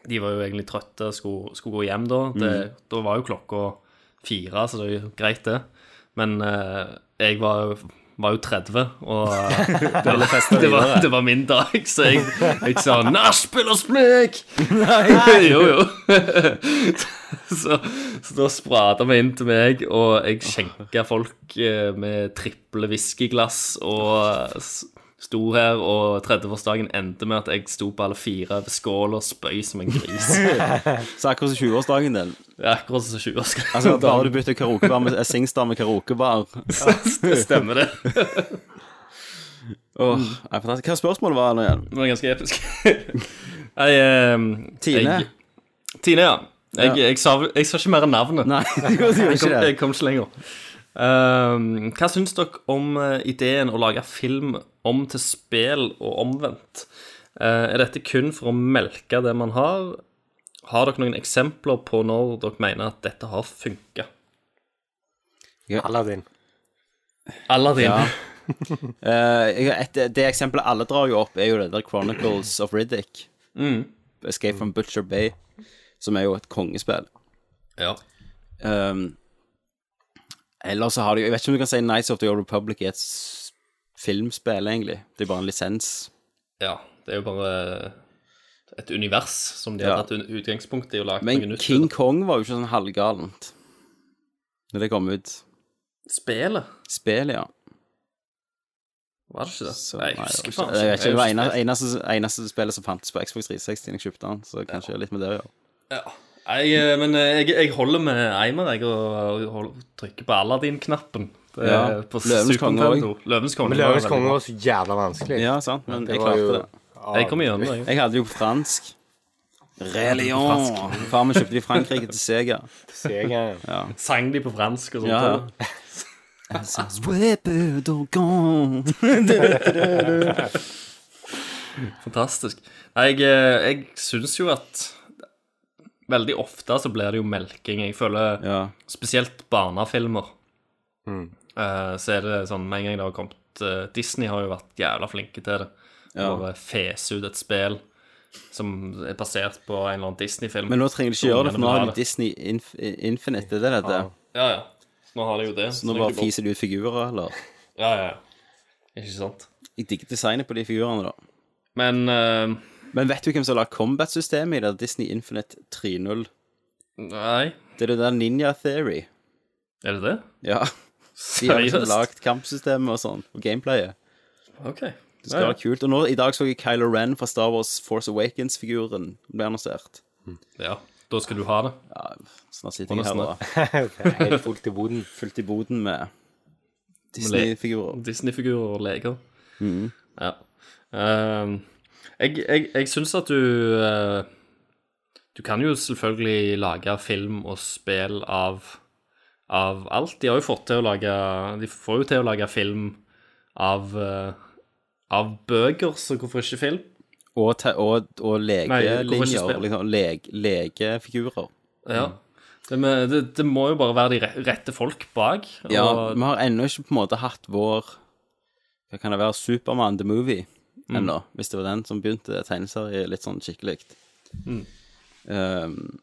H: De var jo egentlig trøtte, skulle, skulle gå hjem da. Det, Da var jo klokka fire, så det er jo greit, det. Men eh, jeg var jo var jo 30, og eh, det, var, det, var, det var min dag, så jeg, jeg sa 'Nachspiel og splik!' Nei! jo, jo. så, så da sprada vi inn til meg, og jeg skjenka folk eh, med triple whiskyglass og eh, s- sto her, og 30-årsdagen endte med at jeg sto på alle fire ved skål og spøy som en gris.
G: Så akkurat som 20-årsdagen din.
H: Det er akkurat som 20-årsdagen.
G: Altså, bare du bytter karaokebar med eh, Singstar med karaokebar.
H: det stemmer, det.
G: Åh, Mm. jeg er fantastisk. Hva spørsmålet var nå igjen?
H: Det var ganske episk. jeg, eh,
G: Tine?
H: Jeg, Tine, ja. Jeg,
G: Ja.
H: jeg, sa, jeg sa ikke mer enn navnet.
G: Nei, du gjorde
H: Jeg kom,
G: ikke det.
H: jeg kom ikke lenger. Ehm, hva syns dere om eh, ideen å lage film om til spill og omvendt? Eh, er dette kun for å melke det man har? Har dere noen eksempler på når dere mener at dette har funka?
F: Aladdin.
H: Aladdin.
G: Ja. Eh, jeg- et, det eksempelet alle drar jo opp, er jo det der Chronicles of Riddick.
H: Mm.
G: Escape from Butcher Bay, som er jo et kongespill.
H: Ja.
G: Um, Eller så har de Jeg vet ikke om du kan si Nights of the Old Republic er et s- filmspill, egentlig. Det er bare en lisens.
H: Ja, det er jo bare et univers som de
G: Ja.
H: har tatt ut- utgangspunkt i og lagd noe
G: Men
H: nytt.
G: King Kong var jo ikke sånn halvgalent når det kom ut.
H: Spelet,
G: Spillet, ja.
H: var det ikke det?
G: Så,
H: nei,
G: nei,
H: jeg husker
G: det var
H: faen
G: ikke- Jeg vet ikke,
H: Jeg
G: det var
H: har ikke
G: eneste, eneste, eneste spillet som fantes på Xbox 360 da jeg kjøpte den, så kanskje det er litt med det å gjøre.
H: spilt- Nei, eh, men eh, jeg, jeg holder med Eimer, jeg, og, og hold- trykker på Aladdin-knappen. Det
G: Ja.
H: er På
G: Løvens
H: Super
G: konge
H: Nintendo. Løvens konge.
F: Men
H: var
F: Løvenes
H: veldig
F: konge
H: bra.
F: var så jævla vanskelig. Ah,
G: Ja, sant, men jeg
F: Det var jo-
G: klarte det.
F: Ja,
H: Jeg kommer gjennom det. jeg.
G: Jeg hadde jo på fransk. Religion. Far min kjøpte det i Frankrike til Sega.
F: Sega, ja.
H: Sang de på fransk og sånt.
G: Ja,
H: også.
G: ja. Altså, swepe dogon.
H: Fantastisk. Nei, Jeg, eh, jeg syns jo at Veldig ofte så blir det jo melking. Jeg føler
G: Ja.
H: spesielt barnefilmer,
F: Mm.
H: eh, så er det sånn med en gang det har kommet eh, Disney har jo vært jævla flinke til det.
G: Ja.
H: Bare fese ut et spill som er basert på en eller annen Disney-film.
G: Men nå trenger de ikke gjøre det, for nå har de
H: det.
G: Disney Inf Infinite. Det er det det heter.
H: Ja, ja. Så nå har de jo det.
G: Nå bare fiser de ut figurer, eller?
H: Ja, ja, ja. Ikke sant.
G: Jeg digger designet på de figurene, da.
H: Men eh,
G: Men vet du hvem som har lagd combat-systemet i det? Disney Infinite 3.0.
H: Nei.
G: Det er det der Ninja Theory.
H: Er det det?
G: Ja. De har liksom lagd kampsystemet og sånn, og gameplayet.
H: OK.
G: Det skal
H: Ja, ja.
G: være kult. Og nå, i dag så jeg Kylo Ren fra Star Wars Force Awakens-figuren ble annonsert.
H: Ja, da skal du ha det.
G: Ja, snart sitter jeg her
H: nesten
G: og
F: Helt fullt i boden.
G: fullt i boden med Disney-figurer.
H: Disney-figurer og leker. Ja. Ehm, jeg jeg, jeg syns at du eh, Du kan jo selvfølgelig lage film og spill av, av alt. De har jo fått til å lage De får jo til å lage film av eh, av bøker, så hvorfor ikke film?
G: Og, te- og, og
H: Nei, hvorfor ikke
G: lekelinjer.
H: spill?
G: Liksom, leg- legefigurer.
H: Ja. Mm. Det, med, det, det må jo bare være de re- rette folk bak. Og,
G: Ja, vi har ennå ikke på en måte hatt vår Hva kan det være? Supermann the Movie ennå. Hvis det var den som begynte tegneserie litt sånn skikkelig. Um,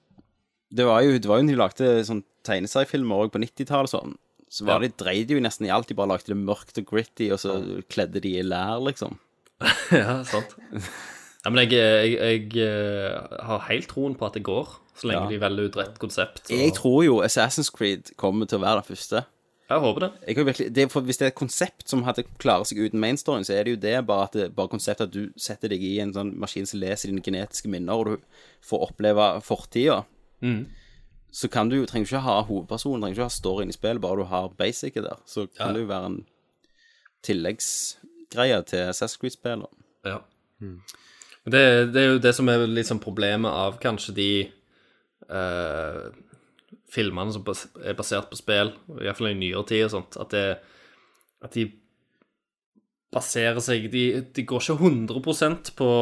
G: det var jo det var jo når de lagde sånn tegneseriefilmer òg på 90-tallet og sånn. Så var de dreide jo nesten i alt. De bare lagde det mørkt og gritty, og så kledde de i lær, liksom.
H: Ja, sant. Ja, men jeg, jeg, jeg eh, har helt troen på at det går, så lenge
G: Ja.
H: de velger ut rett konsept. så-
G: Jeg tror jo Assassin's Creed kommer til å være den første.
H: Jeg håper det.
G: jeg kan virkelig, det er for Hvis det er et konsept som hadde klarer seg uten mainstoryen, så er det jo det, bare at det, bare konseptet at du setter deg i en sånn maskin som leser dine genetiske minner, og du får oppleve fortida. Mm. Så kan du, jo- trenger du ikke ha hovedpersonen, trenger ikke ha storyen i spillet, bare du har basicet der. Så kan det jo være en tilleggsgreie til Assassin's Creed-spillet.
H: Ja. Men det, det er jo det som er liksom problemet av kanskje de eh, filmene som bas er basert på spill, iallfall i nyere tid og sånt, at, det, at de baserer seg De, de går ikke 100 på,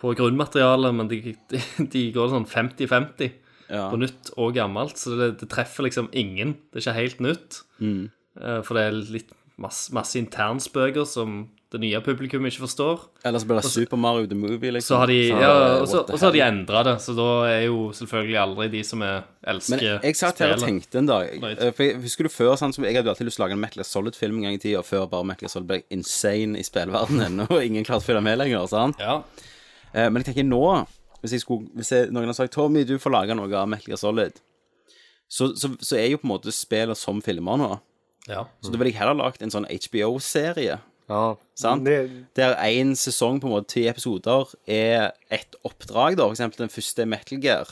H: på grunnmaterialet, men de, de, de går sånn 50-50
G: Ja.
H: på nytt og gammelt, så det, det treffer liksom ingen. Det er ikke helt nytt. Eh, for det er litt masse, masse internspøker som det nye publikummet ikke forstår.
G: Eller så blir det Super Mario the Movie, liksom.
H: Så har de,
G: Så
H: ja,
G: det-
H: og så,
G: what the
H: og så har de
G: hell.
H: endra det, så da er jo selvfølgelig aldri de som er, elsker
G: Men jeg satt her og tenkte en dag
H: Nei.
G: eh, For jeg husker du før sånn som Jeg hadde alltid lyst til å lage en Metal Gear Solid-film en gang i tida, før bare Metal Gear Solid ble insane i spillverdenen, og ingen klarte å følge med lenger. sant?
H: Ja,
G: Eh, Men jeg tenker nå Hvis, jeg skulle, hvis jeg, noen har sagt Tommy, du får lage noe av Metal Gear Solid, så, så, så er jo på en måte spillet som filmer nå.
H: ja.
G: Så da ville jeg heller lagd en sånn HBO-serie.
F: Ja.
G: Sant?
F: Det-
G: Der én sesong, på en måte ti episoder, er et oppdrag, da. For eksempel den første Metal Gear.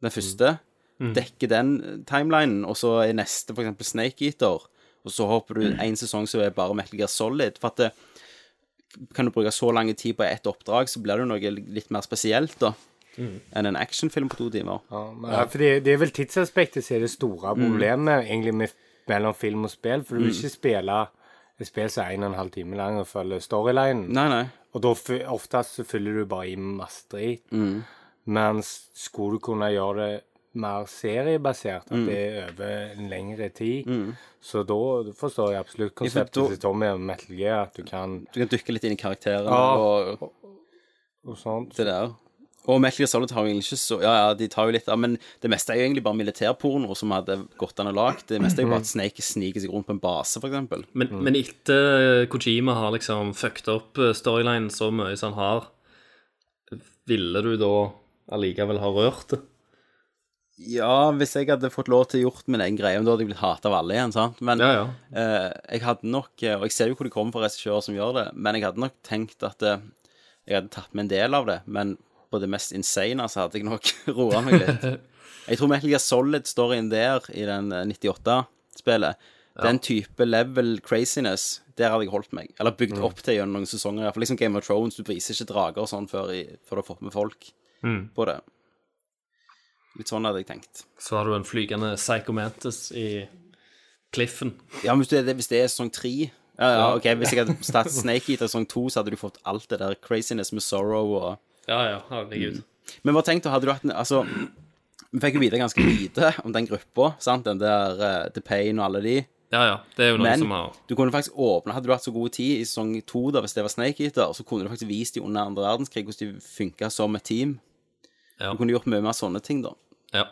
G: Den første. Dekker den timelinen, og så er neste for eksempel Snake Eater. Og så hopper du én sesong som er bare Metal Gear Solid. For at det, kan du bruke så lang tid på ett oppdrag, så blir det jo noe litt mer spesielt, da. Enn en actionfilm på to timer.
F: Ja, men, ja, for det, det er vel tidsaspektet som er det store problemet egentlig med, mellom film og spill. For du vil ikke spille et spill som er en og en halv time lang og følger storylinen.
G: Nei, nei.
F: Og da fy- oftest så fyller du bare i masse drit. Mens skulle du kunne gjøre det mer seriebasert, at det er over en lengre tid, så da forstår jeg absolutt konseptet
G: da-
F: til Tommy om Metal Gear, at du kan
G: Du kan dykke litt inn i karakterene
F: Ja.
G: og,
F: og sånt.
G: det der. Og Metal Gear Solid har jo egentlig ikke så Ja, ja, de tar jo litt av, men det meste er jo egentlig bare militærporno som hadde gått an å lage. Det meste er jo bare at Snake sniker seg rundt på en base, for eksempel.
H: Men, men etter eh, Kojima har liksom fucket opp storylinen så mye som han har, ville du da allikevel ha rørt det?
G: Ja, hvis jeg hadde fått lov til å gjort min egen greie, men da hadde jeg blitt hata av alle igjen, sant. Men
H: Ja, ja.
G: eh, jeg hadde nok eh, Og jeg ser jo hvor det kommer fra regissører som gjør det, men jeg hadde nok tenkt at eh, jeg hadde tatt med en del av det, men på det mest insane så hadde jeg nok roa meg litt. Jeg tror Metal Gear Solid-storyen der, i den 98-spillet, den type level craziness, der hadde jeg holdt meg. Eller bygd opp til gjennom noen sesonger. i hvert fall. liksom Game of Thrones, du briser ikke drager og sånn før, i, før du har fått med folk på det. Litt sånn hadde jeg tenkt.
H: Så har du en flygende psychomantis i cliffen.
G: Ja, men hvis det, er- hvis det er sesong tre ja, ja, ok, Hvis jeg hadde startet Snake Eater sesong to, så hadde du fått alt det der craziness med sorrow og
H: Ja, ja,
G: Mm.
H: herregud.
G: Men bare tenk, da hadde du hatt en Altså, vi fikk jo vite ganske lite om den gruppa, sant? Den der eh, The Pain og alle de.
H: Ja, ja, det er jo noe
G: Men
H: som har
G: du kunne faktisk åpne Hadde du hatt så god tid i sesong to, da, hvis det var Snake Eater, så kunne du faktisk vist de under andre verdenskrig hvordan de funka som et team.
H: Ja.
G: Du kunne gjort mye mer sånne ting, da.
H: ja,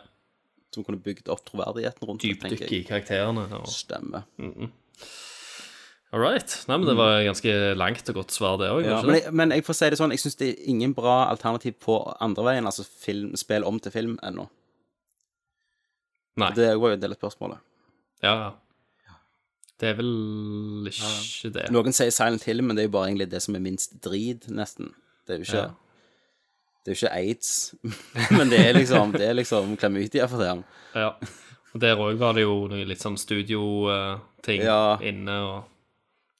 G: Som kunne bygd opp troverdigheten rundt det, tenker
H: dypdykk i
G: jeg.
H: karakterene. Og... Mm,
G: Stemmer.
H: All right. Nei, men det var ganske langt og godt svar, det òg.
G: Ja, men, jeg, men jeg får si det sånn, jeg syns det er ingen bra alternativ på andre veien, altså film, spill om til film, ennå.
H: Nei.
G: Det var jo en del av spørsmålet.
H: Ja, ja. Det er vel ikke det.
G: Noen sier Silent Hill, men det er jo bare egentlig det som er minst drit, nesten. Det er jo ikke
H: Ja.
G: Det er jo ikke aids, men det er liksom Det er liksom klamydia for det.
H: Ja. Og der òg var det jo noe litt sånn studioting
G: Ja.
H: inne og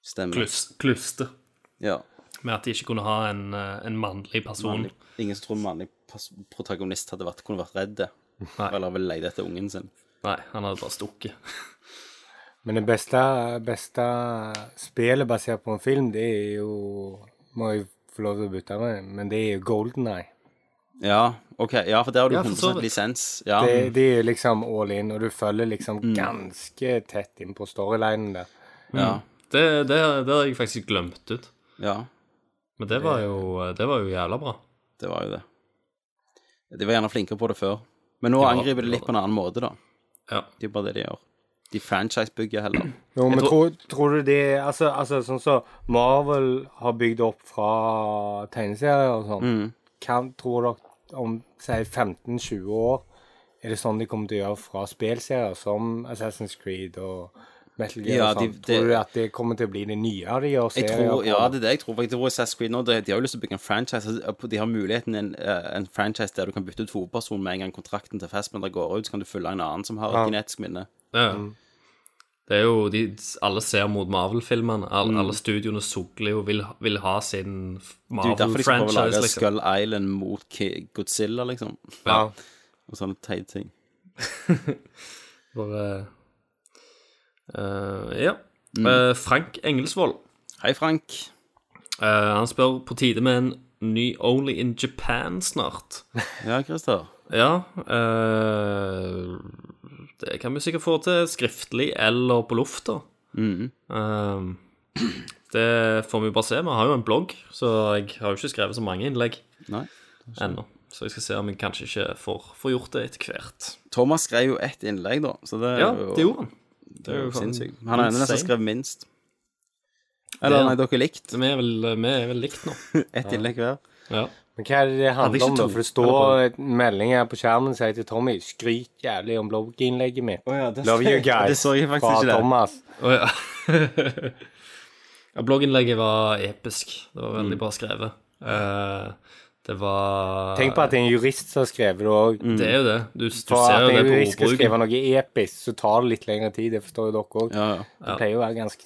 G: Stemmer.
H: klus, kluste.
G: Ja.
H: Med at de ikke kunne ha en, eh, en mannlig person.
G: Mannlig- Ingen som tror mannlig pas- protagonist hadde vært, kunne vært redd. Eller ville leid etter ungen sin.
H: Nei, han hadde bare stukket.
F: Men det beste, beste spillet basert på en film, det er jo Må jeg få lov til å bytte med, men det er jo Golden Eye.
G: Ja, ok. Ja, for der har du
H: Ja, for så
G: 100
H: vidt.
G: lisens. Ja.
F: Det, det er liksom all in, og du følger liksom ganske tett inn på storylinen der.
G: ja,
H: Det, det, det har jeg faktisk glemt ut.
G: ja.
H: Men det var jo, eh, det var jo jævla bra.
G: Det var jo det. De var gjerne flinkere på det før. Men nå
H: Ja,
G: angriper de
H: det
G: litt på en annen måte, da.
H: Ja.
G: Det er jo bare det de gjør. De franchisebygger heller.
F: Jo, men
H: tror-
F: tror, tror du det altså, altså, sånn som Marvel har bygd opp fra tegneserier og sånn,
G: Mm.
F: kan, tror dere om si 15-20 år er det sånn de kommer til å gjøre fra spilserier som Assassin's Creed og Metal Gear
G: Ja,
F: og sånn?
G: de- det-
F: Tror du at det kommer til å bli det nye de gjør
G: Jeg
F: serier
G: tror,
F: på?
G: ja, det er det jeg tror. for Jeg tror Assassin's Creed nå, de, de har jo lyst til å bygge en franchise. altså, De har muligheten i en, eh, en franchise der du kan bytte ut hovedpersonen med en gang kontrakten til Fastbender går ut, så kan du følge en annen som har et genetisk minne.
H: Ja.
G: Mm.
H: Det er jo de, Alle ser mot Marvel-filmene. Alle, alle studioene sukler jo vil, vil ha sin f-
G: Mm. Det er jo derfor de skal prøve å
H: Marvel-franchise,
G: lage
H: liksom.
G: Skull Island mot Ki- Godzilla, liksom.
H: Ja.
G: Og sånne teite ting.
H: Bare eh, Ja.
G: Mm.
H: Eh, Frank Engelsvold.
G: Hei, Frank.
H: Eh, han spør på tide med en ny Only in Japan snart.
G: Ja, Christer.
H: Ja eh, Det kan vi sikkert få til skriftlig eller på lufta.
G: Mm.
H: Eh, det får vi bare se. Vi har jo en blogg, så jeg har jo ikke skrevet så mange innlegg
G: Nei.
H: ennå. Så jeg skal se om jeg kanskje ikke får, får gjort det etter hvert.
G: Thomas skrev jo ett innlegg, da. Så det er
H: Ja,
G: jo
H: det gjorde han. Det
G: Det er jo
H: faen
G: sinnssykt. Han er den som
H: insane.
G: skrev minst. Eller
H: Ja.
G: nei, dere er likt.
H: Vi er vel, vi er vel likt nå.
G: Ett innlegg hver.
H: Ja.
F: Men hva er det det
H: Hadde
F: handler
H: ikke
F: om, da?
H: to.
F: For det står en melding her på skjermen som heter Tommy 'Skryt jævlig om blogginnlegget mitt'. Love you guys.
G: Det så jeg faktisk
F: fra
G: ikke der.
F: Thomas.
H: Å, ja. ja, blogginnlegget var episk. Det var veldig bra skrevet. Eh, det var Mm.
F: Tenk på at det er en jurist som har skrevet det òg.
H: Det er jo det. Du, du
F: For
H: ser
F: at
H: jo det
F: jeg
H: på
F: vi skal skrive
H: ordbruken.
F: noe episk, så tar det litt lengre tid. Det forstår jo dere òg.
G: Ja, ja.
F: Det pleier jo å være ganske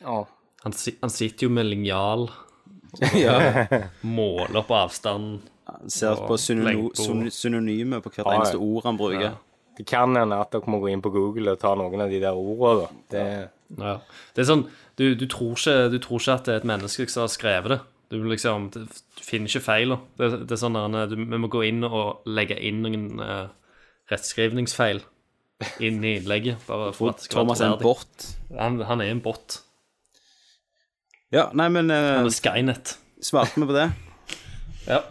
F: ja.
H: Han, si- han sitter jo med linjal og måler på avstanden.
G: Han Ser på synono-
H: lenk på-
G: syn- synonymer på hvert
F: ja.
G: eneste ord han bruker.
F: Det kan hende at dere må gå inn på Google og ta noen av de der ordene, da. Det,
H: Ja. Det er sånn, du, du, tror ikke, du tror ikke at det er et menneske som har skrevet det. Du, liksom, du finner ikke feil. da. Det, det er sånn der, du, Vi må gå inn og legge inn noen eh, rettskrivningsfeil inn i innlegget. Bare for at det skal
G: Thomas
H: være
G: er en
H: troverdig.
G: bort.
H: Han, han er en bot.
G: Ja, nei, men eh,
H: Han er Skynet.
G: svarte vi på det?
H: Ja.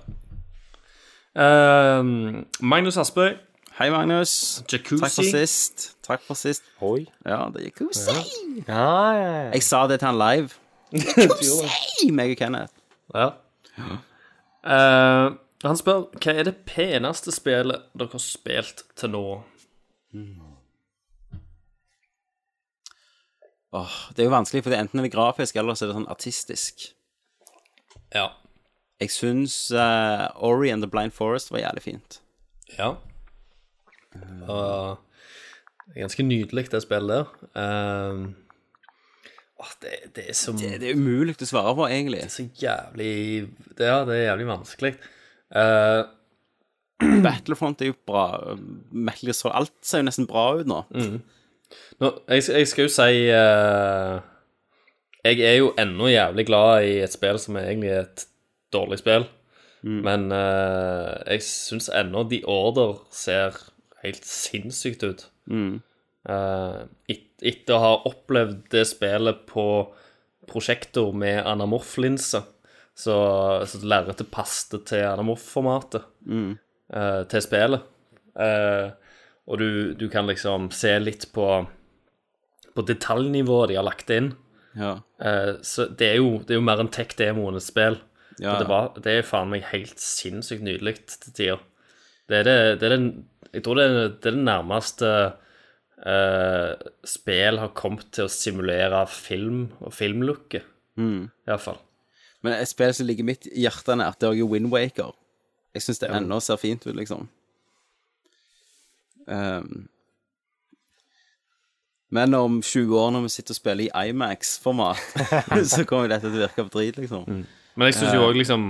H: Ehm, Magnus Aspøy,
G: Hei, Magnus.
H: Jacuzzi.
G: Takk for sist. Takk for sist.
F: Oi.
G: Ja, det gikk kose.
F: Ja, ja, ja.
G: Jeg sa det til han live. Kose! Meg og Kenneth.
H: Ja. Eh, han spør hva er det peneste spillet dere har spilt til nå.
G: Åh, det er jo vanskelig, for det er enten er det grafisk, eller så er det sånn artistisk.
H: Ja.
G: Jeg syns eh, Ori and the Blind Forest var jævlig fint.
H: Ja. Og det er ganske nydelig, det spillet der. Ehm, åh, det, det er så
G: Det, det er umulig å svare på, egentlig.
H: så jævlig det, Ja, det er jævlig vanskelig. Eh, Mm.
G: Battlefront er jo bra. Metal Gear Solid Alt ser jo nesten bra ut nå.
H: Mm. nå, jeg, jeg skal jo si eh, Jeg er jo ennå jævlig glad i et spill som er egentlig er et dårlig spill. Men eh, jeg syns ennå The Order ser helt sinnssykt ut. Eh, et, etter å ha opplevd det spillet på prosjektor med anamorf-linse, så, så lerretet passet til anamorf-formatet eh, til spillet. Eh, og du, du kan liksom se litt på, på detaljnivået de har lagt inn.
G: Ja.
H: Eh, så det er, jo, det er jo mer en tech-demo enn et spill.
G: Ja,
H: Og det, var, det er faen meg helt sinnssykt nydelig til tider. Det er det, det, er den, jeg tror det er det, er det nærmeste eh, spill har kommet til å simulere film og filmlooket. Mm. Iallfall.
G: Men et spill som ligger mitt i hjertet nært, det er jo Wind Waker. Jeg syns det ennå ser fint ut, liksom. Ehm. men om 20 år, når vi sitter og spiller i IMAX-format, så kommer dette til å virke på drit, liksom.
H: Men jeg syns jo òg liksom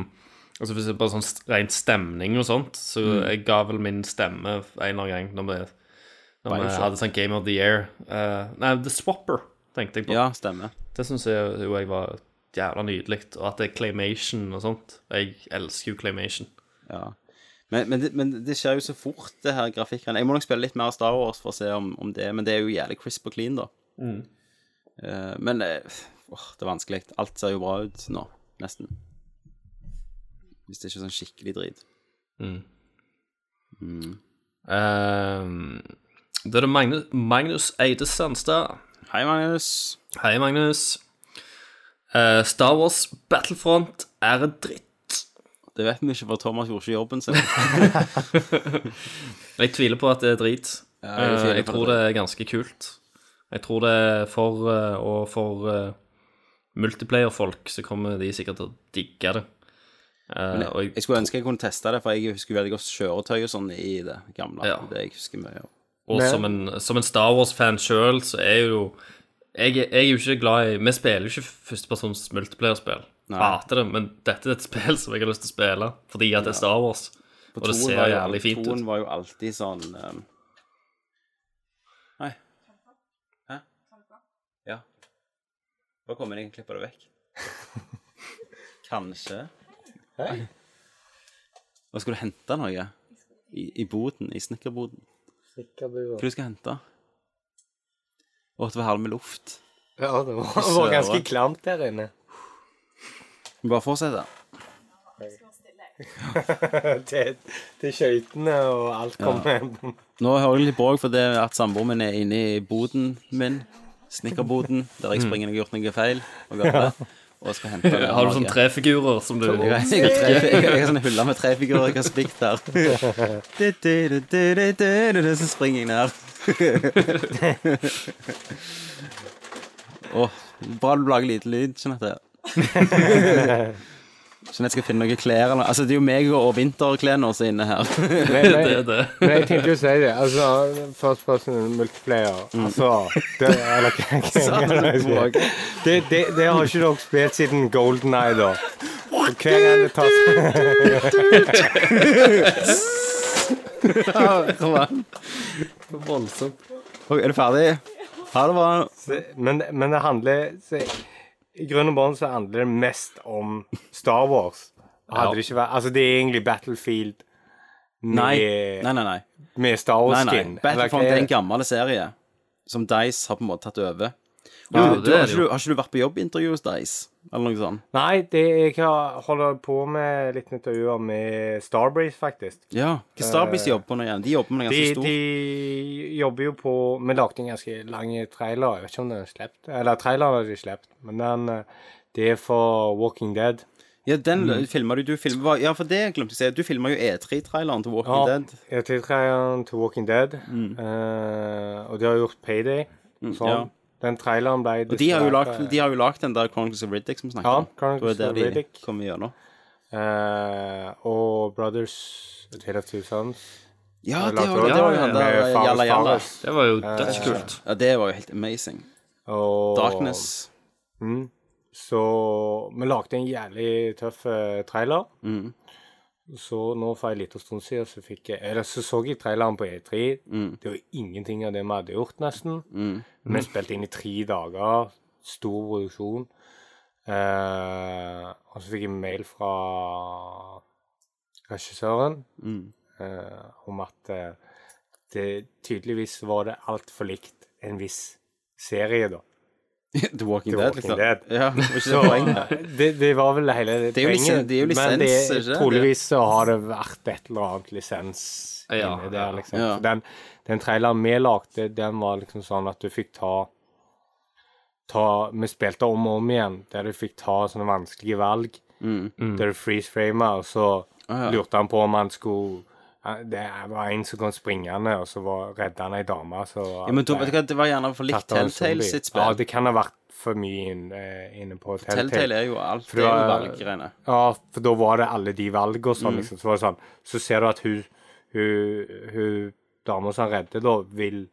H: altså For eksempel sånn st- rent stemning og sånt, så
G: Mm.
H: jeg ga vel min stemme en eller annen gang når vi, når vi
G: Bioshock.
H: hadde sånn Game of the Year eh, Nei, The Swapper, tenkte jeg på.
G: Ja, stemmer.
H: Det syns jeg jo jeg var jævla nydelig. Og at det er claymation og sånt. Jeg elsker jo claymation.
G: Ja. Men, men, det, men det skjer jo så fort, det her grafikken. Jeg må nok spille litt mer Star Wars for å se om, om det, men det er jo jævlig crisp og clean, da.
H: Mm.
G: Eh, men eh, åh, det er vanskelig. Alt ser jo bra ut nå, nesten. Hvis det ikke er sånn skikkelig drit.
H: Ehm, da er det Magnus, Magnus Eide Sandstad.
G: Hei, Magnus.
H: Hei, Magnus. Eh, Star Wars Battlefront er en dritt.
G: Det vet vi ikke, for Thomas gjorde ikke jobben sin.
H: Jeg tviler på at det er drit.
G: jeg
H: Eh,
G: tviler
H: jeg
G: på
H: tror
G: det.
H: det er ganske kult. Jeg tror det er for eh, Og for eh, multiplayer-folk så kommer de sikkert til å digge det. Eh, og jeg-
G: Jeg skulle ønske jeg kunne teste det, for jeg husker veldig godt kjøretøy og sånn i det gamle.
H: Ja.
G: Det jeg husker mye av.
H: Og som en, som en Star Wars-fan sjøl, så er jo jeg, jeg er jo ikke glad i Vi spiller jo ikke førstepersons multiplayer-spill. Hater det, men dette er et spill som jeg har lyst til å spille fordi at det er Star Wars. Og det
G: Toen
H: ser
G: var jo-
H: jævlig fint
G: toen
H: ut.
G: var jo alltid sånn um... Nei. Hæ? Ja. Da kommer jeg og klipper det vekk. Kanskje. Hva skal du hente noe? I, i boden? I snekkerboden? Hva du skal hente? Å, det var halv med luft.
F: ja det var, det var ganske klamt der inne.
G: Bare fortsett, da.
F: Til, til skøytene og alt kom med.
G: Nå hører jeg litt bråk fordi at samboeren min er inne i boden min, snekkerboden, der jeg springer og har gjort noe feil, og, galt, og skal hente det.
H: Mm. Har du sånn tre figurer som du
G: Jeg har- jeg har tre- jeg har- jeg har sånne huller med tre figurer jeg har spikt her. Du-du-du-du-du-du-du, Så springer jeg ned. Åh, bra du lager lite lyd, Jeanette. Jeanette skal finne noen klær eller Altså, det er jo meg og vinterklærne også inne her.
F: Men, men,
H: Det er det.
F: men jeg tenkte jo å si det. Altså, first person multiplayer.
H: Mm.
F: Altså det, eller, hva- hva- hva jeg skal si. det, det, det har ikke dere spilt siden Golden Eye, da. Og Hver gang det tas
G: Ok, Er du ferdig? Ha det bra.
F: Så- men, men det handler så, I grunn og bånn så handler det mest om Star Wars. Hadde det ikke vært Altså, det er egentlig Battlefield med,
G: Nei, nei, nei. nei.
F: med Star
G: nei, nei.
F: Wars-skin.
G: Battlefront er en gammel serie som Dice har på en måte tatt over. Du,
H: Ja,
G: du,
H: det er
G: har,
H: det
G: ikke,
H: jo.
G: du- har ikke du vært på jobbintervju hos Dice? Eller noe sånt?
F: Nei, det, jeg har- holder på med litt intervjuer med Starbreeze, faktisk.
G: Ja. Hva Starbreeze jobber på nå igjen? De jobber med en ganske
F: De,
G: stor
F: de jobber jo på Vi lagde en ganske lang trailer. Jeg vet ikke om den er sluppet. Eller traileren har de sluppet, men den eh, Det er for Walking Dead.
G: Ja, den filma du. du filmet, hva- ja, for det glemte jeg å si. Du filma jo E3-traileren til Walking Dead.
F: Jeg tiltrer til Walking Dead, eh, og de har gjort Payday. Sånn.
G: Mm. ja.
F: Den traileren ble
G: Og de har jo
F: dessverre-
G: lagt, de har jo lagt den der Chronicles of Riddick som vi snakket
F: Ja,
G: om. Det var
F: Chronicles
G: der
F: of
G: de
F: Riddick.
G: kom gjennom.
F: eh, Og Brothers A Tale of Two Sons.
G: Ja,
F: har
G: det
F: lagt
G: var, det
H: ja,
G: var jo
H: ja,
G: han
H: ja.
G: der eh,
F: Med Fares
G: Jalla Jalla.
F: Fares.
H: Det var jo
F: Eh,
H: dødskult.
G: Ja, det var jo helt amazing.
F: Og
G: Darkness.
F: Mm. Så vi lagde en jævlig tøff eh, trailer.
G: Mm,
F: Så nå for en liten stund siden så fikk jeg Eller så så jeg traileren på E3.
G: Mm.
F: Det var ingenting av det vi hadde gjort, nesten. Vi spilte inn i tre dager. Stor produksjon. Eh, og så fikk jeg mail fra regissøren
G: mm.
F: eh, om at eh, det tydeligvis var det altfor likt en viss serie, da.
G: The Walking Dead,
F: The Walking
G: liksom.
F: Dead.
G: Ja, det var ikke
F: sånn- Så
G: det poenget.
F: det, det var vel hele
G: er jo lisens- det er jo
F: men det,
G: lisens, er ikke det?
F: troligvis så har det vært et eller annet lisens
H: Ja,
F: inni der, liksom.
G: ja.
F: Så den, den traileren vi lagde, den var liksom sånn at du fikk ta ta, Vi spilte om og om igjen, der du fikk ta sånne vanskelige valg. Der du freeze-frama, og så
G: Mm. Ah, ja.
F: lurte han på om han skulle Det var en som kom springende, og så var- redda han ei dame. Så
G: Ja, men du, vet du hva, det var gjerne for litt
F: Tatt av en
G: Telltale
F: zombie.
G: sitt
F: Ja,
G: spill.
F: det kan ha vært for mye inne, inne på
G: Telltale er jo alt.
F: For
G: Det er jo
F: det var-
G: valggreiene.
F: Ja, for da var det alle de valgene og sånn,
G: Mm.
F: liksom. Så var det sånn Så ser du at hun, hun, hun dama som han redder, da, vil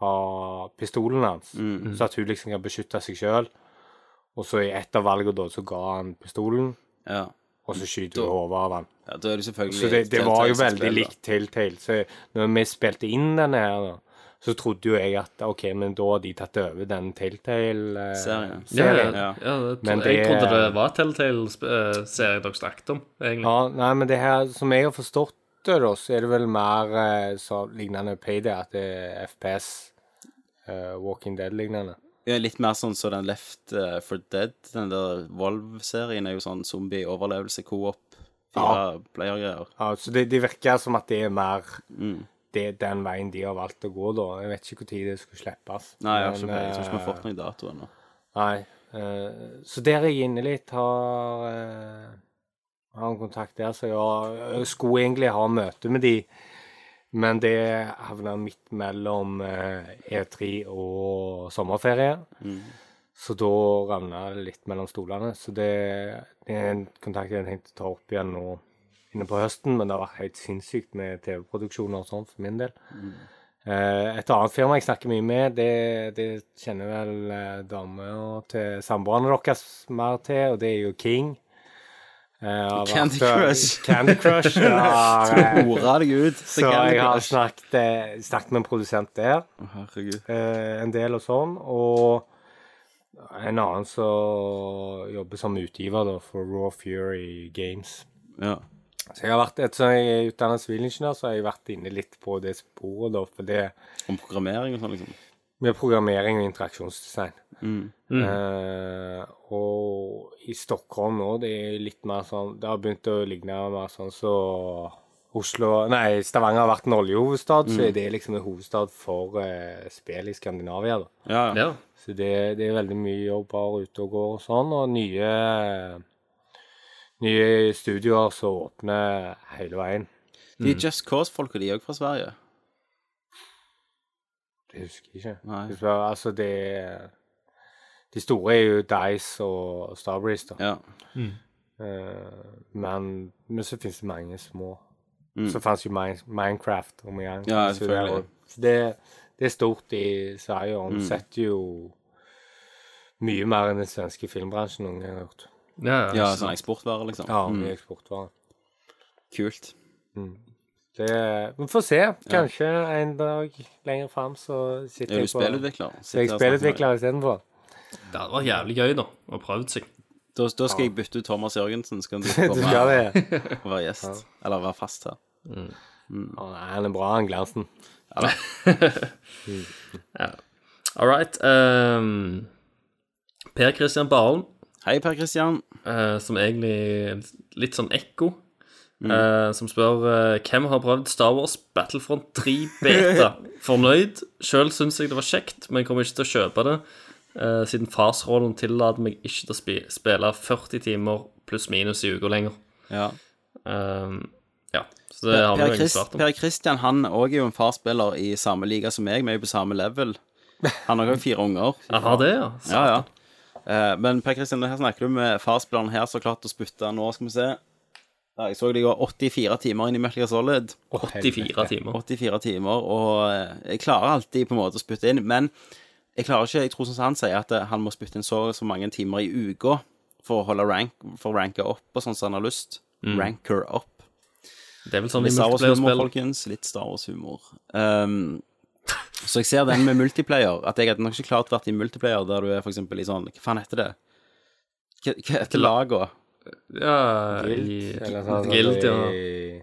F: ha pistolen hans.
G: Mm,
F: Så at hun liksom kan beskytte seg sjøl. Og så i ett av valgene, da, så ga han pistolen,
G: Ja.
F: og
G: Mm.
F: så skyter hun hodet av han.
G: ja, da er det selvfølgelig
F: Så det, det var jo
G: Telltale sitt
F: veldig
G: spill, da.
F: likt Telltale. Så når vi spilte inn denne her, da, så trodde jo jeg at OK, men da har de tatt over den eh,
G: Serien.
F: Telltale-serien.
H: Ja, ja,
G: Ja.
H: ja, det,
F: Men
H: jeg
F: det-
H: trodde det var Telltale-serien dere snakket om, egentlig.
F: Ja, nei, men det her, som jeg har forstått det, da, så er det vel mer eh, så lignende Payday, at det er FPS, eh, Walking Dead-lignende.
G: Ja, litt mer sånn som den Left eh, for Dead, den der Volve-serien, er jo sånn zombie-overlevelse, co-op, fire player-greier. Mm.
F: Ja, så det, det virker som at det er mer det, den veien de har valgt å gå, da. Jeg vet ikke når det skulle slippes.
G: Nei, jeg har ikke
F: men,
G: peiling. Jeg tror ikke vi
F: eh,
G: har fått noen dato ennå.
F: Nei. eh, så der er jeg inne litt, har eh, har en kontakt der, så jeg har, jeg skulle egentlig ha møte med de, men det havna midt mellom eh, E3 og sommerferie.
G: Mm.
F: Så da ramla det litt mellom stolene. Så det, det er en kontakt jeg har tenkt å ta opp igjen nå inne på høsten, men det har vært helt sinnssykt med TV-produksjoner og sånn for min del.
G: Mm.
F: Eh, Et annet firma jeg snakker mye med, det, det kjenner vel eh, damer til samboerne deres mer til, og det er jo King. Eh, har
G: Candy
F: vært-
G: Crush.
F: Candy Crush. Ja, eh,
G: Hora deg ut! til
F: så
G: Candy
F: jeg har
G: Crush.
F: snakket, eh, snakket med en produsent der
G: Å, Herregud.
F: eh, en del og sånn. Og en annen som jobber som utgiver da, for Raw Fury Games.
G: Ja.
F: Så jeg har vært, Ettersom jeg er utdannet sivilingeniør, så har jeg vært inne litt på det sporet. da, for det
G: Om programmering og sånn, liksom.
F: Med programmering og interaksjonsdesign. Eh, og i Stockholm nå, det er litt mer sånn Det har begynt å ligne mer sånn så Oslo Nei, Stavanger har vært en oljehovedstad, så er det liksom en hovedstad for eh, spill i Skandinavia, da.
G: Ja, ja.
H: Ja.
F: Så det, det er veldig mye jobber ute og går og sånn, og nye, nye studioer som åpner hele veien.
G: De Just Cause-folka, de er òg fra Sverige.
F: Det husker jeg ikke.
G: Nei.
F: Det var- altså, det De store er jo Dice og Starbreeze, da.
G: Ja.
F: Eh, men, men så finnes det mange små. Så fantes jo Min Minecraft om igjen.
G: Mm. Ja,
F: så
G: selvfølgelig. Mm.
F: det er jo- Så det, det er stort i Sverige, og omsetter jo mye mer enn den svenske filmbransjen noen gang har gjort.
H: Ja,
G: ja sånn eksportvare, liksom.
F: Ja, mye eksportvarer.
G: Kult.
F: Det, vi får se. Kanskje en dag lenger fram så sitter
G: Er
F: jeg
G: du
F: på
G: spillutvikler?
F: Så jeg er spillutvikler istedenfor.
H: Det hadde vært jævlig gøy, da. Å prøve seg.
G: Da, da skal jeg bytte ut Thomas Jørgensen, så kan du
F: Du
G: komme
F: skal
G: her
F: det.
G: og være gjest. Eller være fast her.
F: Å, nei, han er bra, han Glansen.
H: All right. ehm, Per Christian Barholm,
G: Hei, Per Christian.
H: eh, som egentlig litt sånn ekko, eh, som spør eh, hvem har prøvd Star Wars Battlefront 3 beta. Fornøyd. Sjøl syns jeg det var kjekt, men kommer ikke til å kjøpe det, eh, siden farsrollen tillater meg ikke til å spi spille 40 timer pluss minus i uka lenger.
G: Ja.
H: Eh, ja, så det har vi
G: Per,
H: jo egentlig
G: Chris,
H: svart om.
G: per Christian han òg er jo en farspiller i samme liga som meg, vi er jo på samme level. Han har jo fire unger.
H: Han har det, ja. Så,
G: Ja, ja. Eh, men Per Christian, her snakker du med farspilleren her som har klart å spytte nå, skal vi se. Ja, jeg så det går 84 timer inn i Metal Gear Solid.
H: 84 timer.
G: 84 timer, og eh, jeg klarer alltid på en måte å spytte inn, men jeg klarer ikke, jeg tror som han sier, at eh, han må spytte inn så, og så mange timer i uka for å holde rank, for å ranke opp og sånn som han har lyst. Ranker opp.
H: Det er vel Mm. sånn i
G: Litt Star Wars-humor,
H: multiplayer-spill.
G: folkens. Litt Star Wars-humor. Ehm, så jeg ser den med multiplayer, at jeg hadde nok ikke klart vært i multiplayer der du er for eksempel i sånn Hva faen heter det? Hva hva heter laga?
H: Ja, i-
F: sånn,
H: Guild, ja.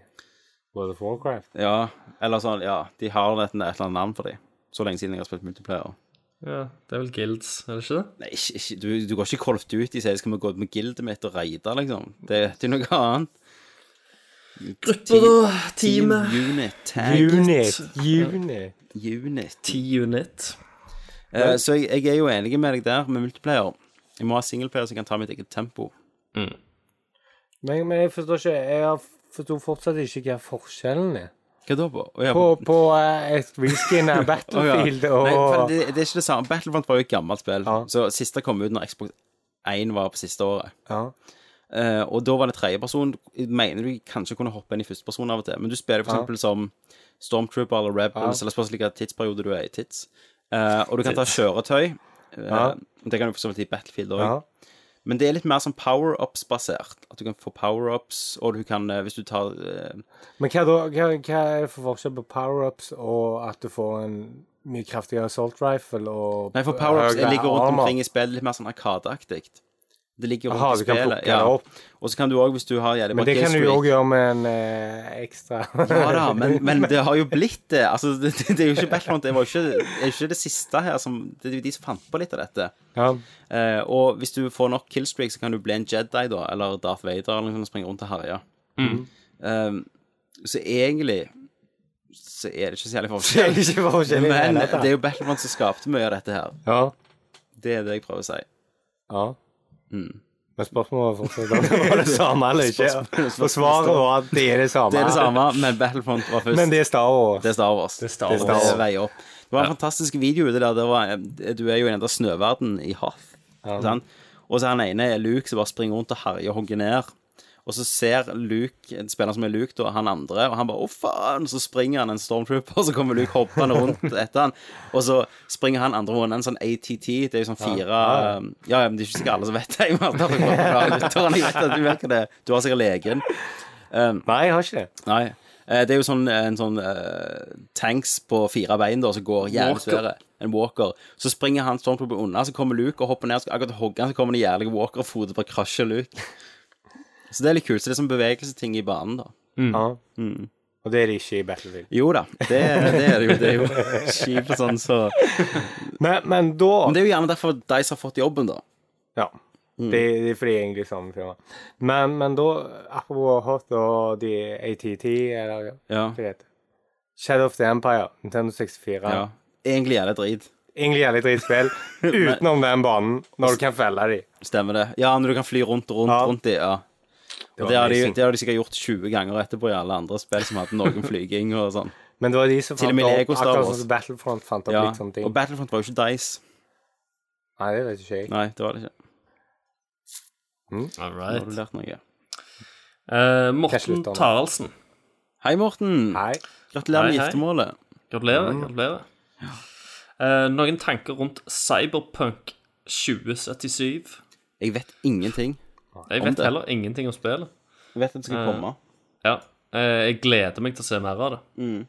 F: World of Warcraft.
G: Ja, eller sånn, ja. De har et, et eller annet navn for dem. Så lenge siden jeg har spilt multiplayer.
H: Ja, det er vel guilds, er det ikke det?
G: Nei, ikke, ikke, du, du går ikke kolvt ut i sier skal vi gå ut med gildet mitt og raide, liksom. Det heter jo noe annet.
H: Grupper, da. Teamet.
G: Team unit, tag
F: Unit. Unit.
G: unit.
H: T-unit.
G: Eh, så jeg, jeg er jo enig med deg der, med multiplayer. Jeg må ha singleplayer som kan ta mitt eget tempo.
F: Men, men jeg forstår ikke Jeg har- forstår fortsatt ikke hva forskjellen er.
G: Hva da på? Å, ja,
F: På, på eh, et reskin av
G: Å, ja.
F: Battlefield
G: Nei, for
F: og
G: det, det er ikke det samme. Battlefront var jo et gammelt spill.
F: Ja.
G: Så siste kom ut når Xbox 1 var på siste året.
F: ja.
G: Eh, og da var det tredjeperson. Mener du kanskje kunne hoppe inn i førsteperson av og til, men du spiller for
F: Ja.
G: eksempel som Stormtrooper eller Rebels, eller spørs hvilken tidsperiode du er i. Tids. Eh, og du kan ta kjøretøy. Eh,
F: Ja.
G: Det kan du for så vidt i Battlefield òg.
F: ja.
G: Men det er litt mer sånn power-ups-basert. At du kan få power-ups, og du kan, eh, hvis du tar eh,
F: Men hva, da, hva, hva er for forskjell på power-ups og at du får en mye kraftigere assault rifle og
G: Nei, for power-ups
F: høyere
G: ligger rundt
F: armor?
G: omkring i spillet litt mer sånn arkadeaktig. Det ligger rundt
F: Aha,
G: i
F: du kan
G: spillet.
F: plukke det opp.
G: Og så kan du òg, hvis du har jævlig bra
F: Men det kan du
G: killstreak-
F: jo òg gjøre med en eh, ekstra
G: Ja da, men, men det har jo blitt det. Altså, det, det er jo ikke Battlefront. Det var jo ikke, det er jo ikke det siste her som Det er jo de som fant på litt av dette.
F: Ja.
G: Eh, og hvis du får nok killstreak, så kan du bli en Jedi, da, eller Darth Vader, eller noe sånt, og springe rundt og herje. Eh, så egentlig så er det ikke så jævlig forskjell.
F: Ikke forskjell i det
G: Men
F: hele
G: det
F: tatt.
G: er jo Battlefront som skapte mye av dette her.
F: Ja.
G: Det er det jeg prøver å si.
F: ja.
G: Mm.
F: Men spørsmålet var fortsatt om det var det samme eller ikke. Og svaret var at det er det samme.
G: Det er det samme, men Battlefront var først.
F: Men det er Star Wars.
G: Det er Star Wars. Det
H: Star Wars.
G: Det veier opp. Det var en fantastisk video det der. Det var, eh, du er jo i den der snøverden i Hoth. sant? Og så er han ene er Luke som bare springer rundt og herjer og hogger ned. Og så ser Luke, en spiller som er Luke, da, han andre, og han bare 'Å, faen!' Så springer han en stormtrooper, og så kommer Luke hoppende rundt etter han. Og så springer han andre rundt en sånn ATT. Det er jo sånn fire um, Ja, ja, men det er ikke sikkert alle som vet det. Jeg må ta forklare lytterne. Jeg vet at du vet hva det er. Du har sikkert legen.
F: Nei, jeg har ikke det.
G: Nei. Eh, Det er jo sånn, en sånn eh, tanks på fire bein da, som går jævlig svære. En walker. Så springer han stormtrooper unna, så kommer Luke og hopper ned og skal akkurat hogge han, så kommer det jævlige walker-fotet bare krasjer Luke. Så det er litt kult. Så det er sånn bevegelseting i banen, da.
F: Ja. Mm. Og det er det ikke i Battlefield.
G: Jo da, det, det er det jo. Det er jo kjipt og sånn, så
F: Men, men
G: Men
F: da
G: det Mm. er jo gjerne derfor Dice har fått jobben, da.
F: Ja. Det, det er fordi egentlig samme firma. Men, men da, apropos Hot og de ATT, eller
G: Ja.
F: hva det heter Shadow of the Empire, Nintendo 64.
G: ja. Egentlig er det drit.
F: Egentlig jævlig dritspill, utenom den banen, når du kan felle de.
G: Stemmer det. Ja, når du kan fly rundt og rundt,
F: Ja.
G: rundt i, ja.
F: Det
G: Og
F: var
G: det har, de,
F: amazing.
G: det har de sikkert gjort 20 ganger etterpå i alle andre spill som hadde noen flyging og sånn.
F: Men det var de som
G: Til og
F: fant
G: med Lego
F: opp
G: Star
F: akkurat
G: Wars.
F: sånn som Battlefront fant opp
G: Ja,
F: litt sånne ting.
G: og Battlefront var jo ikke Dice.
F: Nei, det vet ikke jeg.
G: Nei, det var det ikke.
H: All
G: Nå har du
H: right.
G: lært noe.
H: Eh,
F: Kanskje
H: Morten
F: litt annet.
H: Taraldsen.
G: Hei, Morten.
F: Nei.
G: Gratulerer med
H: Hei, hei.
G: giftermålet.
H: Gratulerer. gratulerer. Eh, noen tanker rundt Cyberpunk 2077?
G: Jeg vet ingenting.
H: Jeg
G: Om
H: vet
G: det.
H: heller ingenting om spillet.
G: Jeg vet at det skal komme.
H: Ja, eh, jeg gleder meg til å se mer av det.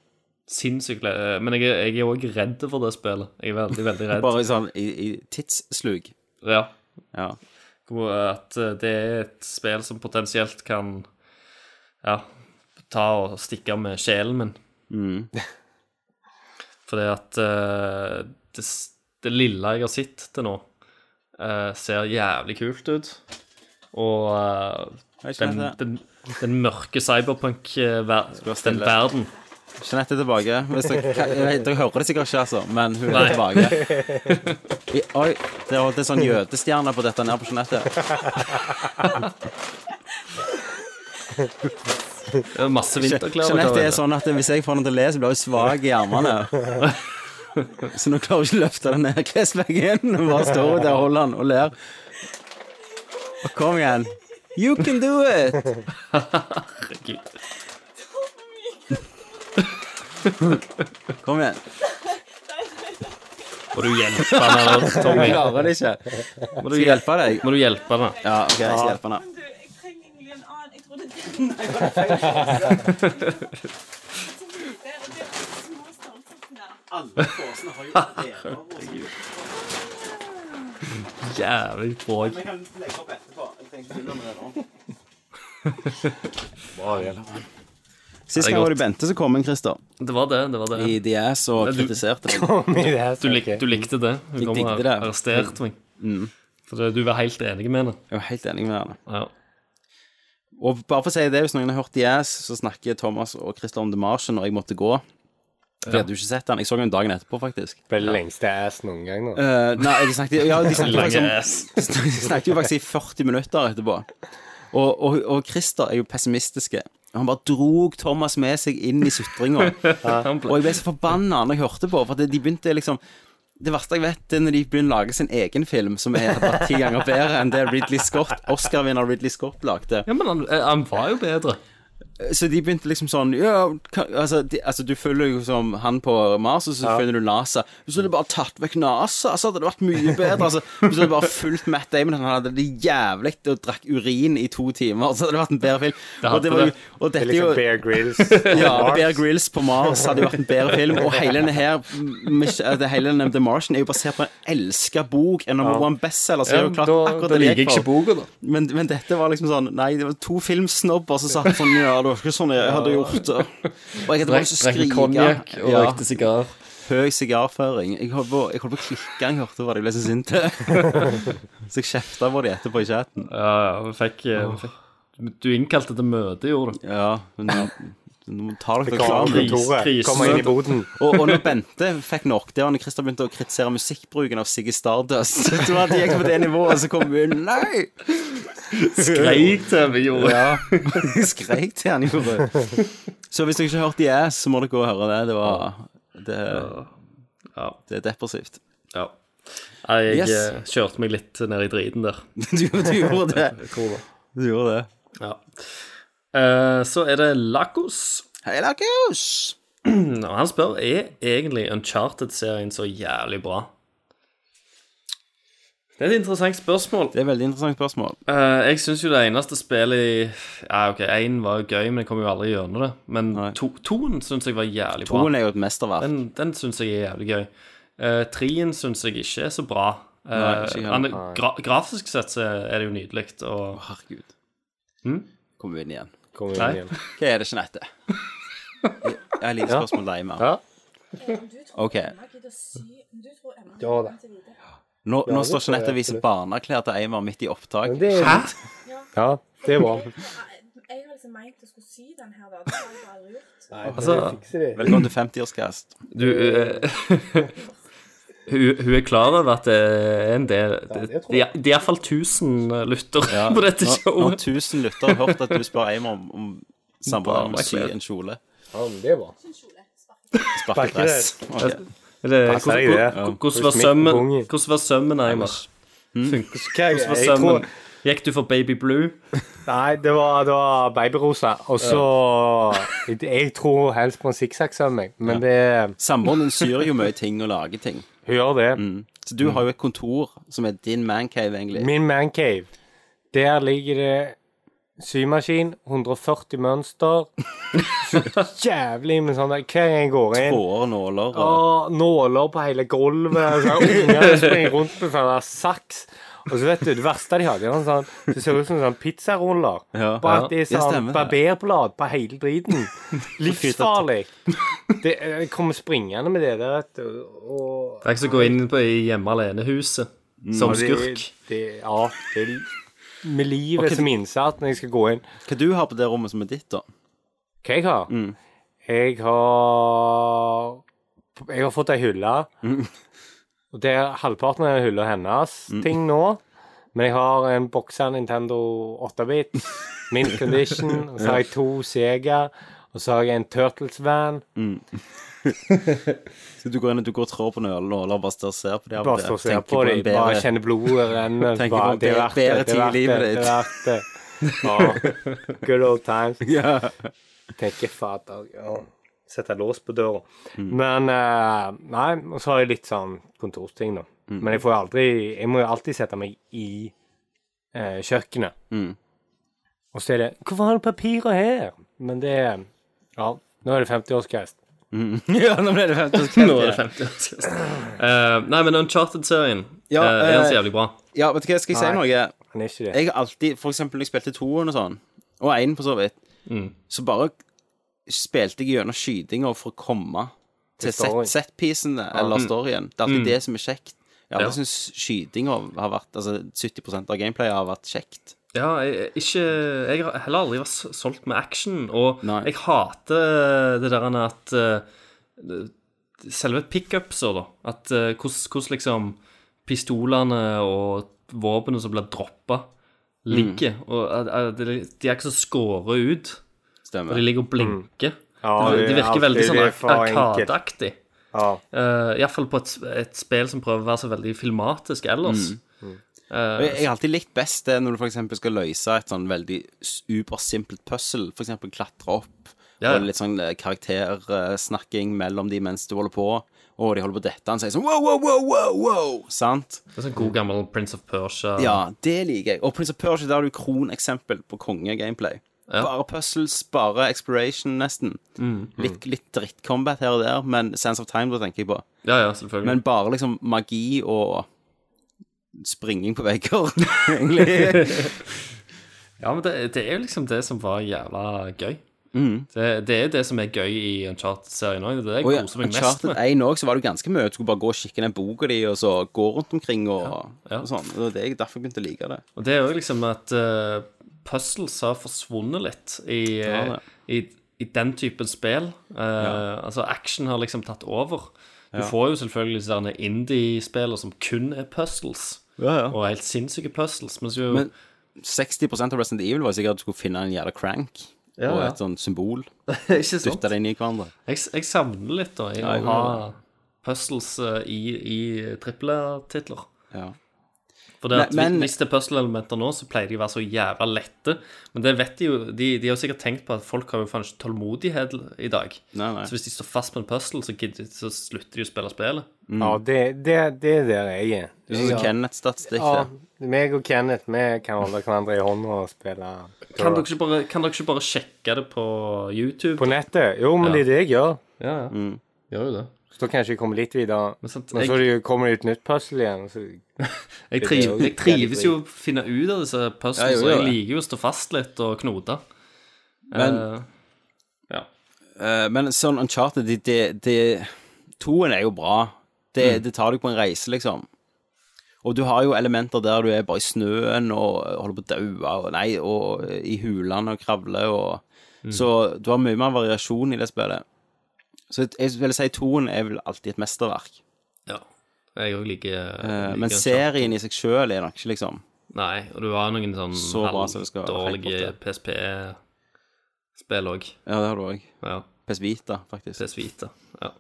H: Sinnssykt glede. Men jeg, er- jeg er òg redd for det spillet. Jeg er veldig, veldig redd.
G: Bare i sånn i, i tidsslug.
H: Ja.
G: Ja.
H: Hvor At eh, det er et spill som potensielt kan ja, ta og stikke med sjelen min.
G: Mm.
H: Fordi at eh, det, s- det lille jeg har sett til nå, eh, ser jævlig kult ut. Og eh,
G: Jeg
H: den,
G: kjenner det.
H: den, den mørke cyberpunk-verden
G: stille.
H: verden.
G: Jeanette er tilbake. Hvis dere, ka- nei, dere hører det sikkert ikke, altså, men hun er tilbake. I, oi, det er, det er sånn jødestjerne på dette nede på Jeanette.
H: Det er Masse vinterklær. og
G: Jeanette
H: hva
G: er sånn at hvis jeg får henne til å le, så blir hun svak i armene. Så nå klarer hun ikke å løfte den ned klesveggen. Hun bare står der og holder den og ler. Og kom igjen. You can do it!
H: det heter.
G: Kom igjen.
H: Må du hjelpe henne, da, Tommy?
G: Klarer det ikke.
H: Må du
G: Skal jeg
H: hjelpe,
G: hjelpe deg?
H: må du hjelpe henne?
G: sånn- Ja, ok, jeg skal hjelpe henne.
J: Du, jeg trenger egentlig en annen. Jeg trodde det Der, og det er de små størrelsene der.
H: Jævlig bråk.
G: Sist
H: Ja, det er
G: gang var
H: godt.
G: det Bente som kom inn, Christer,
H: Det var det. det var det.
G: i The Ass og
H: du-
G: kritiserte deg.
H: Du, lik, du likte det. Hun kom og
G: digget det. Mm.
H: arresterte meg. For det- du var helt enig med henne.
G: Jeg var helt enig med henne.
H: Ja.
G: Og bare for å si det, hvis noen har hørt The Ass, så snakker Thomas og Christer om The Martian når jeg måtte gå. For jeg hadde jo ikke sett den. Jeg så den dagen etterpå, faktisk.
F: Ble det lengste ass noen gang nå.
G: Eh, nei, de snakket, ja, de snakket
H: Lange
G: faktisk om
H: ass.
G: De snak- snakket jo faktisk i 40 minutter etterpå. Og, og, og Christer er jo pessimistiske. Og Han bare drog Thomas med seg inn i sutringa. Og jeg ble så forbanna når jeg hørte på, for det, de begynte liksom det verste jeg vet, det er når de begynner å lage sin egen film som er bare ti ganger bedre enn det Ridley Scott, Oscar-vinner Ridley Scott lagde.
H: Ja, men han, eh, han var jo bedre.
G: Så de begynte liksom sånn ja, ka- altså, de, altså, du følger jo som han på Mars, og så finner du NASA. Hvis du hadde bare tatt vekk NASA, så hadde det vært mye bedre. Altså, hvis du hadde bare fulgt Matt Damon, han hadde det jævlig og drakk urin i to timer, så hadde det vært en bedre film.
H: hadde
G: og, det var,
H: det.
G: jo- og
F: Det er
G: dette er jo
F: liksom Bear Grills.
G: ja, Bear Grylls på Mars hadde jo vært en bedre film. Og hele denne her Mich- eh, det hele denne The Martian er jo basert på en elska bok. En number one bestselger. Så det er jo klart akkurat det jeg gikk for.
H: boka, da.
G: Men, men dette var liksom sånn Nei, det var to filmsnobber som satt sånn Ja, det var ikke sånn jeg hadde gjort det. Og jeg hadde bare lyst til å
H: Drakk konjakk
G: skrike.
H: og
G: Ja,
H: røykte sigar.
G: høy sigarføring. Jeg holdt på jeg holdt på å klikke når jeg hørte hva de ble så sinte. Så jeg kjefta på de etterpå i chatten.
H: Ja, ja, vi fikk, eh, vi fikk Du innkalte til møte, gjorde du.
G: Ja, men nå- nå tar dere dere
F: Kom
G: sammen.
F: på kontoret.
H: Kris-
F: Kom inn i boden.
G: Og, og når Bente fikk nok, det var når Christer begynte å kritisere musikkbruken av Siggy Stardust. Det var at de gikk på det nivået, og så kom hun Nei!
H: Skreik til meg, gjorde du.
G: Ja, jeg skreik til han gjorde. Så hvis dere ikke har hørt de er, så må dere gå og høre det. Det var Det,
H: Ja.
G: det er depressivt.
H: Ja. Nei, Jeg
G: Yes.
H: eh, kjørte meg litt ned i driten der.
G: Du, du gjorde det. Du gjorde det.
H: Ja. Eh, så er det Lakos.
G: Hei, Lakus!
H: Og han spør er egentlig Uncharted-serien så jævlig bra. Det er et interessant spørsmål.
G: Det er et veldig interessant spørsmål.
H: Eh, jeg syns jo det eneste spillet i Ja, OK, én var jo gøy, men jeg kom jo aldri gjennom det. Men
G: Nei.
H: to, toen syns jeg var jævlig bra.
G: Toen er jo et mesterverk.
H: Den, den syns jeg er jævlig gøy. Uh, Trien syns jeg ikke er så bra. Eh,
G: Nei, ikke jeg
H: han er- gra grafisk sett så er det jo nydelig. Og
G: Herregud. Kommer vi inn igjen.
F: Kom inn
H: Nei.
F: igjen.
G: Hva er det, Jeanette? Jeg liker spørsmål deg mer. OK.
J: Emma gidder sy men Du tror Emma
F: Ja da.
J: til videre.
G: Nå, nå
F: det
G: står
F: tror
G: Jeanette
F: jeg
G: og viser
F: absolutt.
G: barneklær til Eimar midt i opptak.
F: Men det er- Ja, det er bra.
J: Jeg har liksom meint å skulle sy den her, da. Det har jeg aldri gjort.
H: altså,
G: Velkommen til 50-årskast.
H: du eh, hun, hun er klar over at det er en del Det, det, det er iallfall 1000 eh, lyttere på dette
G: Når, når
H: showet.
G: 1000 lyttere har hørt at du spør Eimar om, om samboeren om å sy
H: Barneklær.
G: en kjole.
F: Ja, men det er bra.
G: Sparkedress. Ok.
H: Eller,
F: Passer
H: Eh, hvordan-
F: deg det.
H: hvordan- Hvordan var
F: Smitt
H: sømmen,
F: pungen.
H: hvordan var sømmen, Eimar?
G: Hmm?
H: Funker
F: Jeg,
H: hvordan var
F: jeg tror
H: sømmen? Gikk du for Baby Blue?
F: Nei, det var, det var babyrosa. Og så jeg, jeg tror helst på en sikksakksømming, men det
G: Samboeren din syr jo mye ting og lager ting.
F: Hun gjør det.
G: Så du har jo et kontor som er din mancave, egentlig.
F: Min mancave. Der ligger det symaskin, 140 mønster. Så jævlig med sånn der Hver gang jeg går inn
G: Hårer, nåler og
F: Å, nåler på hele gulvet. Så Ungene springer rundt med sånn der saks. Og så vet du, det verste de hadde, var sånn, det ser ut som sånn pizzaruller.
G: Ja.
F: Bare at det er
G: Ja,
F: sånn
G: stemmer det.
F: barberblad på hele driten. Livsfarlig. Det jeg kommer springende med det der, vet du. Og
H: Det er ikke så å gå inn på i Hjemme alene-huset.
G: som
F: Og det-
G: skurk.
F: det- Ja, det er med livet som innsatt når jeg skal gå inn.
G: Hva du har på det rommet som er ditt, da?
F: Hva jeg har?
G: Mm.
F: Jeg har Jeg har fått ei hylle.
G: Mm.
F: Og det er halvparten av hylla hennes ting nå. Men jeg har en boksa Nintendo 8-bit, mint condition, og så har jeg to Sega, og så har jeg en Turtles-van.
G: Så du går inn og du går og trår på nølen og holder og bare står og ser på det av og
F: Bare
G: til.
F: står og ser
G: Tenker
F: på
G: en
F: dem,
G: bedre-
F: bare kjenner blodet renne.
G: Tenker på
F: bare,
G: en
F: Det er
G: bedre-
F: verdt det,
G: bedre
F: det er
G: tid i
F: verdt det,
G: livet
F: det er verdt det. Ja. Good old times.
G: Ja.
F: tenker fader ja. Sette Mm. lås på døra.
G: Mm.
F: Men eh, Nei, og så har jeg litt sånn kontorsting, da.
G: Mm.
F: Men jeg får jo aldri Jeg må jo alltid sette meg i eh, kjøkkenet.
G: Mm.
F: Og så er det 'Hvorfor har du papirer her?' Men det er Ja, nå er det 50-årsgeist.
G: ja, nå ble det 50
H: Nå er det 50 år siden. Eh, nei, men Uncharted-serien
G: Ja,
H: eh, er den så
G: eh,
H: jævlig bra.
G: Ja, vet du hva, skal jeg si
F: Nei.
G: noe?
F: Han er ikke det.
G: Jeg har alltid, for eksempel når jeg spilte toen og sånn, og én på så vidt,
H: Mm.
G: så bare spilte jeg gjennom skytinga for å komme til
F: story.
G: set- setpiecene eller storyen. Det er alltid det som er kjekt. Jeg har
H: Mm. Ja.
G: aldri syntes skytinga har vært Altså 70 av gameplayet har vært kjekt.
H: Ja, jeg, ikke, jeg har heller aldri vært s- solgt med action, og
G: Nei.
H: jeg hater det der at eh, Selve pickupser, da. At eh, hvordan hvordan liksom pistolene og våpenet som blir droppa,
G: Mm.
H: ligger. Og at- at de de er ikke så skåret ut, og
G: Stemmer.
H: de ligger og blinker.
F: Mm. Ja,
H: det,
F: det er
H: det virker veldig
F: alltid
H: sånn
F: det
H: ar-
F: for enkelt.
H: arkadeaktig.
F: Ja.
H: Uh, Iallfall på et, et spill som prøver å være så veldig filmatisk ellers.
G: Mm. Og Jeg jeg har alltid likt best det når du for eksempel skal løse et sånn veldig supersimpelt puzzle. For eksempel klatre opp,
H: Ja, ja.
G: og litt sånn eh, karaktersnakking mellom de mens du holder på. Og de holder på å dette, han sier sånn wow, wow, wow, wow, wow, sant?
H: Det er sånn god gammel Prince of Persia.
G: Ja, det liker jeg. Og Prince of Persia, der har du kroneksempel på konge-gameplay. Bare puzzles, bare exploration, nesten.
H: Mm.
G: Litt, litt drittcombat her og der, men Sense of Time, da tenker jeg på.
H: ja, ja, selvfølgelig.
G: Men bare liksom magi og springing på vegger, egentlig.
H: Ja, men det, det er jo liksom det som var jævla gøy. Det, det er det som er gøy i Uncharted-serien òg. Det er det jeg
G: Og Mm. ja,
H: koser meg mest
G: Uncharted
H: med.
G: 1 òg, så var det jo ganske mye. Du skulle bare gå og kikke i den boka di, og så gå rundt omkring og,
H: ja.
G: og sånn. Og det er derfor jeg begynte å like det.
H: Og det er jo liksom at eh, puzzles har forsvunnet litt i, eh,
G: Ja, det.
H: i, i den typen spill. Eh, Altså action har liksom tatt over. Du får jo selvfølgelig sånne indie-spiller som kun er puzzles.
G: Ja, ja.
H: Og helt sinnssyke puzzles. Mens jo
G: Men 60 av Resident Evil var sikkert at du skulle finne en jævla crank.
H: Ja,
G: og
H: ja.
G: et sånn symbol.
H: Ikke sant?
G: Dytte det inn i hverandre.
H: Jeg, jeg savner litt da, i
G: Ja, jeg
H: å ha puzzles eh, i, i trippeltitler.
G: Ja.
H: For det at
G: Nei, men-
H: hvis- Hvis det er puzzle-elementer nå, så pleier de å være så jævla lette. Men det vet de jo De, de har sikkert tenkt på at folk har jo faen ikke tålmodighet i dag.
G: Nei, nei.
H: Så hvis de står fast på en puzzle, så, gidder, så slutter de å spille spillet.
G: Mm.
F: ja, det, det, det er der jeg er.
G: Det er sånn Kenneth-statistikk.
F: Ja,
G: det.
F: meg og Kenneth, vi kan holde hverandre i hånda og spille
H: Kan dere, ikke bare, kan dere ikke bare sjekke det på YouTube?
F: på nettet. Jo, men det er det jeg gjør.
H: Ja, ja.
G: Mm.
H: Gjør jo det.
F: Så da kanskje jeg kommer litt videre.
H: Men sant,
F: Men så
H: jeg-
F: er det jo- kommer det ut nytt puzzle igjen. Så
H: Jeg,
F: Det er
H: triv,
F: jo
H: jeg trives jo å finne ut av disse puzzlene,
G: Ja, jo,
H: så jeg
G: jo, det.
H: liker jo å stå fast litt og knote.
G: Men,
H: Eh,
G: eh, men sånn Uncharted, det, det, det Toen er jo bra. Det,
H: Mm.
G: det tar deg på en reise, liksom. Og du har jo elementer der du er bare i snøen og holder på å daue, og nei, og eh, i hulene og kravler og
H: Mm.
G: Så du har mye mer variasjon i det spillet. Så jeg vil si toen er vel alltid et mesterverk.
H: ja. Jeg òg liker
G: Eh,
H: liker
G: men
H: Uncharted.
G: serien i seg sjøl er nok ikke liksom
H: Nei, og du har noen sånn
G: Så bra som det skal være,
H: halvdårlige
G: helt
H: PSP-spill òg.
G: Ja, det har du òg.
H: Ja.
G: PS Vita, faktisk.
H: PS Vita. Ja.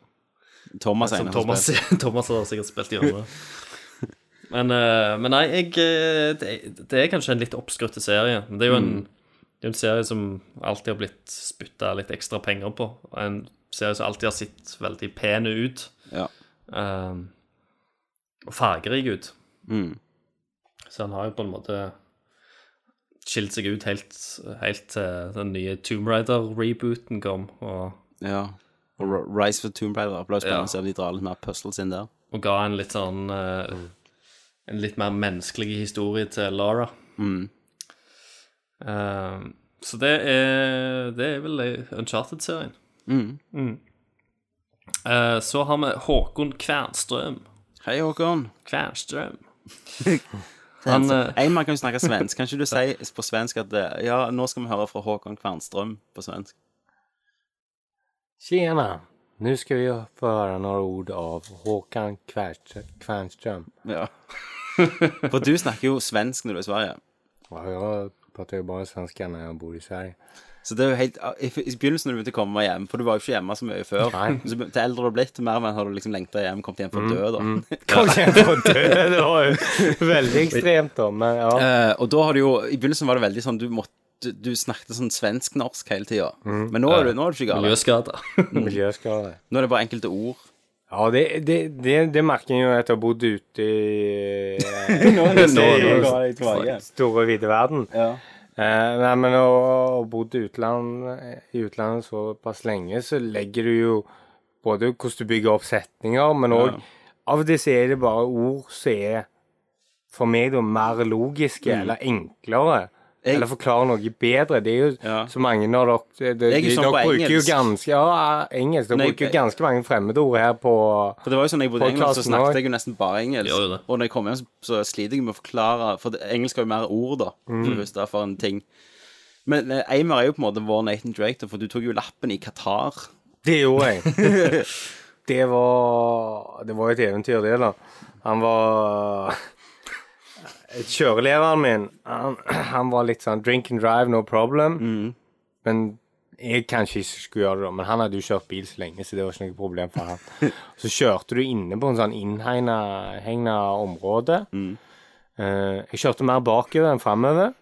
G: Thomas er en av de
H: Som
G: som
H: Thomas,
G: spiller.
H: Thomas har sikkert spilt gjennom. det. Men, eh, men nei, jeg, eh, det, det er kanskje en litt oppskrytt serie. Men det er jo en,
G: Mm.
H: det er en serie som alltid har blitt spytta litt ekstra penger på. og En serie som alltid har sett veldig pen ut.
G: Ja.
H: eh, og fargerik ut.
G: Mm.
H: Så han har jo på en måte skilt seg ut helt, helt til den nye Tomb Raider-rebooten kom. Og
G: Ja. Og Ro- Rise for Tomb Raider ble
H: Ja.
G: spennende å se om de drar litt mer puzzles inn der.
H: og ga en litt sånn eh, En litt mer menneskelig historie til Lara. Mm. Eh, så det er, det er vel Uncharted-serien. Mm. Eh, så har vi Håkon Kvernstrøm.
G: Hei, Håkon.
H: Kvernstrøm.
G: Han,
H: Han,
F: altså-
H: eh,
G: en mann kan jo snakke svensk. Kan ikke du si på svensk at eh, ja, nå skal vi høre fra Håkon Kvernstrøm på svensk?
F: Tjena! Nu ska vi få höra några ord av Håkan Kvärst- Kvernström.
G: Ja. For du snakker jo svensk når du er i Sverige.
F: Ja, jag pratar ju bara svenska när jeg bor i Sverige.
G: Så det er jo helt, ah, I i begynnelsen når du begynte å komme hjem, for du var jo ikke hjemme så mye før
F: Nei. Mm,
G: så, Til eldre du har blitt, til mer og mer har du liksom lengta hjem, kommet hjem for å dø, da.
F: Kom igjen, få dø! Det var jo veldig ekstremt, da. Men ja.
G: Eh, og da har du jo I begynnelsen var det veldig sånn du måtte du snakket sånn svensk-norsk hele tida.
F: Mm.
G: Men nå er du, nå er du ikke gal.
H: Miljøskader.
F: Miljøskade.
G: Nå er det bare enkelte ord.
F: Ja, det, det, det, det merker jeg jo at jeg har bodd ute i Nå er det store, vide verden. Eh, nei, men å å ha bodd i utland, i utlandet såpass lenge, så legger du jo både hvordan du bygger opp setninger, men òg Av og til så er det bare ord som er, for meg, da, mer logiske eller enklere.
G: Mm. Jeg-
F: eller forklare noe bedre. Det er jo
G: Ja.
F: så mange av dere det- det-
G: Jeg er
F: de-
G: sånn
F: Dere
G: på
F: bruker jo
G: engelsk.
F: ganske Ja, engelsk. Dere
G: Nei,
F: bruker jo
G: jeg-
F: ganske mange fremmedord her på
G: For det var jo sånn, når jeg bodde i England, så
F: Podcasten
G: snakket
F: også.
G: jeg jo nesten bare engelsk.
H: Gjør jo det.
G: Og når jeg kom hjem, så- så sliter jeg med å forklare For det, engelsk har jo mer ord, da.
F: Mm.
G: For det første, for en ting. Men eh, Eimer er jo på en måte vår Nathan Drake, da, for du tok jo lappen i Qatar.
F: Det gjorde jeg. det var Det var et eventyr, det, da. Han var Kjørelæreren min, han, han var litt sånn drink and drive, no problem.
G: Mm.
F: Men jeg kanskje ikke skulle gjøre det, da, men han hadde jo kjørt bil så lenge, så det var ikke noe problem for han. Så kjørte du inne på en sånn innhegna område.
G: Mm.
F: Eh, jeg kjørte mer bakover enn framover.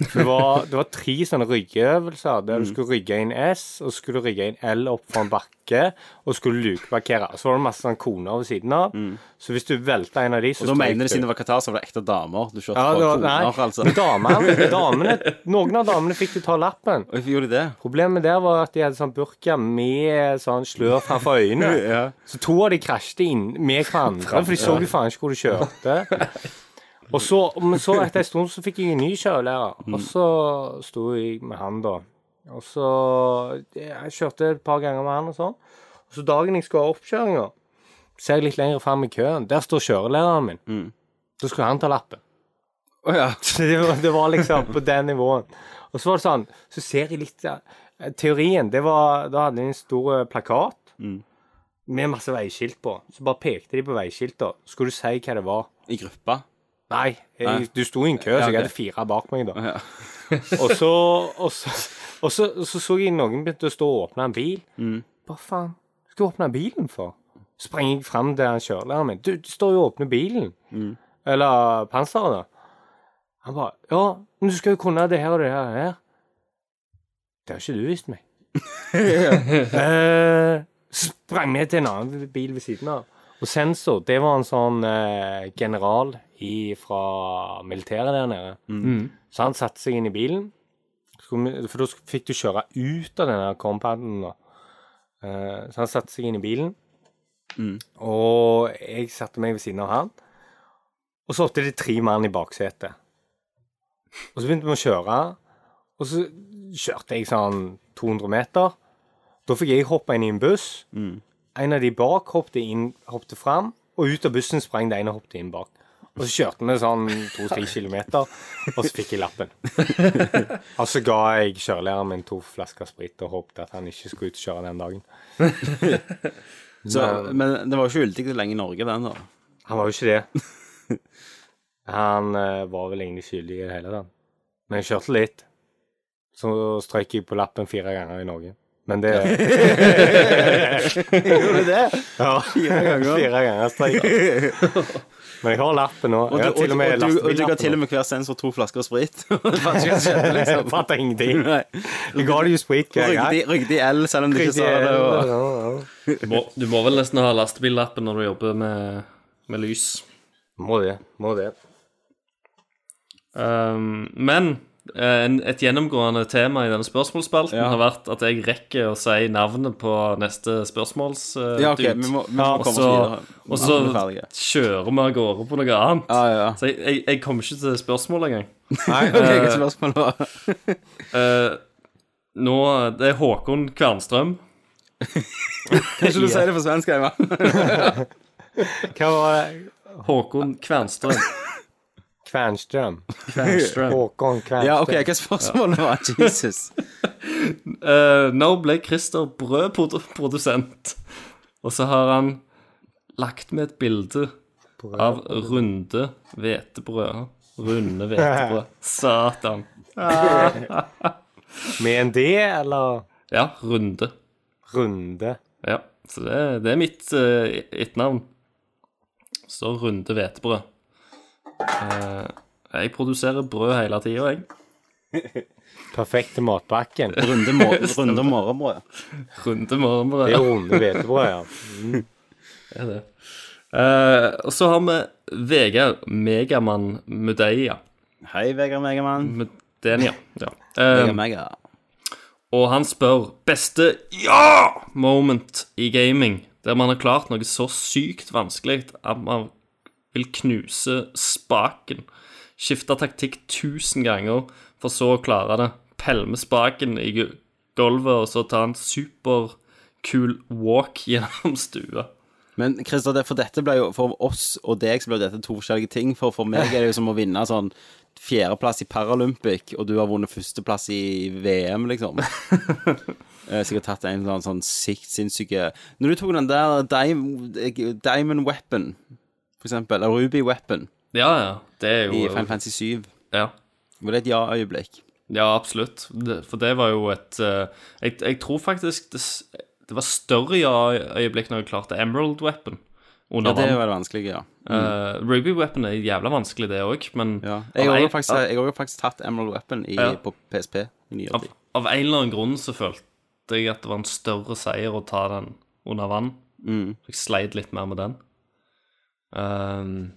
F: Det var, det var tre sånne ryggeøvelser der du
G: Mm.
F: skulle rygge inn S, og så skulle du rygge inn L opp fra en bakke, og skulle lukeparkere. Så var det masse sånne koner ved siden av, så hvis du velta en av de, så
G: Mm. Og da mener de
F: du.
G: siden det var Qatar, så var det ekte damer. Du kjørte
F: Ja, det
G: på
F: var,
G: koner,
F: nei,
G: altså.
F: men damene, damene, noen av damene fikk jo ta lappen.
G: Og Hvorfor gjorde de det?
F: Problemet der var at de hadde sånn burka med sånn slør framfor øynene. Så to av de krasjte inn med hverandre, for de så jo faen ikke hvor de kjørte. Og så, men så etter en stund så fikk jeg en ny kjørelærer, og så sto jeg med han da. Og så Jeg kjørte et par ganger med han og sånn. Og så dagen jeg skulle ha oppkjøringa, ser jeg litt lenger fram i køen. Der står kjørelæreren min. Da skulle han ta lappen. Så det var, det var liksom på den nivåen. Og så var det sånn, så ser jeg litt eh, Teorien, det var Da hadde de en stor eh, plakat med masse veiskilt på. Så bare pekte de på veiskilta. Skulle du si hva det var?
G: I gruppa.
F: Nei,
G: Nei.
F: jeg, du sto i en kø,
G: ok.
F: så jeg hadde fire bak meg, da.
G: Ja.
F: og så og så, og så, så, så jeg noen begynte å stå og åpne en bil.
G: Mm.
F: Hva faen skal jeg åpne bilen for? Sprenger jeg fram til han kjørelæreren min. Du, du står jo og åpner bilen.
G: Mm.
F: Eller panseret, da. Han bare Ja, men du skal jo kunne det her og det her og det her. Det har ikke du visst meg. eh, sprang vi til en annen bil ved siden av. Og sensor, det var en sånn eh, general i, fra militæret der nede. Så han satte seg inn i bilen, Skulle vi- for da sk- fikk du kjøre ut av denne compounden. da. Eh, så han satte seg inn i bilen, og jeg satte meg ved siden av han. Og så åtte det tre mann i baksetet. Og så begynte vi å kjøre, og så kjørte jeg sånn 200 meter. Da fikk jeg hoppe inn i en buss. En av de bak hoppte inn, hoppte fram, og ut av bussen sprang det ene og hoppte inn bak. Og så kjørte vi sånn to-tre kilometer, og så fikk jeg lappen. Og så ga jeg kjørelæreren min to flasker sprit og håpte at han ikke skulle ut og kjøre den dagen.
G: Så, men det var jo ikke gyldig lenge i Norge, den, da.
F: Han var jo ikke det. Han eh, var vel egentlig skyldig i det hele tatt. Men jeg kjørte litt. Så strøyk jeg på lappen fire ganger i Norge. Men det Gjorde du det? Ja. Fire ganger, fire ganger strøyk. Men jeg har lappen nå.
G: Og
F: Jeg
G: du,
F: har
G: og,
F: til og
G: og,
F: med
G: du, og du ga til og
F: lastebillappen.
G: med hver sensor to flasker sprit. Det var ikke hva som skjedde,
F: Jeg
G: liksom.
F: fatter ingenting.
G: Nei.
F: Jeg ga det jo sprit hver gang.
G: Rygde- Rygde i L, selv om du ikke sa det. Og...
H: Du må, du må vel nesten ha lastebillappen når du jobber med, med lys.
F: Må det. Må det.
H: Um, men eh, en, et gjennomgående tema i denne spørsmålsspalten har vært at jeg rekker å si navnet på neste spørsmåls... eh,
G: Ja, ok,
H: dude.
G: vi må, vi må
H: Ja,
G: komme oss
H: så-
G: videre.
H: Og så
G: Vi er ferdige.
H: kjører vi av gårde på noe annet.
G: Ja, ja.
H: Så jeg, jeg, jeg kom ikke til spørsmålet engang.
G: Nei, eh, ok, hva spørsmål var det?
H: Eh, nå Det er Håkon Kvernstrøm.
G: Kanskje du sier det på svensk, Eivind?
F: Hva var det?
H: Håkon Kvernstrøm.
F: Kvernstrøm.
A: Kvernstrøm.
F: Håkon Kvernstrøm.
G: Ja, OK, hva spørsmålet var? Jesus.
H: Eh, nå ble Christer brødprodusent, og så har han lagt med et bilde av runde hvetebrød. Runde hvetebrød. Satan.
F: Med en D eller
H: Ja, runde.
F: runde?
H: Ja, så det, det er mitt eh, etternavn. Så runde hvetebrød. Eh, jeg produserer brød hele tida, jeg.
F: Perfekt til matpakken. Det
G: Runde, må runde morgenbrød.
H: Runde morgenbrød.
F: er runde hvetebrød, ja.
H: Det er det. Eh, og så har vi Vegard Megamann Mudeia.
G: Hei, Vegard Megamann.
H: Mudenia. Ja.
G: Vegard
H: Eh,
G: Mega.
H: og han spør beste ja-moment i gaming, der man har klart noe så sykt vanskelig at man vil knuse spaken. Skifte taktikk tusen ganger, for så å klare det. Pelme spaken i gu- gulvet, og så ta en superkul walk gjennom stua.
G: Men Christer, det, for dette ble jo For oss og deg så ble dette to forskjellige ting. For for meg er det jo som å vinne sånn fjerdeplass i Paralympic, og du har vunnet førsteplass i VM, liksom. Eh, Sikkert tatt en eller annen sånn sikt sinnssyke Når du tok den der Dim- Diamond Weapon, for eksempel, eller Ruby Weapon
H: Ja, ja. Det er
G: i
H: jo
G: Final Fantasy 7,
H: Ja.
G: var det et ja-øyeblikk?
H: Ja, absolutt. Det, for det var jo et eh, jeg, jeg tror faktisk det, s- det var større ja-øyeblikk når jeg klarte Emerald Weapon
G: Ja,
H: under
G: det
H: vann.
G: var det vanskelige, ja.
H: Eh, Ruby Weapon er jævla vanskelig, det òg, men
G: ja.
H: av,
G: Jeg har
H: en,
G: jo faktisk, jeg har jo faktisk tatt Emerald Weapon i,
H: Ja.
G: på PSP i nyere
H: av,
G: tid.
H: av en eller annen grunn så følte jeg at det var en større seier å ta den under vann.
G: Mm.
H: Så jeg sleit litt mer med den. Ehm,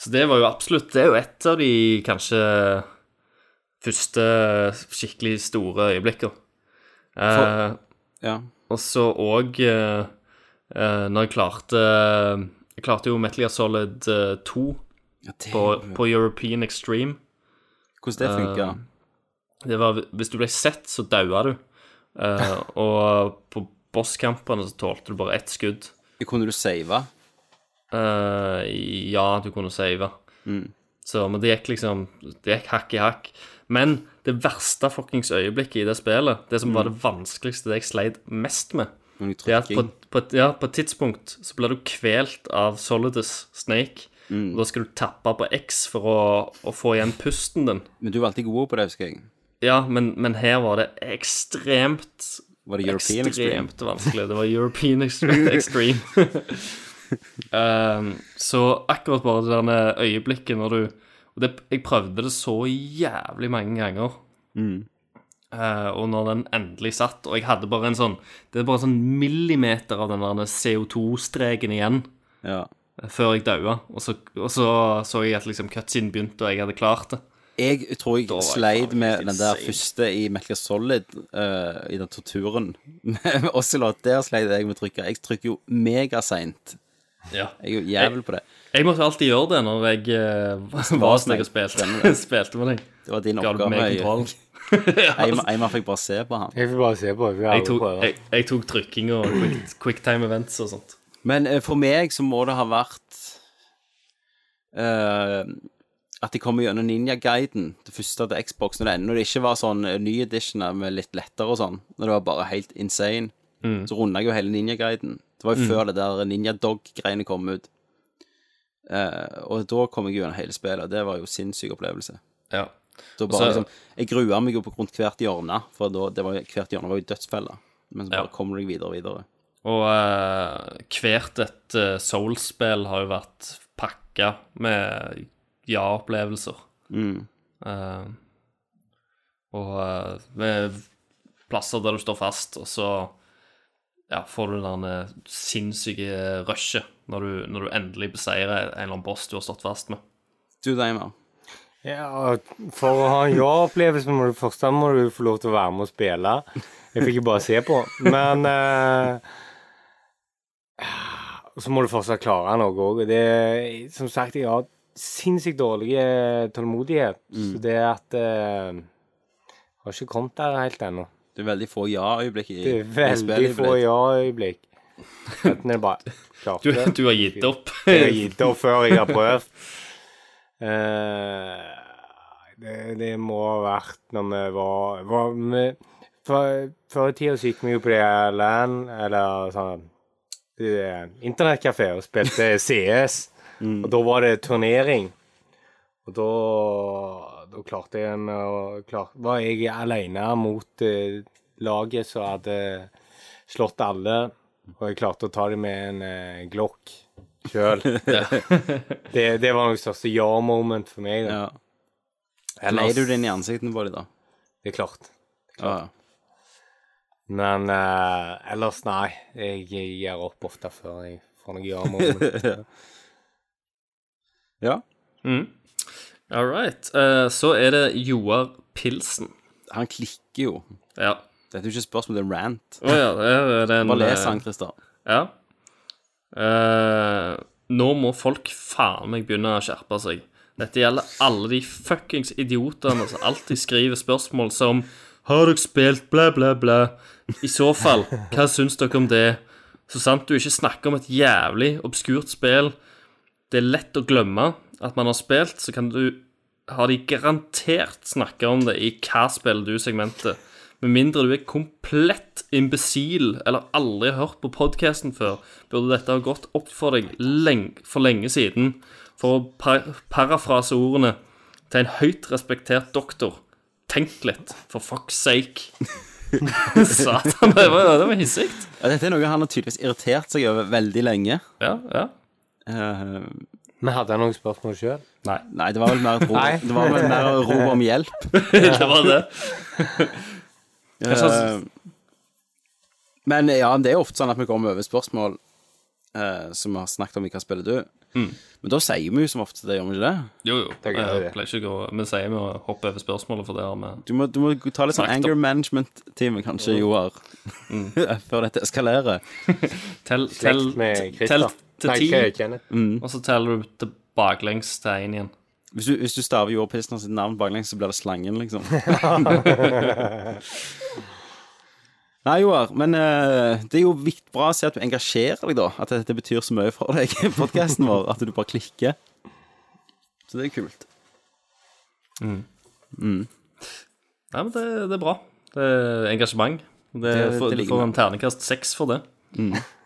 H: så det var jo absolutt Det er jo et av de kanskje første skikkelig store øyeblikkene. Eh,
G: Ja.
H: Og så òg eh, eh, Når jeg klarte Jeg klarte jo Metal Gear Solid eh, 2 på, på European Extreme.
G: Hvordan det funka?
H: Eh, Det var, hvis du ble sett, så daua du. Eh, og på bosskampene så tålte du bare ett skudd.
G: Kunne du save?
H: Eh, ja, du kunne save. Så, men det gikk liksom Det gikk hakk i hakk. Men det verste fuckings øyeblikket i det spillet, det som var det vanskeligste, det jeg sleit mest med,
G: Noen
H: Det er at på,
G: trykking?
H: på, et- ja, på et tidspunkt så blir du kvelt av Solidus Snake. Og da skal du tappe på X for å, å få igjen pusten din.
G: Men du var alltid god på det, husker jeg.
H: Ja, men, men her var det ekstremt
G: Var det European Extreme?
H: Ekstremt vanskelig. Det var European Extreme. extreme. um, så akkurat bare det der øyeblikket når du og det, Jeg prøvde det så jævlig mange ganger.
G: Mm.
H: Uh, og når den endelig satt, og jeg hadde bare en sånn Det er bare en sånn millimeter av den der CO2-streken igjen
G: Ja.
H: eh, før jeg daua. Og, så- og så så jeg at liksom cutscene begynte, og jeg hadde klart det.
G: Jeg tror jeg
H: var jeg
G: sleit
H: faen
G: med
H: helt
G: den der
H: insane.
G: første i Metal Gear Solid, eh, i den torturen. Med Ocelot, der sleit jeg med å trykke. Jeg trykker jo megaseint.
H: Ja.
G: Jeg er jo jævel på det.
H: Jeg måtte alltid gjøre det når jeg eh, var hos deg og spilte, spilte med deg.
G: Det var din
H: Ga du
G: oppgave.
H: meg
G: Jeg-
H: kontroll?
G: Eimar Eimar fikk bare se på han.
F: Jeg får bare se på. Vi
H: Jeg
F: alle
H: tok,
F: prøver.
H: jeg, jeg tok trykking og quick, quicktime events og sånt.
G: Men eh, for meg så må det ha vært eh, at de kommer gjennom Ninja-guiden, det første til Xbox, når det, når det ikke var sånn eh, ny edition med litt lettere og sånn, når det var bare helt insane,
F: Mm.
G: så runda jeg jo hele Ninja-guiden. Det var jo før det der Ninja Dog-greiene kom ut. Eh, og da kom jeg gjennom hele spillet, og det var jo sinnssyk opplevelse.
H: Ja.
G: Da bare,
H: Så-
G: liksom, jeg grua meg jo på rundt hvert hjørne, for da, det var, jo- hvert hjørne var jo dødsfelle. Men så
H: Ja.
G: bare kommer du deg videre og videre.
H: Og eh, hvert et uh, Souls-spill har jo vært pakka med ja-opplevelser.
G: Mm.
H: Eh, og eh, med plasser der du står fast, og så ja, får du det der sinnssyke rushet når du, når du endelig beseirer en eller annen boss du har stått fast med.
G: Du, Daimar.
F: Ja, for å ha en ja-opplevelse må du først da må du få lov til å være med og spille. Jeg fikk jo bare se på. Men eh, så må du fortsatt klare noe òg. Det er, som sagt, jeg har sinnssykt dårlig eh, tålmodighet.
H: Mm.
F: Så det at eh, Jeg har ikke kommet der helt ennå.
G: Det er veldig få ja-øyeblikk i
F: Det er veldig få ja-øyeblikk. Enten er det bare
H: Du,
F: klarte
H: du har gitt opp.
F: Jeg har gitt opp før jeg har prøvd. Eh, det, det må ha vært når vi var, var vi, for, Før i tida så gikk vi jo på det her LAN, eller sånn eh, Internettkafé og spilte CS. Og da var det turnering. Og da, da klarte jeg en å klar, Var jeg aleine mot eh, laget som hadde slått alle, og jeg klarte å ta dem med en eh, Glock sjøl. det, det var nok største ja-moment for meg. Da.
G: Ja. Leier
F: Ellers-
G: du den i ansiktene på dem, da?
F: Det er klart.
G: Ja. ja.
F: Men eh, ellers, nei. Jeg gir opp ofte før jeg får noe ja-moment.
G: ja.
H: All right. eh, så er det Joar Pilsen.
G: Han klikker jo.
H: Ja.
G: Dette er jo ikke et spørsmål, det er en rant.
H: Å ja, det er- det er en
G: Bare les
H: eh,
G: han, Christer.
H: Ja. Eh, nå må folk faen meg begynne å skjerpe seg. Dette gjelder alle de fuckings idiotene som alltid skriver spørsmål som Har dere spilt bla, bla, bla? I så fall, hva syns dere om det? Så sant du ikke snakker om et jævlig obskurt spill det er lett å glemme at man har spilt, så kan du har de garantert snakka om det i hva spiller du-segmentet. Med mindre du er komplett imbesil eller aldri har hørt på podkasten før, burde dette ha gått opp for deg leng for lenge siden. For å par parafrase ordene til en høyt respektert doktor. Tenk litt, for fuck's sake. Satan, det var, det var hissig.
G: Ja, dette er noe han har tydeligvis irritert seg over veldig lenge.
H: Ja, ja.
G: Eh,
F: Men hadde jeg noen spørsmål sjøl?
G: nei, det var vel mer et rop,
F: Nei.
G: det var vel mer et rop om hjelp.
H: Det var det.
G: Eh, men ja, det er jo ofte sånn at vi kommer over spørsmål eh, som vi har snakket om i Hva spiller du? Men da sier vi jo som ofte det, gjør vi ikke det?
H: Jo, jo.
F: er gøy,
H: Jeg
F: det.
H: pleier ikke å gå Vi sier vi å hoppe over spørsmålet, for det har vi
G: Du må, du må ta litt sånn
H: Snakket
G: anger management-time, kanskje, Joar. Før dette eskalerer.
H: Tell, tell,
F: Slekt med
H: tell
F: Christer.
H: til
F: Nei,
H: ti,
F: ikke Kenneth.
H: og så teller du til baklengs til én igjen.
G: Hvis du, hvis du staver Joar Pilsner sitt navn baklengs, så blir det Slangen, liksom. Nei, Joar, men eh, det er jo vikt bra å se at du engasjerer deg, da. At dette betyr så mye for deg i podkasten vår. At du bare klikker. Så det er kult.
H: Nei, men det, det er bra. Det er engasjement. Det,
G: Det- det
H: får-
G: Mm.
H: du
G: liker
H: får
G: vi.
H: en ternekast seks for det.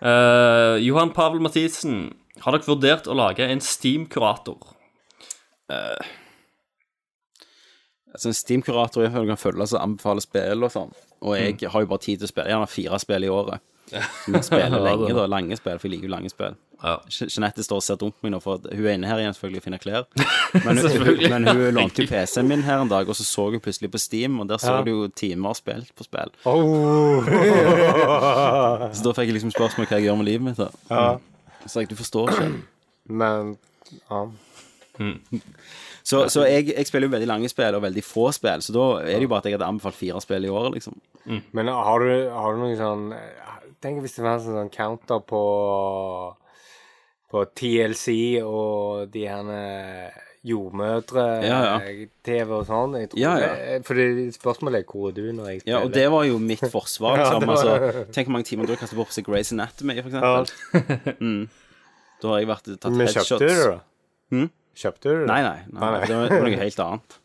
H: Eh, Johan Pavel Mathisen, har dere vurdert å lage en Steam-kurator?
G: Altså, en Steam-kurator er du kan følge så anbefaler spill og sånn. Og jeg har jo bare tid til å spille. Gjerne fire spill i året. Som jeg spiller lenge, da. Lange spill, for jeg liker jo lange spill.
H: Ja.
G: Je- Jeanette står og ser dumt på meg nå, for at hun er inne her igjen selvfølgelig og finner klær. Men, hun-
H: Selvfølgelig.
G: men hun lånte jo PC-en min her en dag, og så så hun plutselig på Steam, og der så
F: Ja.
G: du jo timer spilt på spill.
F: Oh.
G: Så da fikk jeg liksom spørsmål hva jeg gjør med livet mitt. da. Mm.
F: Ja.
G: Så jeg, du forstår ikke.
F: Men ja.
G: Så, så jeg, jeg spiller jo veldig lange spill og veldig få spill, så da er det jo bare at jeg hadde anbefalt fire spill i året, liksom.
F: Men har du, har du noen sånn Tenk hvis det var en sånn counter på På TLC og de her eh,
G: Ja, ja.
F: jordmødre-TV og sånn. Jeg tror
G: Ja, ja.
F: det- Fordi spørsmålet er hvor er du når jeg spiller?
G: Ja, og det var jo mitt forsvar. Liksom.
F: det var-
G: altså, tenk hvor mange timer du har kastet bort på seg Grey's Anatomy, for eksempel. Mm. Da har jeg vært tatt
F: Men
G: headshots. Hm?
F: kjøpte du det, da? Kjøpte du det?
G: Nei, nei. nei,
F: Nei, nei.
G: Det var det var noe helt annet.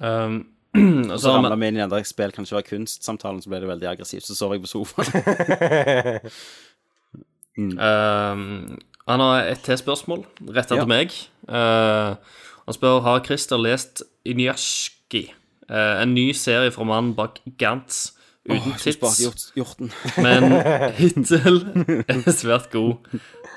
H: Um, og
G: Så
H: så har
G: ramla
H: vi
G: vi inn i den der spill kan ikke være kunst-samtalen, så ble det veldig aggressivt. Så sov jeg på sofaen.
H: um, Han har et til spørsmål, retta
G: Ja.
H: til meg. Eh, han spør har Christer lest Inyaski, en ny serie fra mannen bak Gantz, uten tids.
G: hjorten.
H: Men hittil er det svært god.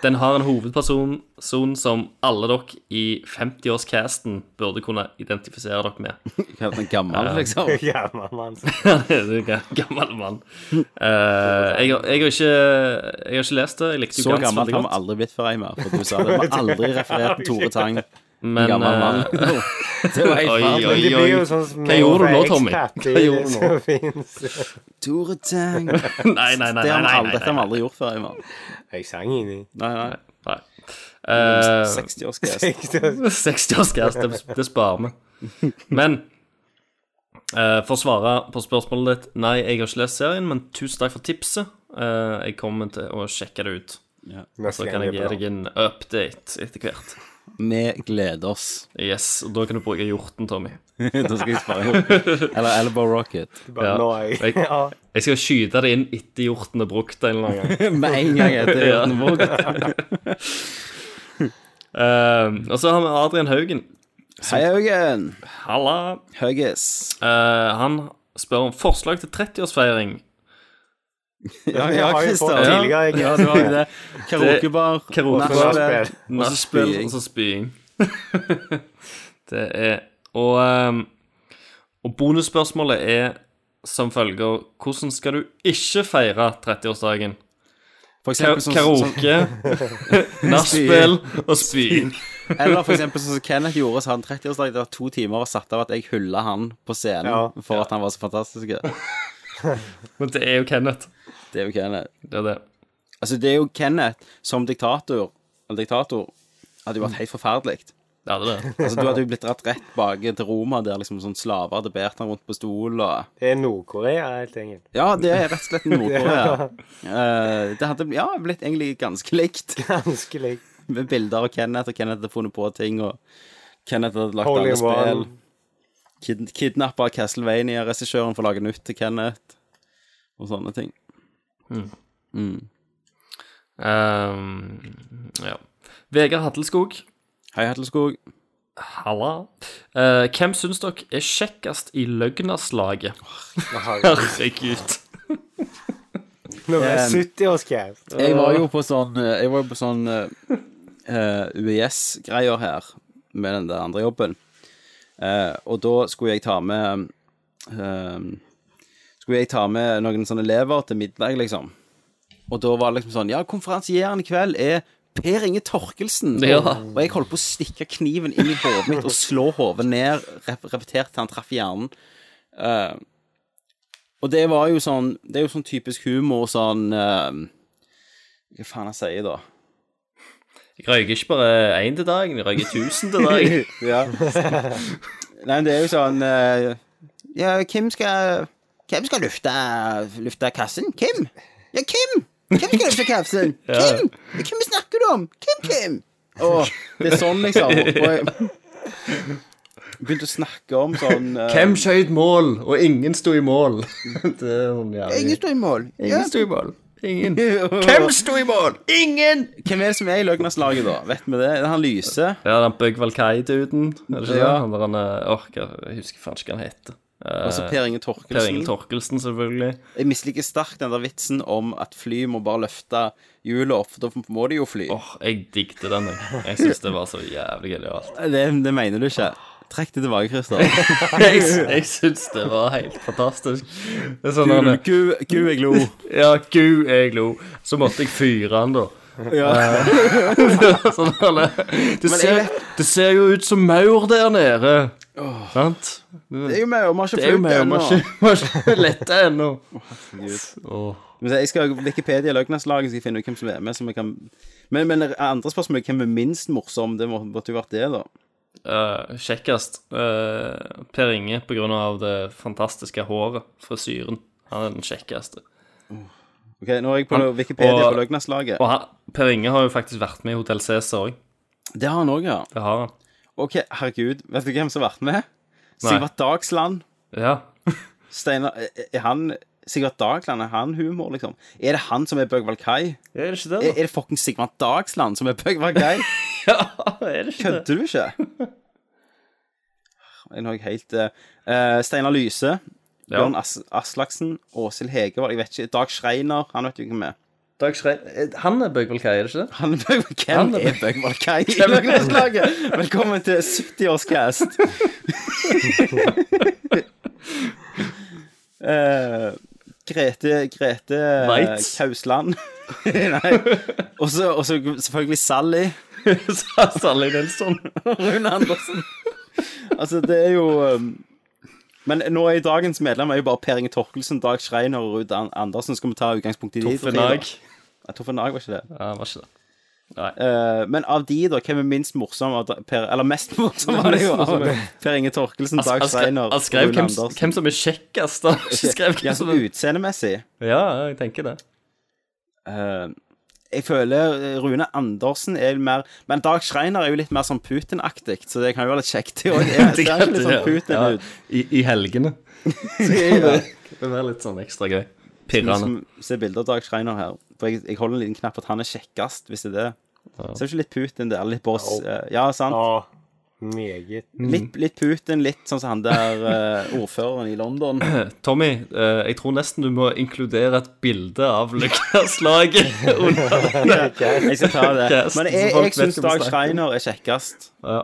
H: Den har en hovedperson son som alle dere i 50-årscasten burde kunne identifisere dere med.
G: Helt en gammel, liksom.
F: Ja, men, men,
H: Det er en ga- gammel mann. Eh, jeg, har- jeg, har ikke, jeg har ikke lest det. Jeg likte jo
G: Så
H: Gans
G: gammel
H: veldig
G: har vi
H: godt.
G: aldri blitt før, Eimer. For du sa det. Vi har aldri referert til Tore Tang.
H: Men
G: gammel mann.
H: eh,
G: Det var helt
H: oi,
G: feil.
F: men det
H: oi,
F: blir jo
H: oi.
F: sånn som
H: Hva gjorde du nå, Tommy?
F: Hva
H: Hva gjorde du nå?
G: Tore Tang. Det
F: liksom.
H: Nei, nei, nei. nei,
G: har vi
H: nei,
G: aldri,
H: nei,
G: dette har vi
H: nei,
G: aldri gjort før, Eimer.
F: Jeg sang inni.
G: Nei, nei.
H: nei. Eh,
G: 60-årsgest.
H: 60-årsgrense, det, det sparer vi. Men eh, for å svare på spørsmålet ditt Nei, jeg har ikke lest serien, men tusen takk for tipset. Eh, jeg kommer til å sjekke det ut. Så kan jeg gi deg en update etter hvert.
G: Vi gleder oss.
H: Yes, og da kan du bruke hjorten, Tommy.
G: da skal jeg spare opp. Eller Elbow Rocket.
F: Bare, Nei.
H: Jeg,
F: Ja.
H: jeg skal skyte det inn etter hjorten er brukt en eller annen gang.
G: Med en gang etter
H: Ja.
G: Jørgen Våg.
H: Eh, og så har vi Adrian Haugen.
G: Hei, Haugen.
H: Halla.
G: Haugis.
H: Eh, han spør om forslag til 30-årsfeiring.
G: Ja,
F: Jeg har jo fått
G: Ja,
F: tidligere, jeg.
G: ja, du har jo det. Karaokebar.
H: Karaokebar.
G: nachspiel.
H: Nachspiel
G: spying.
H: og så spying. det er Og, ehm, og bonusspørsmålet er som følger Hvordan skal du ikke feire 30-årsdagen?
G: For
H: Ka-
G: eksempel sånn- sånn-
H: Karaoke, nachspiel og sånn- spying.
G: Eller for eksempel sånn som Kenneth gjorde, så hadde han 30-årsdag. Det var to timer og satt av at jeg hylla han på scenen
F: Ja.
G: for at han var så fantastisk. Det
H: Men det er jo Kenneth.
G: er jo Kenneth.
H: Det er det.
G: Altså, det er jo Kenneth som diktator. En diktator hadde jo vært helt forferdelig.
H: Ja, det er det.
G: Altså, du hadde jo blitt dratt rett bak til Roma, der liksom sånn slaver hadde båret han rundt på stol og
F: Det er Nord-Korea, helt enkelt.
G: Ja, det er rett og slett Nord-Korea. Eh, det hadde ja, blitt egentlig ganske likt.
F: Ganske likt.
G: Med bilder av Kenneth, og Kenneth hadde funnet på ting, og Kenneth hadde lagt
F: Holy
G: alle spill.
F: One.
G: Kid Kidnappa Castlevania-regissøren for å lage nytt til Kenneth, og sånne ting.
H: Ehm, ja. Vegard Hatleskog.
G: Hei, Hatleskog.
H: Halla. Eh, hvem syns dere er kjekkest i løgnaslaget? Herregud.
F: Når vi er
G: Um,
F: 70-årscap.
G: Jeg var jo på sånn eh, Jeg var jo på sånn eh, eh, UiS-greier her med den der andre jobben. Eh, og da skulle jeg ta med eh, Skulle jeg ta med noen sånne elever til middag, liksom. Og da var det liksom sånn Ja, konferansieren i kveld er Per Inge Torkelsen.
H: Ja.
G: Og jeg holdt på å stikke kniven inn i hodet mitt og slå hodet ned, rep repetert til han traff hjernen. Eh, og det var jo sånn Det er jo sånn typisk humor, sånn eh, hva faen jeg sier da?
H: Jeg røyker ikke bare én til dagen, jeg røyker tusen til dagen.
G: Ja. Nei, men det er jo sånn eh, Ja, hvem skal Hvem skal lufte, lufte kassen? Hvem? Ja, hvem? Hvem skal lufte kassen? Hvem? Ja, hvem snakker du om? Hvem, hvem? Og det er sånn, liksom. Og jeg begynte å snakke om sånn eh,
H: Hvem skjøt mål, og ingen sto i mål? det er sånn
G: Ingen
H: jævlig.
G: står i mål. Ja.
H: Ingen sto i mål. Ingen.
G: Hvem
H: sto i mål? Ingen! Eh,
G: Hvem er det som er i Løgnaslaget, da? Vet vi det? Det er han Lyse.
H: Ja, den Bøgg Valkai-duden, er det ikke
G: Ja.
H: det? Han der han eh, åh, hva- jeg husker faen ikke hva han heter. Eh,
G: Og så Altså Per Inge
H: Per Inge
G: Torkelsen.
H: Torkelsen, selvfølgelig.
G: Jeg misliker sterkt den der vitsen om at fly må bare løfte hjulet opp, for da må de jo fly.
H: Åh, jeg digget den, jeg. Jeg syns det var så jævlig genialt.
G: Det, det mener du ikke. Trekk det tilbake, Christer.
H: Jeg, jeg syns det var helt fantastisk. Det er sånn han
G: Gu, gu, jeg lo.
H: Ja, gud, jeg lo. Så måtte jeg fyre han, da. Eh, sånn, eller, det, ser, det ser jo ut som maur der nede. Sant?
G: Det er jo meg, og vi har
H: Det er
G: ikke
H: jo
G: flydd
H: maur,
G: ennå.
H: vi har ikke- vi har ikke letta ennå. Åh.
G: Men Jeg skal Wikipedia Løgnaslaget, skal jeg finne ut hvem som er med. Som jeg kan... men, men andre spørsmål er hvem er minst morsom. Det må- måtte jo vært det, da.
H: Eh, kjekkest eh, Per Inge på grunn av det fantastiske håret. Frisyren. Han er den kjekkeste.
G: Ok, Nå er jeg på Wikipedia
H: og-
G: på Løgnaslaget.
H: Og han, Per Inge har jo faktisk vært med i Hotell Cæsar òg.
G: Det har han òg, ja.
H: Det har han.
G: Ok, herregud. Vet du hvem som har vært med?
H: Nei.
G: Sivert Dagsland.
H: Ja.
G: Steinar er- Er han Sigvart Dagsland, er han humor, liksom? Er det han som er Bøgvald Kai?
H: Er det ikke
G: Er,
H: det,
G: er det fuckings Sigvart Dagsland som er Bøgvald Kai?
H: da? Ja, er det ikke det?
G: Kødder du ikke? Jeg er nok helt eh, eh, Steinar Lyse, Bjørn As Aslaksen, Åshild Hegevold Jeg vet ikke. Dag Schreiner, han vet jo ikke hvem er.
H: Dag Schrein Eh, Han er Bøgvold Kai, er det ikke det?
G: Han er Bøgvald Hvem
H: Han er-
G: er Bøgvald Kai i Løgnerslaget? Velkommen til 70-årscast. Eh, Grete, Grete eh,
H: Weitz.
G: Kausland. Nei. Og så og så selvfølgelig Sally.
H: Sa sånn. Sally Nelson.
G: Rune Andersen. altså, det er jo um, Men nå er jo dagens medlem er jo bare Per Inge Torkelsen, Dag Schreiner og Ruud An- Andersen. Skal vi ta utgangspunkt i de? tre,
H: Torfinn
G: da?
H: Nag.
G: Ja, Torfinn Nag var ikke det.
H: Ja, var ikke det.
G: Eh, men av de, da, hvem er minst morsom? av da- Per, eller mest morsom, var det jo. av Per Inge Torkelsen,
H: Han
G: Dag
H: skrev,
G: Schreiner
H: han skrev
G: Rune
H: hvem,
G: Andersen.
H: hvem som er kjekkest, da. Han
G: ja,
H: skrev hvem
G: så
H: som er
G: utseendemessig.
H: Ja, jeg tenker det.
G: eh, jeg føler eh, Rune Andersen er mer Men Dag Schreiner er jo litt mer sånn Putin-aktig, så det kan jo være litt kjekt. Det også. Jeg ser ikke litt sånn Putin
H: Ja,
G: ut.
H: i, I helgene.
G: Ja.
H: Det var litt sånn ekstra gøy.
G: Vi
H: Pirrende.
G: som ser bilder av Dag Schreiner her. For jeg, jeg holder en liten knapp at han er kjekkest, hvis det er det. Ser du ikke litt Putin der? Litt Boris eh, Ja, sant?
F: Ja, meget.
G: Litt, litt Putin, litt sånn som han der eh, ordføreren i London.
H: Tommy, eh, jeg tror nesten du må inkludere et bilde av Lucas-laget under
G: Jeg skal ta det.
H: Kjæresten
G: Men jeg,
H: som folk
G: jeg syns
H: vet hva
G: Dag
H: snakker om.
G: Schreiner er kjekkest.
H: ja.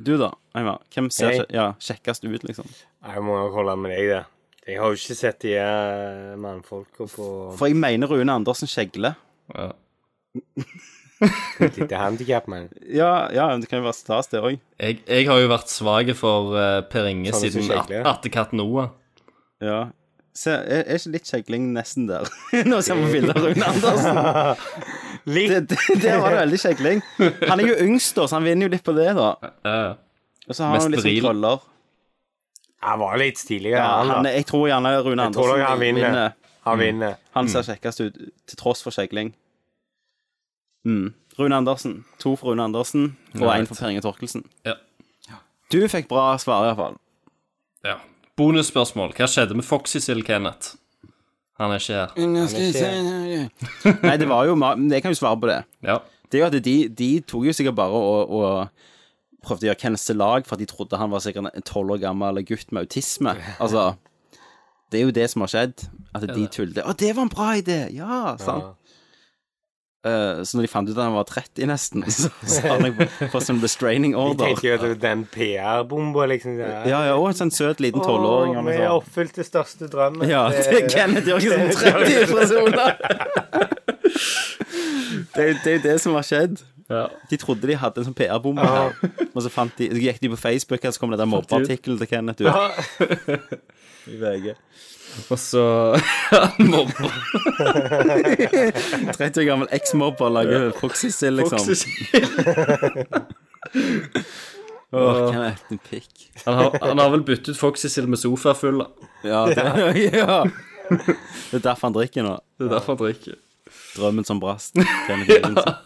G: Du, da? Einar, hvem ser
F: Jeg.
G: kje- ja, kjekkest ut, liksom?
F: Jeg må nok holde med deg, det. Jeg har jo ikke sett de eh, mannfolka på
G: For jeg mener Rune Andersen Skjegle.
H: ja.
F: et lite handikap, men
G: Ja, ja, det kan jo være stas, det òg.
H: Jeg, jeg har jo vært svak for eh, Per Inge
F: Sånn er
H: siden
F: så
H: At-
F: kjedelig, ja.
H: Attekatt Noah.
G: Ja. Se, er, er ikke litt kjegling nesten der? Nå ser vi bilder av Rune Andersen.
F: Litt!
G: Det, det, der var det veldig kjegling. Han er jo yngst, da, så han vinner jo litt på det, da.
H: Eh,
G: Og så har han
H: Mest
G: jo litt sånn
H: bril.
G: krøller.
F: Han var litt stiligere,
G: Ja,
F: han,
G: han,
F: da.
G: er- jeg tror gjerne Rune
F: Jeg tror
G: Andersen
F: nok han vinner. Han vinner.
G: Han ser kjekkest ut, til tross for kjegling. Mm. Rune Andersen. To for Rune Andersen, og én for Per Inge Torkelsen.
H: Ja.
G: Du fikk bra svar, iallfall.
H: ja. Bonusspørsmål. Hva skjedde med Foxy Sill, Kenneth? Han er ikke her.
G: Nei, det var jo ma- Jeg kan jo svare på det.
H: Ja.
G: Det er jo at de, de tok jo sikkert bare og, og prøvde å gjøre Kenneth til lag, for at de trodde han var sikkert en tolv år gammel gutt med autisme. Altså, det er jo det som har skjedd. At de tullet. Å, det var en bra idé! Ja, sant? Eh, så når de fant ut at han var 30 nesten, så sa han for sånn restraining
F: Jeg
G: order.
F: tenker jo at det var den PR-bomba, liksom. så her.
G: Ja, ja, og en sånn søt liten tolvåring.
F: Å,
G: eller
F: Vi
G: noe
F: har
G: sånt.
F: oppfylt det største drømmen.
G: Ja, det er Kenneth Jørgensen, 30 personer! Det er jo det, er jo det som har skjedd.
H: Ja.
G: De trodde de hadde en sånn PR-bombe her, og så, fant de, så gikk de på Facebook, og så kom det der mobbeartikkelen til Kenneth ut. I VG.
H: Og så Han mobber
G: 30 år gammel eksmobber lager proxy-sill, liksom.
H: Foxy Sill.
G: Åh, Kenneth, din pikk.
H: Han, har- han har vel byttet ut Foxy Sill med sofafull. da.
G: Ja, det, ja. det er derfor han drikker nå.
H: Det er derfor han drikker.
G: Drømmen som brast. Kenneth Jørgensen.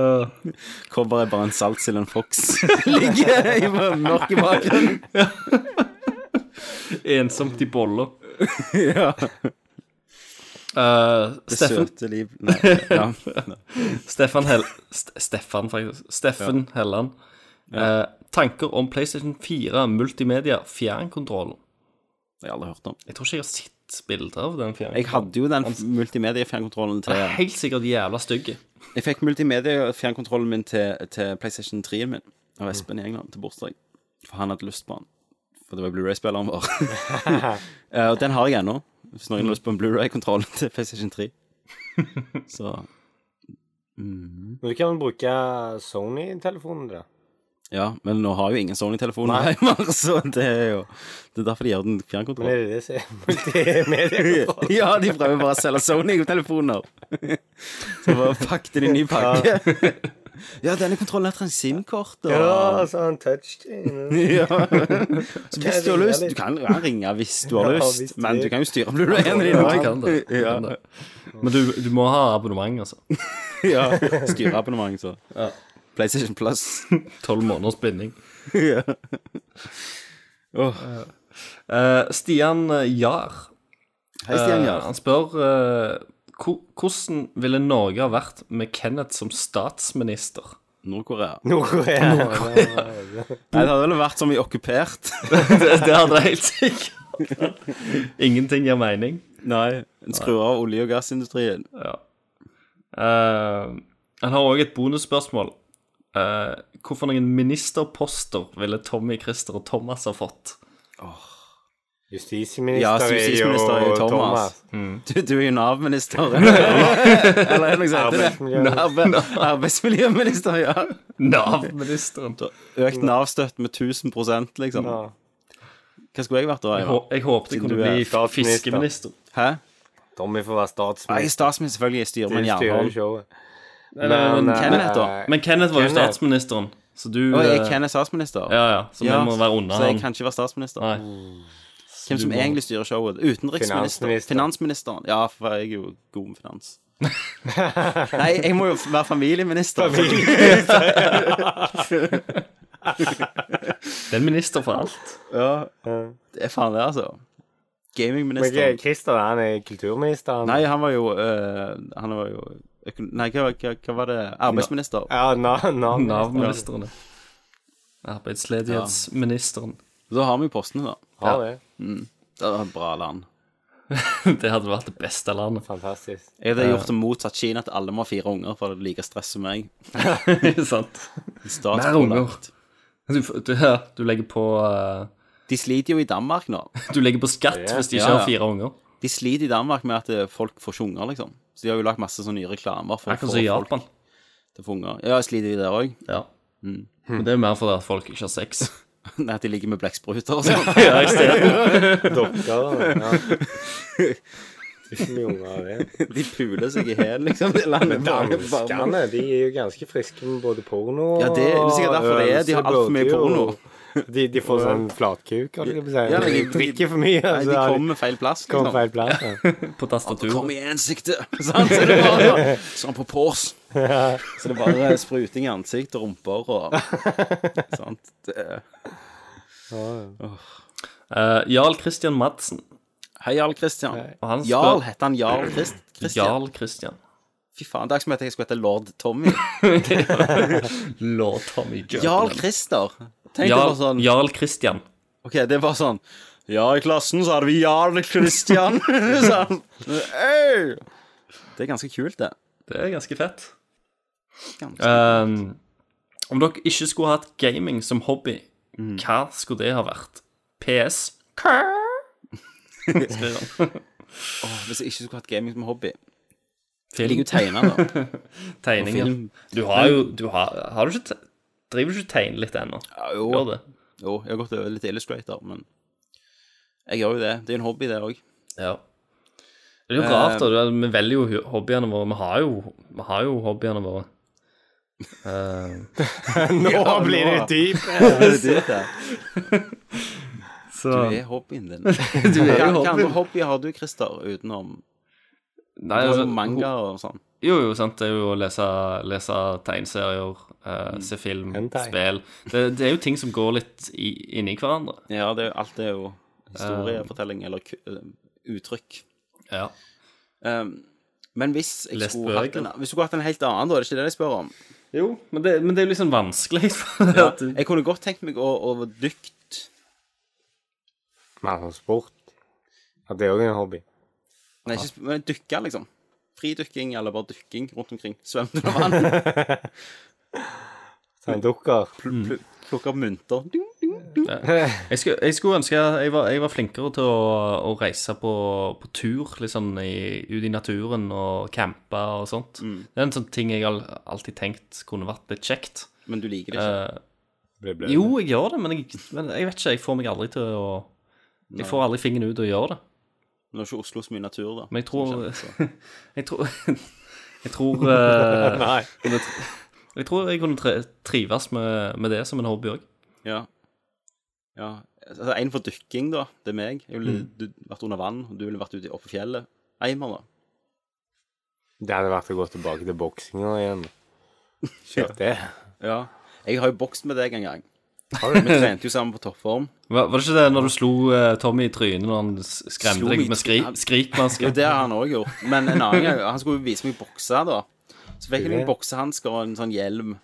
H: Eh,
G: Cover er bare en saltsild og en fox. Ligger i mørke bakgrunnen.
H: ensomt i bolla.
G: Ja.
H: Eh,
G: Det
H: Steffen,
G: søte liv Nei, ja.
H: Stefan Hell... St Stefan, faktisk. Steffen Helland. Eh, tanker om PlayStation 4 multimedia fjernkontrollen.
G: Det har jeg aldri hørt om.
H: Jeg tror ikke jeg har sett bilder av den
G: Jeg
H: fjernkontrollen.
G: hadde jo den multimedia-fjernkontrollen
H: Den er
G: til
H: helt sikkert jævla stygg.
G: Jeg fikk multimedia-fjernkontrollen min til, til PlayStation 3-en min av Espen i England til bursdag. For han hadde lyst på den. For det var Blu-ray-spilleren vår. Eh, Og den har jeg ennå. Hvis noen har lyst på en Blu-ray-kontroll til PlayStation 3. Så
F: Men du kan vel bruke Sony-telefonen, da?
G: ja, men nå har jo ingen Sony-telefoner hjemme, så det er jo Det er derfor de gjør den fjernkontrollen.
F: Men er det det som er multimediekontroll?
G: Ja, de prøver bare å selge Sony-telefoner. Så bare pakk det inn i en ny pakke. Ja, denne kontrollen er fra en SIM-kort. Og...
F: Ja, sånn touchscreen.
G: Ja. Så hvis du har
F: ringe
G: lyst
F: litt?
G: Du kan ja, ringe hvis du har
F: Ja,
G: lyst,
F: hvis du
G: men
F: vil.
G: du kan jo styre Blu-rayen din
H: Du kan det.
G: òg.
H: Du
G: Ja,
H: kan det. Men du, du må ha abonnement, altså.
G: ja. Styreabonnement, så. PlayStation Plus.
H: Tolv måneders binding.
G: Ja. Åh.
H: Eh, Stian Jahr
G: Hei, Stian
H: Eh,
G: Gjerd.
H: han spør eh, ko- hvordan ville Norge ha vært med Kenneth som statsminister?
G: Nord-Korea.
F: Nord-Korea.
G: Nei, det hadde vel vært som vi okkupert.
H: det, det hadde jeg helt sikkert. Ingenting gir mening.
G: Nei. Skru av olje- og gassindustrien.
H: Eh, han har òg et bonusspørsmål. Uh, hvorfor noen ministerposter ville Tommy, Christer og Thomas ha fått?
F: Justisminister,
G: Ja, justisminister er jo Thomas. Du, du er jo Nav-minister. Eller er det noe sånt? det er det? Nav- Arbeidsmiljøminister, ja.
H: Nav-ministeren.
G: Økt Nav-støtten med 1000 liksom.
F: Ja.
G: Hva skulle jeg vært da?
H: Jeg,
G: Einar?
H: hå- jeg håpet jeg
G: Siden
H: kunne
G: du er
H: bli
F: statsminister.
H: fiskeminister.
G: Hæ?
F: Tommy får være
G: Ja, Jeg er
F: statsminister.
G: statsminister, selvfølgelig. Jeg styrer med en
F: Du styrer jo
G: jernhånd.
F: showet.
H: men
F: Men, eh,
G: Kenneth, da?
H: Men Kenneth var jo
F: Kenneth.
H: statsministeren, så du
G: Og jeg
H: eh,
G: Ken er statsminister.
H: Ja, ja, så vi
G: Ja,
H: må være unna
G: så jeg
H: han.
G: kan ikke være statsminister.
H: Nei.
G: Hvem som egentlig styrer showet? Utenriksminister?
F: Finansminister.
G: Finansministeren. Ja, for jeg er jo god med finans. Nei, jeg må jo være familieminister.
H: Det er en minister for alt.
G: Ja, det er faen det, altså.
F: Men ikke
G: Gamingministeren.
F: Christer, han er kulturministeren.
G: Nei, han var jo øh, Han var jo øko- Nei, hva, hva, hva var det? Arbeidsminister.
F: Ja, na- Nav.
H: Nav-ministeren. Arbeidsledighetsministeren.
G: Da har vi jo postene, da.
F: Ja, det.
G: Det var et bra land.
H: Det hadde vært det beste landet.
F: Fantastisk.
G: Jeg hadde gjort det motsatt Kina, at alle må ha fire unger for det er like stress som meg.
H: Sant? Mer
G: Statspålagt.
H: unger. Du, du, ja, du legger på eh,
G: De sliter jo i Danmark nå.
H: Du legger på skatt hvis de ikke
G: Ja, ja.
H: har fire unger.
G: De sliter i Danmark med at eh, folk får ikke unger, liksom. Så de har jo lagt masse sånne nye reklamer for å få
H: Akkurat som i
G: folk
H: Japan.
G: til å få unger. Ja, sliter de der òg?
H: Ja.
G: Hmm.
H: Men det er mer fordi at folk ikke har sex.
G: Nei, at de ligger med blekkspruter og sånn.
F: Dokker. Ja. Tusen mye unger av det.
G: De puler seg i hæl, liksom. De lander bare, bare
F: Danskene eh, de er jo ganske friske med både porno og
G: Ja, det er sikkert derfor det er. De har
F: øvelse,
G: alt for mye
F: bloddyr,
G: porno.
F: og De, de får sånn flatkuk, holdt jeg på å si.
G: Ja, men
F: de
G: de-
F: drikker for mye.
G: Nei, de
F: så har
G: kommer feil plass,
F: kommer
G: liksom.
F: feil plass. Ja.
H: På tastaturet.
G: Kom igjen, sikte! Sant? Så det er bare- Sånn på pors. Så det er bare spruting i ansikt og rumper og Sant. Det er-
H: Eh, Jarl Christian Madsen.
G: Hei, Jarl Christian.
H: Og han spør
G: Jarl heter han Jarl Christ Christian.
H: Jarl Christian.
G: Fy faen, det er ikke som om jeg skulle hete lord Tommy.
H: Lord Tommy Jørgen.
G: Jarl Christer. Tenk deg
H: Jarl,
G: bare sånn
H: Jarl Christian.
G: Ok, det var sånn Ja, i klassen så hadde vi Jarl Christian. sånn. Øy! Det er ganske kult, det.
H: Det er ganske fett.
G: Ganske.
H: Ehm, om dere ikke skulle hatt gaming som hobby,
G: Hmm.
H: hva skulle det ha vært? PS. Skriver han.
G: Hvis jeg ikke skulle hatt gaming som hobby. Jeg
H: Film,
G: liker jo tegne, da.
H: tegninger.
G: film.
H: Du har jo du har, har du ikke, te- Driver du ikke og tegner litt ennå?
G: Ja, jo.
H: Gjør det.
G: jo, jeg har gått over litt til Illustrator, men jeg gjør jo det. Det er jo en hobby, det òg.
H: Ja. Det er jo rart, da. Du er- Vi velger jo hu- hobbyene våre. Vi har jo, vi har jo hobbyene våre. Eh,
F: Nå blir det
G: nå.
F: dyp!
G: Du
H: Så
G: er hobbyen din. Du er jo Hva andre hobby har du, Christer, utenom
H: Nei,
G: du har jo
H: altså,
G: manga og sånn?
H: Jo, jo, sant. Det er jo å lese, lese tegneserier, eh,
G: Mm.
H: se film,
F: Hentai.
H: spill. Det, det er jo ting som går litt i, inni hverandre.
G: Ja, det er, jo- alt er jo
H: Eh,
G: historiefortelling eller ku- eh, uttrykk.
H: Ja.
G: Um, men hvis jeg
H: Les
G: skulle hatt
H: bøker.
G: en, hvis jeg skulle hatt en helt annen, da, er det ikke det jeg spør om?
H: Jo, men det, men det er jo litt sånn vanskelig.
G: Ja,
H: Ja.
G: jeg kunne godt tenkt meg å, å dykt
F: Mer sånn sport. Ja, det er òg en hobby.
G: Nei, ikke sp- men dykke, liksom. Fridykking eller bare dykking rundt omkring. Svømme under vann,
F: Sånn dukker.
G: plukke opp mynter. Ding, ding.
H: Jeg, skulle, jeg skulle ønske jeg var, jeg var flinkere til å, å reise på, på tur, litt sånn i, ut i naturen og campe og sånt.
G: Mm.
H: Det er en sånn ting jeg al- alltid tenkt kunne vært litt kjekt. Eh,
G: Men du liker det ikke.
H: Jo, jeg gjør det, men jeg, men jeg vet ikke. Jeg får meg aldri til å Jeg får aldri fingeren ut og gjør det.
G: Nå er ikke Oslo så mye natur, da.
H: Men jeg tror
G: Som kjent,
H: Jeg tror Jeg tror eh,
F: Nei.
H: Jeg tror jeg kunne tre- trives med, med det som en hobby òg.
G: så- Ja. ja. Altså, en for dykking, da. Det er meg. Jeg ville
H: Mm.
G: du, vært under vann, og du ville vært ute oppe på fjellet. Eimer, da.
F: Det hadde vært å gå tilbake til boksinga igjen. Kjørt det.
G: Ja. Jeg har jo bokst med deg en gang. Vi trente jo sammen på toppform.
H: Var, var det ikke det når du slo eh, Tommy i trynet når han s- skremte
G: Slo
H: deg
G: i
H: med skri,
G: trynet? Jo,
H: skrikmaske?
G: det har han òg gjort. Men en annen gang Han skulle jo vise meg bokse, da. Så fikk jeg noen boksehansker og en sånn hjelm.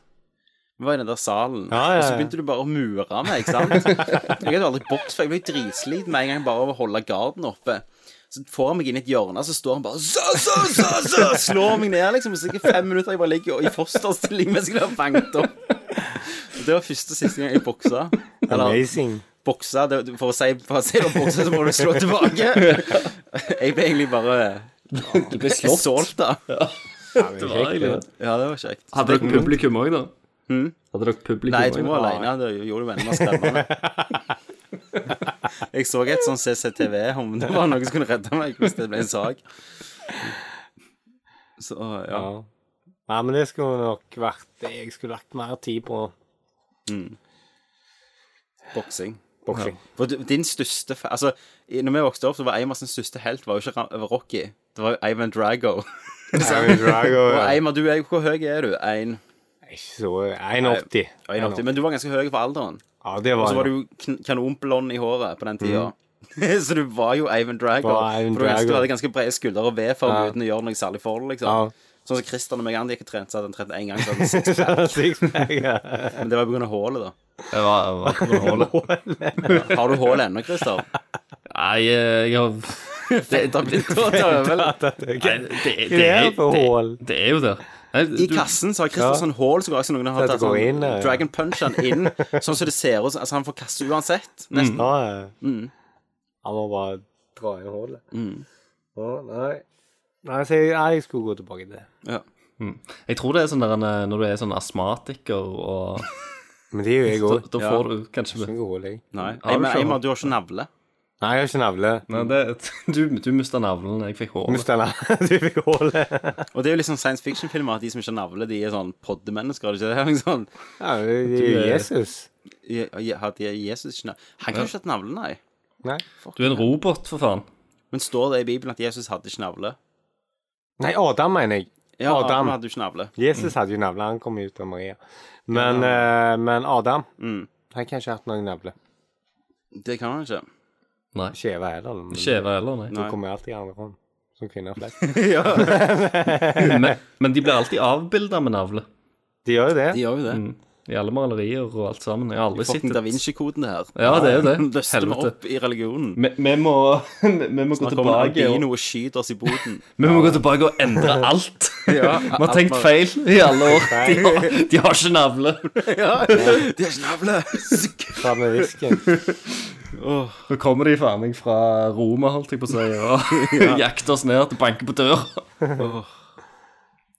G: Vi var i den der salen,
F: Ja, ja,
G: og så
F: ja.
G: begynte du bare å mure meg, ikke sant? Jeg hadde aldri bokst, for jeg ble dritsliten med en gang bare av å holde garden oppe. Så får han meg inn i et hjørne, så står han bare så, så, så, så, Slår meg ned, liksom. Og så sikkert fem minutter jeg bare ligger i fosterstilling mens jeg blir fanget opp. Og Det var første og siste gang jeg boksa. Eller
F: Amazing.
G: bokse. det- For å si, for å si det om bokse, så må du slå tilbake. Jeg ble egentlig bare
H: Du ble
G: jeg solgt, da.
H: Det var egentlig det.
G: Ja, det var kjekt.
H: Hadde dere Hm? publikum òg, da? Hadde dere publikum
G: Nei, jeg tror
H: også,
G: jeg
H: da?
G: var alene. Det gjorde jo enda mer skremmende. Jeg så et sånn CCTV om det var noen som kunne redde meg hvis det ble en sak. Så ja.
F: Ja. Nei, men det skulle nok vært det jeg skulle lagt mer tid på.
G: Boksing.
F: Boksing.
G: For du- din største fa- Altså, i- når vi vokste opp, så var Eimar sin største helt var jo ikke Ra- var Rocky. Det var jo Ivan Drago.
F: Aaron Drago.
G: Og
F: ja.
G: Eimer, du er jo Hvor høy er du? Ein-
F: Ikke så 1,80.
G: 1,80. Men du var ganske høy for alderen.
F: Ja, det
G: Og
F: var
G: så var
F: han.
G: du kn- kanonblond i håret på den tida. så du var jo Ivan Drago.
F: Var Ivan
G: for du, husker
F: Drago.
G: du hadde ganske brede skuldre og V-form
F: Ja.
G: uten å gjøre noe særlig for det. liksom.
F: Ja.
G: Sånn som Christian og meg andre gikk og trente, så hadde han trent én gang. Så hadde han seks.
F: Sixpack, ja.
G: Men det var pga. hullet, da.
H: Jeg var, jeg var på noe hålet.
G: Har du hull ennå, Christer?
H: Nei, jeg har
G: Det har blitt å ta over.
H: Nei, det, det,
F: Hva er
H: er,
F: det for
H: det,
F: hull?
H: det er jo der. Nei,
G: I
H: du-
G: kassen så har Christer
F: Ja.
G: sånn hull som går som noen har
F: Så det
G: tatt
F: går
G: sånn
F: inn, ja.
G: Dragon Punch han inn, sånn som det ser ut som. Altså, han får kasse uansett. Nesten.
F: Ja, ja.
G: Mm.
F: Han må bare dra inn hullet. Å, nei. Nei, så jeg, nei, jeg skulle gå tilbake til det.
G: Ja.
H: Jeg tror det er sånn der en- når du er sånn astmatiker og
F: Men det er jo jeg
H: Da,
F: òg.
H: da får du kanskje
F: Ikke hull, jeg.
G: Nei.
H: Har du
G: Eimer,
H: ikke
G: Eimer, du har ikke navle.
F: Nei, jeg har ikke navle.
H: Nei, det, du, du mista navlen, jeg fikk håret.
F: Mista navlen. Du fikk hullet.
G: Og det er jo liksom science fiction-filmer at de som ikke har navle, de er sånn poddemennesker. Er det ikke det? Liksom.
F: Ja, det er jo Jesus.
G: Je- je- Hadde Jesus ikke navle? Han kan jo ikke ha hatt navle, nei.
F: Nei.
H: Du er en robot, for faen.
G: Men står det i Bibelen at Jesus hadde ikke navle?
F: Nei, Adam, mener jeg.
G: Ja,
F: Adam.
G: Adam hadde jo ikke navle.
F: Jesus hadde jo navle. Han kom jo ut av Maria. Men, eh, men Adam Han kan ikke ha hatt noen navle.
G: Det kan han ikke.
H: Nei.
F: Skjeve heller. Men
H: Skjeve heller, nei.
F: Du kommer alltid i andre hånd. Som kvinner flest.
H: Men, men de blir alltid avbilda med navle.
F: De gjør jo det.
G: De gjør jo det.
H: I alle malerier og alt sammen. Jeg har aldri sett
G: Fucking Da
H: et
G: Vinci-koden, det her.
H: Ja, det er jo det.
G: Løster vi
H: Helvete.
G: opp i religionen.
H: Vi, vi må, vi må gå
G: Nå kommer
H: tilbake og,
G: Albino og skyter oss i boden.
H: vi må gå tilbake og endre alt.
G: Ja,
H: Vi har tenkt feil i alle år. De har, de har ikke navle.
G: De har ikke navle!
F: Fram med visken.
H: Nå kommer de faen meg fra Roma, holdt jeg på å si, og jakter oss ned til banker på døra.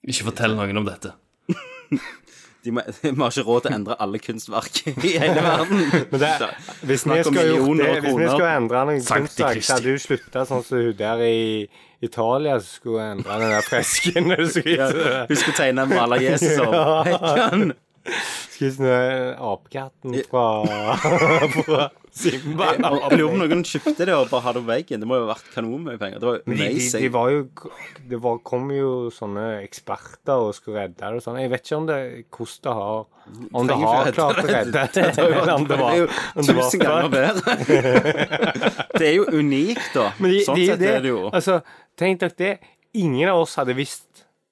H: Ikke fortell noen om dette.
G: De må, vi har ikke råd til å endre alle kunstverk i hele verden.
F: Men det, hvis vi
G: Snakk om
F: skal ha gjort det,
G: millioner
F: hvis vi
G: kroner.
F: skulle endre noen
H: Sankti
F: kunstverk, så
H: Kristi.
F: hadde du slutta sånn som hun der i Italia som skulle endre den der fresken. Hun skulle
G: Husk å tegne en maler Jesus om. Hekkan!
F: skulle sånn apekatten fra, fra Simba.
G: Jeg lurer på om noen kjøpte det og bare hadde på veggen. Det må jo ha vært kanonmye penger. Det var jo
F: Men De, de,
G: amazing.
F: de var jo Det var, kom jo sånne eksperter og skulle redde det og sånn. Jeg vet ikke om det hvordan det har Om det
G: Trenger
F: har
G: ikke
F: klart å redde det, eller om
G: Det
F: det
G: er
F: var
G: jo
F: om det var
G: tusen ganger bedre. Det er jo unikt, da.
F: Men de,
G: sånn
F: de,
G: sett
F: det,
G: er det jo.
F: Altså, tenk dere det. Ingen av oss hadde visst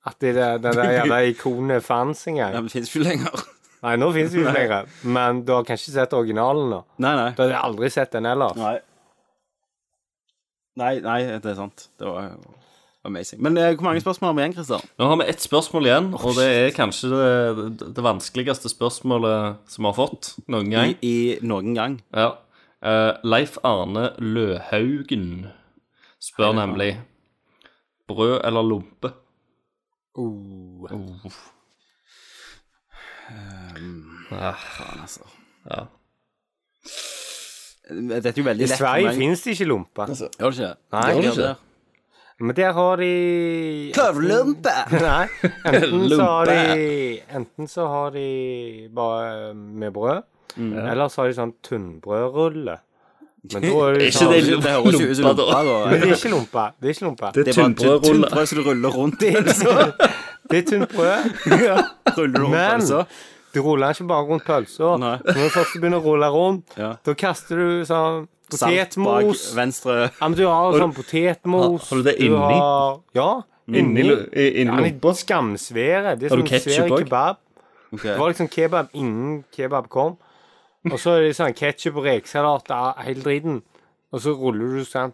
F: at det, der- det der jævla ikonet fantes
G: Ja,
F: engang.
G: men det finnes ikke lenger.
F: Nei, nå finnes det jo flere, men du har kanskje sett originalen nå.
G: Nei,
F: Du
G: nei.
F: hadde aldri sett den ellers.
G: Nei, nei, nei det er sant. Det var jo amazing. Men eh, hvor mange spørsmål har vi igjen, Christer?
H: Nå har vi ett spørsmål igjen, og det er kanskje det, det vanskeligste spørsmålet som vi har fått noen gang.
G: I, I noen gang.
H: Ja. Eh, Leif Arne Løhaugen spør nemlig Brød eller lompe? Oh. Ehm, Ah. altså.
G: Dette er jo veldig
F: I
G: lett
F: Sverige finnes det ikke lompe.
G: Gjør det ikke?
F: Nei.
G: Gjør det
H: Gjør det
G: ikke?
H: ikke?
F: Men der har de
G: Kløvlumpe!
F: Nei. Enten så har
G: Lumpe.
F: de Enten så har de bare um, med brød, eller så har de sånn tunnbrødrulle. Men da er det
H: Ikke
F: sånn
H: det
F: Men
G: Det høres jo ut som
H: Lumpa, da.
G: lumpa, da.
F: det er ikke lompe. Det er ikke lompe.
H: Det
G: Det er bare et
H: er
G: tynt
H: tynnbrødrulle.
G: brød som du ruller rundt i. Så
F: Det er tynt brød.
G: ruller du rundt
F: Men-
G: altså.
F: Du ruller ikke bare rundt pølsa.
G: Nei.
F: Når du først begynner å rulle rundt,
G: Ja.
F: da kaster du sånn
G: Salt bak
F: potetmos.
G: venstre.
F: Ja, men du har sånn potetmos.
H: Har- har du det inni?
F: Har, ja.
H: Inni lu- i- inni
F: Ja, men
H: lompa?
F: Skamsvære. Det
H: Har
F: er
H: du
F: sånn
H: ketchup
F: svær
H: også?
F: kebab.
G: Okay.
F: Det var liksom kebab innen kebab kom. Og så er det sånn ketsjup og rekesalat av hele driten. Og så ruller du sånn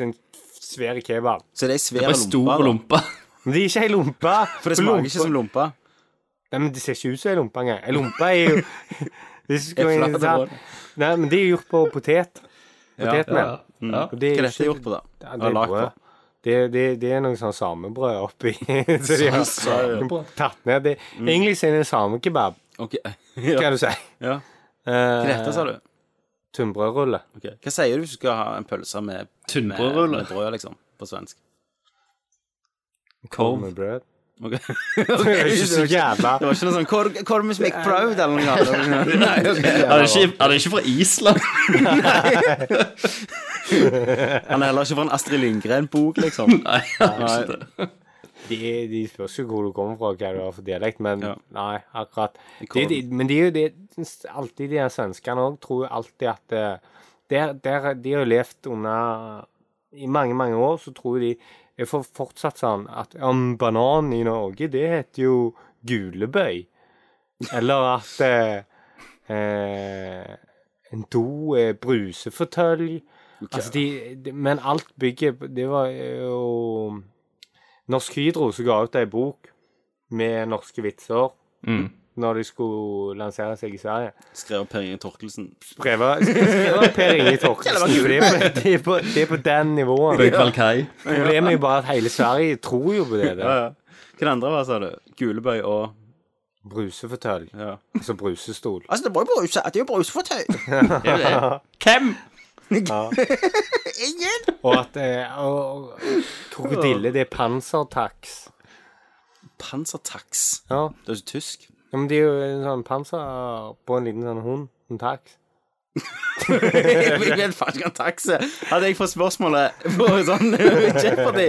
F: den svære kebab.
G: Så det er svær
H: Det er
G: lumpa,
H: stor
G: da.
H: lompe.
F: Men det er ikke ei lompe.
G: For det smaker ikke som lumpa.
F: Nei, men det ser ikke ut som ei lompe engang. Ei lompe er jo Det
G: Er
F: skal være
G: flate brød.
F: interessant. sånn- Nei, men det er gjort på potet. Potetmel.
G: Mm. Hva
F: Og det
G: er
F: er
G: dette
F: ikke
G: gjort på, da?
F: Ja, det er brød. Det, det, det er noe sånn samebrød oppi. Så de har tatt ned det. Egentlig så er det en samekebab,
G: Ok. Mm. Ja.
F: kan du si.
G: Ja. Hva er
F: Eh,
G: dette, sa du?
F: Tunnbrødrulle.
G: Ok. Hva sier du hvis du skal ha en pølse med, med,
H: Tunnbrødrulle.
G: med brød, liksom? På svensk.
H: Korv.
F: Med brød.
G: Ok.
F: Det er ikke så jævla
G: Det var ikke noe sånn Korv korv med smekk proud eller noe annet? Nei, ok.
H: Er det ikke, er det ikke fra Island?
G: Han er heller ikke fra en Astrid Lindgren-bok, liksom.
H: Nei, det er ikke det.
F: De, de spørs jo hvor du kommer fra, og hva du har for dialekt, men
G: Ja.
F: nei, akkurat. De,
G: kommer-
F: de, men de er jo det syns alltid de her svenskene òg tror jo alltid at eh, der, der, De har jo levd under I mange, mange år, så tror de Jeg får fortsatt sånn at om banan i Norge, det heter jo gulebøy. Eller at eh, eh, en do er brusefortølj. Altså, de, de, men alt bygget Det var jo Norsk Hydro som ga ut ei bok med norske vitser
G: Mm.
F: når de skulle lansere seg i Sverige.
G: Skrev Per Inge Torkelsen.
F: Prøve skrive Per Inge Torkelsen. Det er på, det er på, det er på den nivået.
H: Balkai.
F: Problemet er jo bare at hele Sverige tror jo på det.
G: Ja,
F: der.
G: ja. Hva det andre var, sa du? Gulebøy og
F: Brusefortølj.
G: ja.
F: Altså brusestol.
G: Altså, det var jo bruse. Det er jo brusefortøy.
F: Og at eh, og, og, Krokodille, det er pansertax.
G: Pansertax.
F: Ja.
G: Det er jo tysk.
F: Ja, men det er jo en sånn panser på en liten sånn hund. En tax.
G: Jeg vet faen ikke hva en tax er. Hadde jeg fått spørsmålet på sånn Jeopardy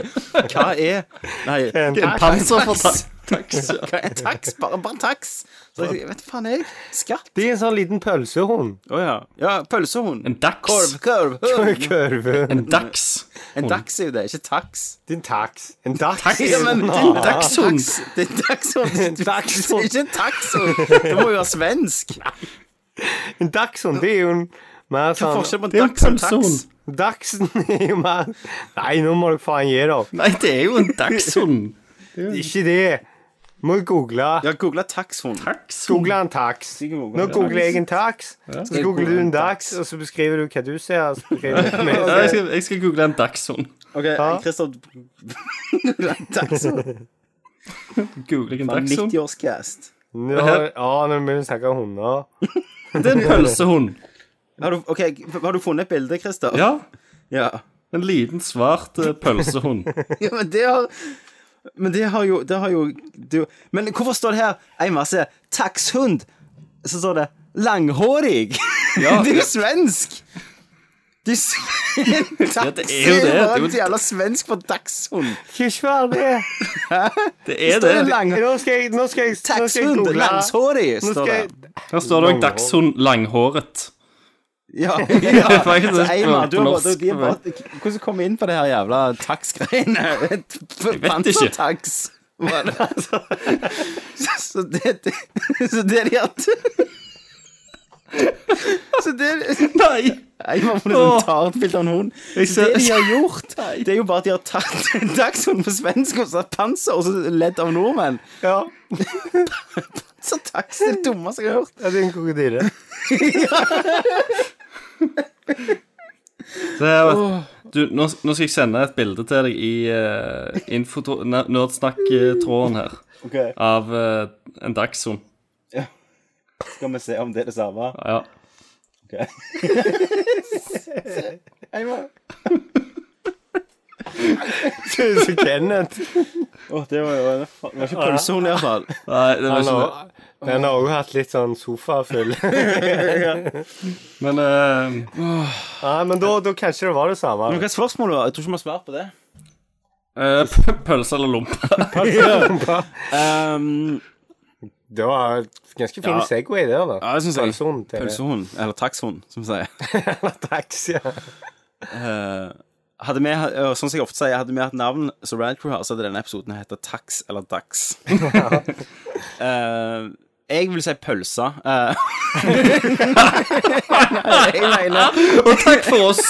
G: Hva er Nei,
F: En tax.
G: panser for tax? Hva er en tax? Bare, bare en tax? Så jeg vet faen jeg. Skatt?
F: Det er en sånn liten pølsehund.
G: Å ja. Ja, pølsehund.
H: En dax.
G: Korv, korv. korv.
F: Kurve.
H: En dax.
G: En dax er jo det, ikke tax.
F: Din tax. En dax.
G: Ja, men det er en dagshund. Det er en dagshund.
F: En dagshund.
G: Ikke en taxhund. Det må jo være svensk.
F: En dachshund, det er jo en
G: Hva
F: mer
G: er
F: sånn
G: forskjellen på
H: Det er jo
G: en
H: en
G: dachshund og
H: pølsehund.
G: tax?
F: Dachsen er jo mer Nei, nå må dere faen gi dere.
H: Nei, det er jo en dagshund.
F: Ikke det. Må jo google.
G: Jeg har googla taxhund.
F: Google en tax. Nå googler jeg en tax, så googler du en dax, og så beskriver du hva du ser. og så beskriver du hva
H: Ja, jeg,
F: jeg ser.
H: skal, jeg skal google en dagshund.
G: Ok, Christer Dagshund.
H: Google en dagshund.
G: 90-årscast.
F: Nå, ja, nå begynner vi å snakke om hunder.
H: Det er en pølsehund.
G: Har, du- ok, har du funnet et bilde, Christer?
H: Ja.
G: ja.
H: En liten, svart eh, pølsehund.
G: Ja, men det har Men det har jo, det har jo det, Men hvorfor står det her en masse taxhund? Så står det langhårig. det er jo svensk! Det er, s-
H: Ja, det er jo det. Det er jo-
G: bare jævla svensk for dagshund.
F: Hva svar det er?
H: Det
G: Det
H: er det.
G: er lang,
F: Nå skal jeg, nå skal jeg, nå skal jeg
G: taxhund.
F: google.
G: Langhårig,
F: Nå
G: står
F: skal
G: det.
F: jeg,
H: Her står det òg dagshund langhåret.
G: Ja.
H: er faktisk
G: Så Eimar,
H: på
G: du har bare-
H: norsk.
G: de har bare- Hvordan kom vi inn på det her jævla tax-greiene? Pansertax. var det, altså. Så så det, det Så det er de at Så det Nei! liksom Eimar får
H: Åh.
G: et tartbilde av en hund. Så
H: ser-
G: det de har gjort, det er jo bare at de har tatt en dagshund på svensk og satt panser, og så ledd av nordmenn.
F: ja,
G: Så tax er det dummeste jeg har hørt.
F: det er en krokodille.
H: Det er, jo et- du, nå, nå skal jeg sende et bilde til deg i uh, nerdsnakk-tråden her
G: Ok.
H: av eh, en dagshund.
G: Skal vi se om det er det samme?
H: Ja.
G: Eimar.
F: Så Kenneth.
G: Åh, det var jo det var ikke pølsehund i hvert fall.
H: Nei, det
F: Han
H: var ikke det.
F: har, den har også hatt litt sånn sofafull.
H: Men eh,
F: Nei, men da, da kanskje det var det samme.
G: Men hva er spørsmålet? var? Jeg tror ikke vi har svart på det.
H: eh, p- pølse eller lompe?
G: Um,
F: Det var en ganske fin Segway der, da.
G: ja, det synes jeg.
F: Pølsehund til
G: pølsehund, eller taxhund, som vi sier.
F: Tax, ja.
G: Eh, hadde vi, eh, sånn som jeg ofte sier, hadde vi hatt navn som Rad Crew har, så hadde denne episoden hett Tax eller Dax. Eh, jeg vil si pølse. eh. Nei, jeg mener
H: Og takk for oss!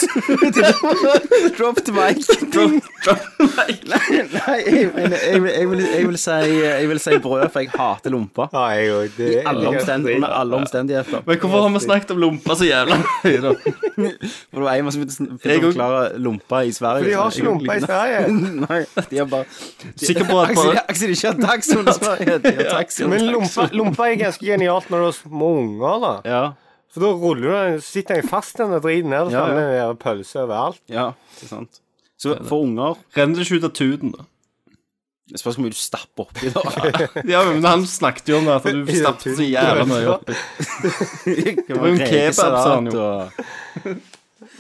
G: Drop the mic. Nei, nei, jeg, mener, jeg, vil- jeg, vil, jeg, vil si, jeg vil si brød, for jeg hater lomper.
F: Ja, jeg òg. Det er
G: Alle omstend, under alle omstendigheter.
H: Men hvorfor har vi snakket om lomper så jævla mye, da?
G: For det var en som begynte å
H: Jeg òg.
G: forklare lompa i Sverige.
F: De har ikke lompa i Sverige.
G: Nei, de har bare
H: Sikker på at
G: Aksel,
H: bare
G: Aksel ikke har dagshund i Sverige. De har taxi.
F: Men lompa, lompa er ganske genialt når du har små unger, da.
G: Ja,
F: For da ruller du den, sitter den fast, den der driten der.
G: Ja,
F: Ja,
G: ja.
F: ja. Pølse overalt.
G: ja, det er sant. Så for unger
H: renner det ikke ut av tuten, da?
G: Det spørs hvor mye du stapper oppi, da.
H: Ja, men Han snakket jo om at du stappet så jævla mye oppi.
G: Det
H: var jo en kebab, sa han jo.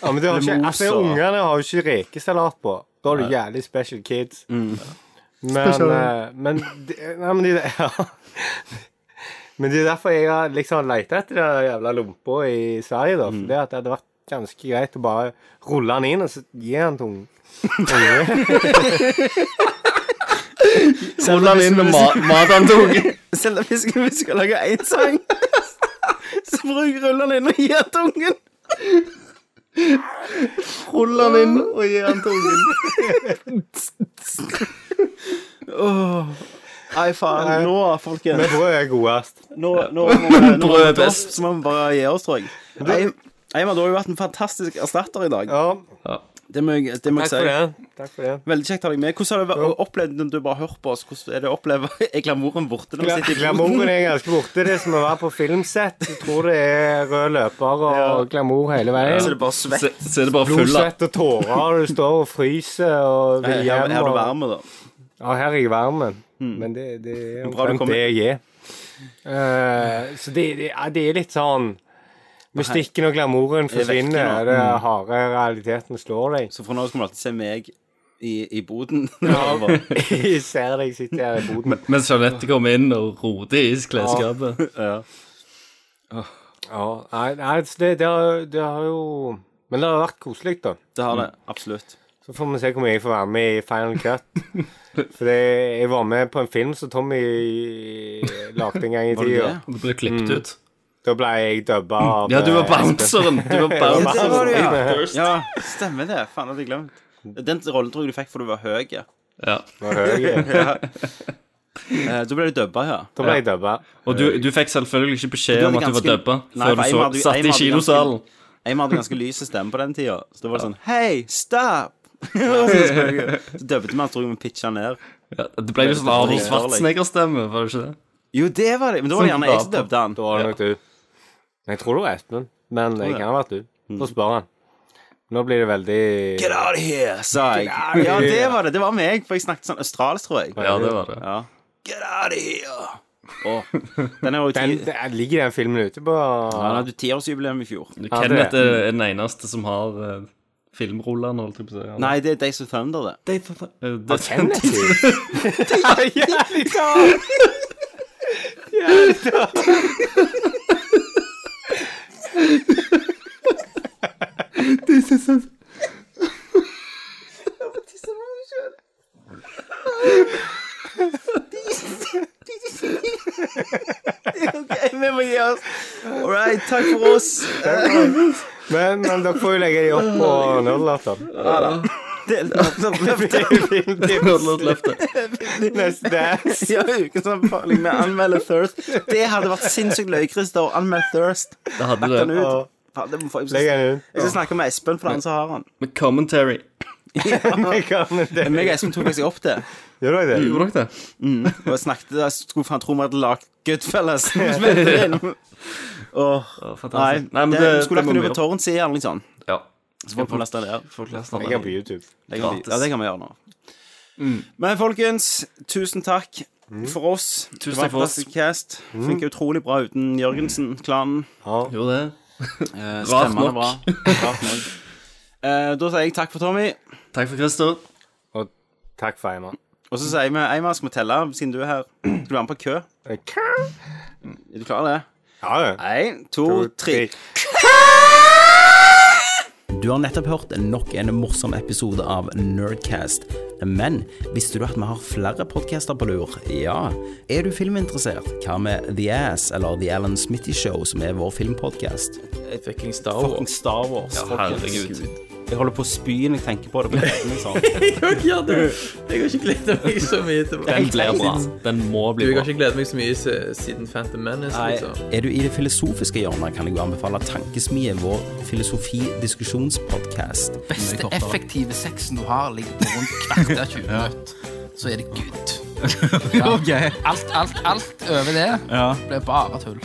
F: Ja, men det har
G: Eller
F: ikke,
G: mos
F: altså,
G: og- Mm.
F: Ungene har jo ikke rekesalat på. Da har du jævlig special kids. Men,
K: Special.
F: eh, men, det- nei, men, det, ja. men det er derfor jeg har liksom leita etter den jævla lompa i Sverige, da.
G: Mm.
F: For det at det hadde vært ganske greit å bare rulle den inn og så gi den til ung- unge.
A: Rulle den inn og ma- mat han tok.
G: Selv om vi skal, vi skal lage én sang, så bruk rullene inn og gi den til ungen.
A: Rull han inn og gi han til ungen.
G: Nei, faen. Nå, folkens.
F: Men brød er godest.
G: Nå, nå, må vi- nå
A: Brød er
G: er
A: best.
G: Så må vi bare gi oss, tror jeg. Nei, nei, men Du har jo vært en fantastisk erstatter i dag.
F: Ja,
G: Det må jeg, det må jeg
F: takk
G: si.
F: for det. Takk for det.
G: Veldig kjekt å ha deg med. Hvordan har det vært- opplevd når du bare har hørt på oss? Hvordan er det å oppleve Er glamouren borte når vi sitter i
F: Glamouren er ganske borte. Det er som å være på filmsett. Du tror det er rød løper og glamour hele veien.
G: Så er det bare svett.
H: Så, så er det bare
F: Blod,
H: full av
F: svett og tårer, og du står og fryser og vil
G: Her, her,
F: hjem.
G: her er du
F: og-
G: varme, da.
F: Ja, her er jeg varmen. Men det, det er
G: bra du
F: omtrent
G: kommer.
F: det jeg er. Eh, så det, det, ja, det er litt sånn Mystikken og glamouren
G: er Mm. vekk
F: forsvinner,
G: nå.
F: og den harde realiteten slår deg.
G: Så fra nå av så kommer du alltid se meg i, i boden. Ja.
F: Jeg ser deg sitte her i boden.
H: Mens Jeanette kommer inn og roter i klesskapet.
F: Ja, nei, nei så det, det, har, det har jo Men det har vært koselig, da.
G: Det har det. Absolutt.
F: Så får vi se hvor mye jeg får være med i Final Cut. For det, jeg var med på en film som Tommy lagde en gang i
G: det
F: tida.
G: det?
H: Og det blir klippet ut.
F: Da ble jeg dubba av
H: Ja, du var
F: eh,
H: bounceren. Du var bounceren.
G: var du, ja.
H: Burst.
G: Ja, stemmer det. Faen, hadde jeg glemt. Den rollen tror jeg du fikk fordi du var høy. Eh, ja.
H: Ja.
F: Espen Høie.
G: Eh, Da ble du dubba, ja.
F: Da ble jeg dubba.
H: Og du, du fikk selvfølgelig ikke beskjed
G: Du
H: om
G: hadde
H: at du var
G: ganske-
H: dubba
G: Nei,
H: før du
G: for jeg
H: så,
G: hadde- jeg
H: satt i
G: hadde
H: kinosalen.
G: Jeg hadde ganske lys stemme på den tida, så da var det sånn Hei, stop! så dubbet vi han, tror jeg vi pitcha ned.
H: Ja, det ble jo sånn Arnold Schwarzenegger-stemme, var det ikke det?
G: Jo, det var det. Men da var det gjerne jeg som dubbet han.
F: Da var det nok du. Men Jeg tror det var Espen, men det
G: ja.
F: kan ha vært du. Få spørre han. Nå blir det veldig
G: Get out of here, sa jeg. Ja, det var det. Det var meg, for jeg snakket sånn australsk, tror jeg.
H: Ja, det var det.
G: Ja. Get out of here! Åh, den er jo
F: den,
G: ti...
F: den, Ligger den filmen ute på
G: Han hadde jo tiårsjubileum i fjor.
H: Du,
F: Ja, det-
H: Kenneth er er den eneste som har uh, filmrullene, holdt jeg på å si.
G: Nei, det er Days of Thunder, det.
H: det, det, det,
F: Kenneth? Jævlig bra!
G: OK, vi må gi oss. All right, takk for oss.
F: Men, men dere får jo legge dem opp på Nerdlatter.
G: Del av
F: Neste Dance.
G: Ja, ukens anbefaling med anmelde Thirst. Det hadde vært sinnssykt løy, Christer. Anmeld Thirst.
H: det hadde
G: Den
H: det.
G: ut. Faen, det må få- Jeg
F: Legg
G: skal-
F: den ut.
G: jeg skal snakke med Espen, for han som har han.
H: Med commentary.
G: Meg og Espen tok faktisk opp det.
F: Gjør dere det?
H: Gjorde dere det?
G: Og snakket jeg Skulle faen tro vi hadde lagd Goodfellas. Som spilte inn. Åh,
H: Ja,
G: nei,
H: fantastisk.
G: nei,
H: Nei, men
G: det,
H: det,
G: vi skulle lagt
H: det
G: den ut
H: må
G: på
H: vi gjøre.
G: Torrent-sida eller noe sånt.
H: Ja.
G: Så folk får laste den ned. Folk laster
F: Legg den på YouTube.
G: Det kan,
H: Gratis. Mm.
G: ja, det kan vi gjøre nå. Men folkens, tusen takk for oss.
H: Tusen
G: det var
H: takk for oss.
G: fantastisk
H: Mm.
G: Cast. Funker utrolig bra uten Jørgensen-klanen.
H: Gjorde det.
G: Eh,
H: Rart
G: stemmen er
H: nok.
G: bra. Rart nok. Eh, da sier jeg takk for Tommy,
H: Takk for Christer.
F: Og takk for Eiman.
G: og så sier vi Eimar, skal vi telle, siden du er her? Skal du være med på kø? Er du klar til det?
F: Ja, ja.
G: Én, to, tre.
A: Du har nettopp hørt nok en morsom episode av Nerdcast. Men visste du at vi har flere podcaster på lur? Ja. Er du filminteressert? Hva med The Ass eller The Alan Smitty Show, som er vår filmpodcast?
E: Fucking Star
G: Fucking
E: Wars.
G: Star Wars.
H: Ja,
G: folkens.
H: herregud.
G: Jeg holder på å spy når jeg tenker på det.
E: Ja, det, jeg har ikke gledet meg så mye til
H: Den blir bra. Den må
E: Du,
H: bli
E: jeg
H: bra.
E: har ikke gledet meg så mye se- siden Phantom Menace,
G: Nei.
E: liksom.
A: Er du i det filosofiske hjørnet, kan jeg jo anbefale Tankesmie, vår filosofidiskusjonspodcast.
L: beste effektive sexen du har, ligger på rundt kvarter 20 minutter. Så er det good. Ja. Alt, alt, alt over det blir bare tull.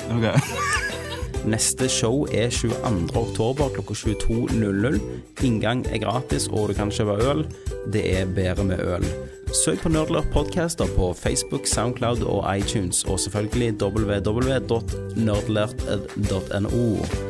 A: Neste show er 22. oktober klokka 22.00. Inngang er gratis, og du kan kjøpe øl. Det er bedre med øl. Søk på Nerdlurt podcaster på Facebook, Soundcloud og iTunes, og selvfølgelig www.nerdlurt.no.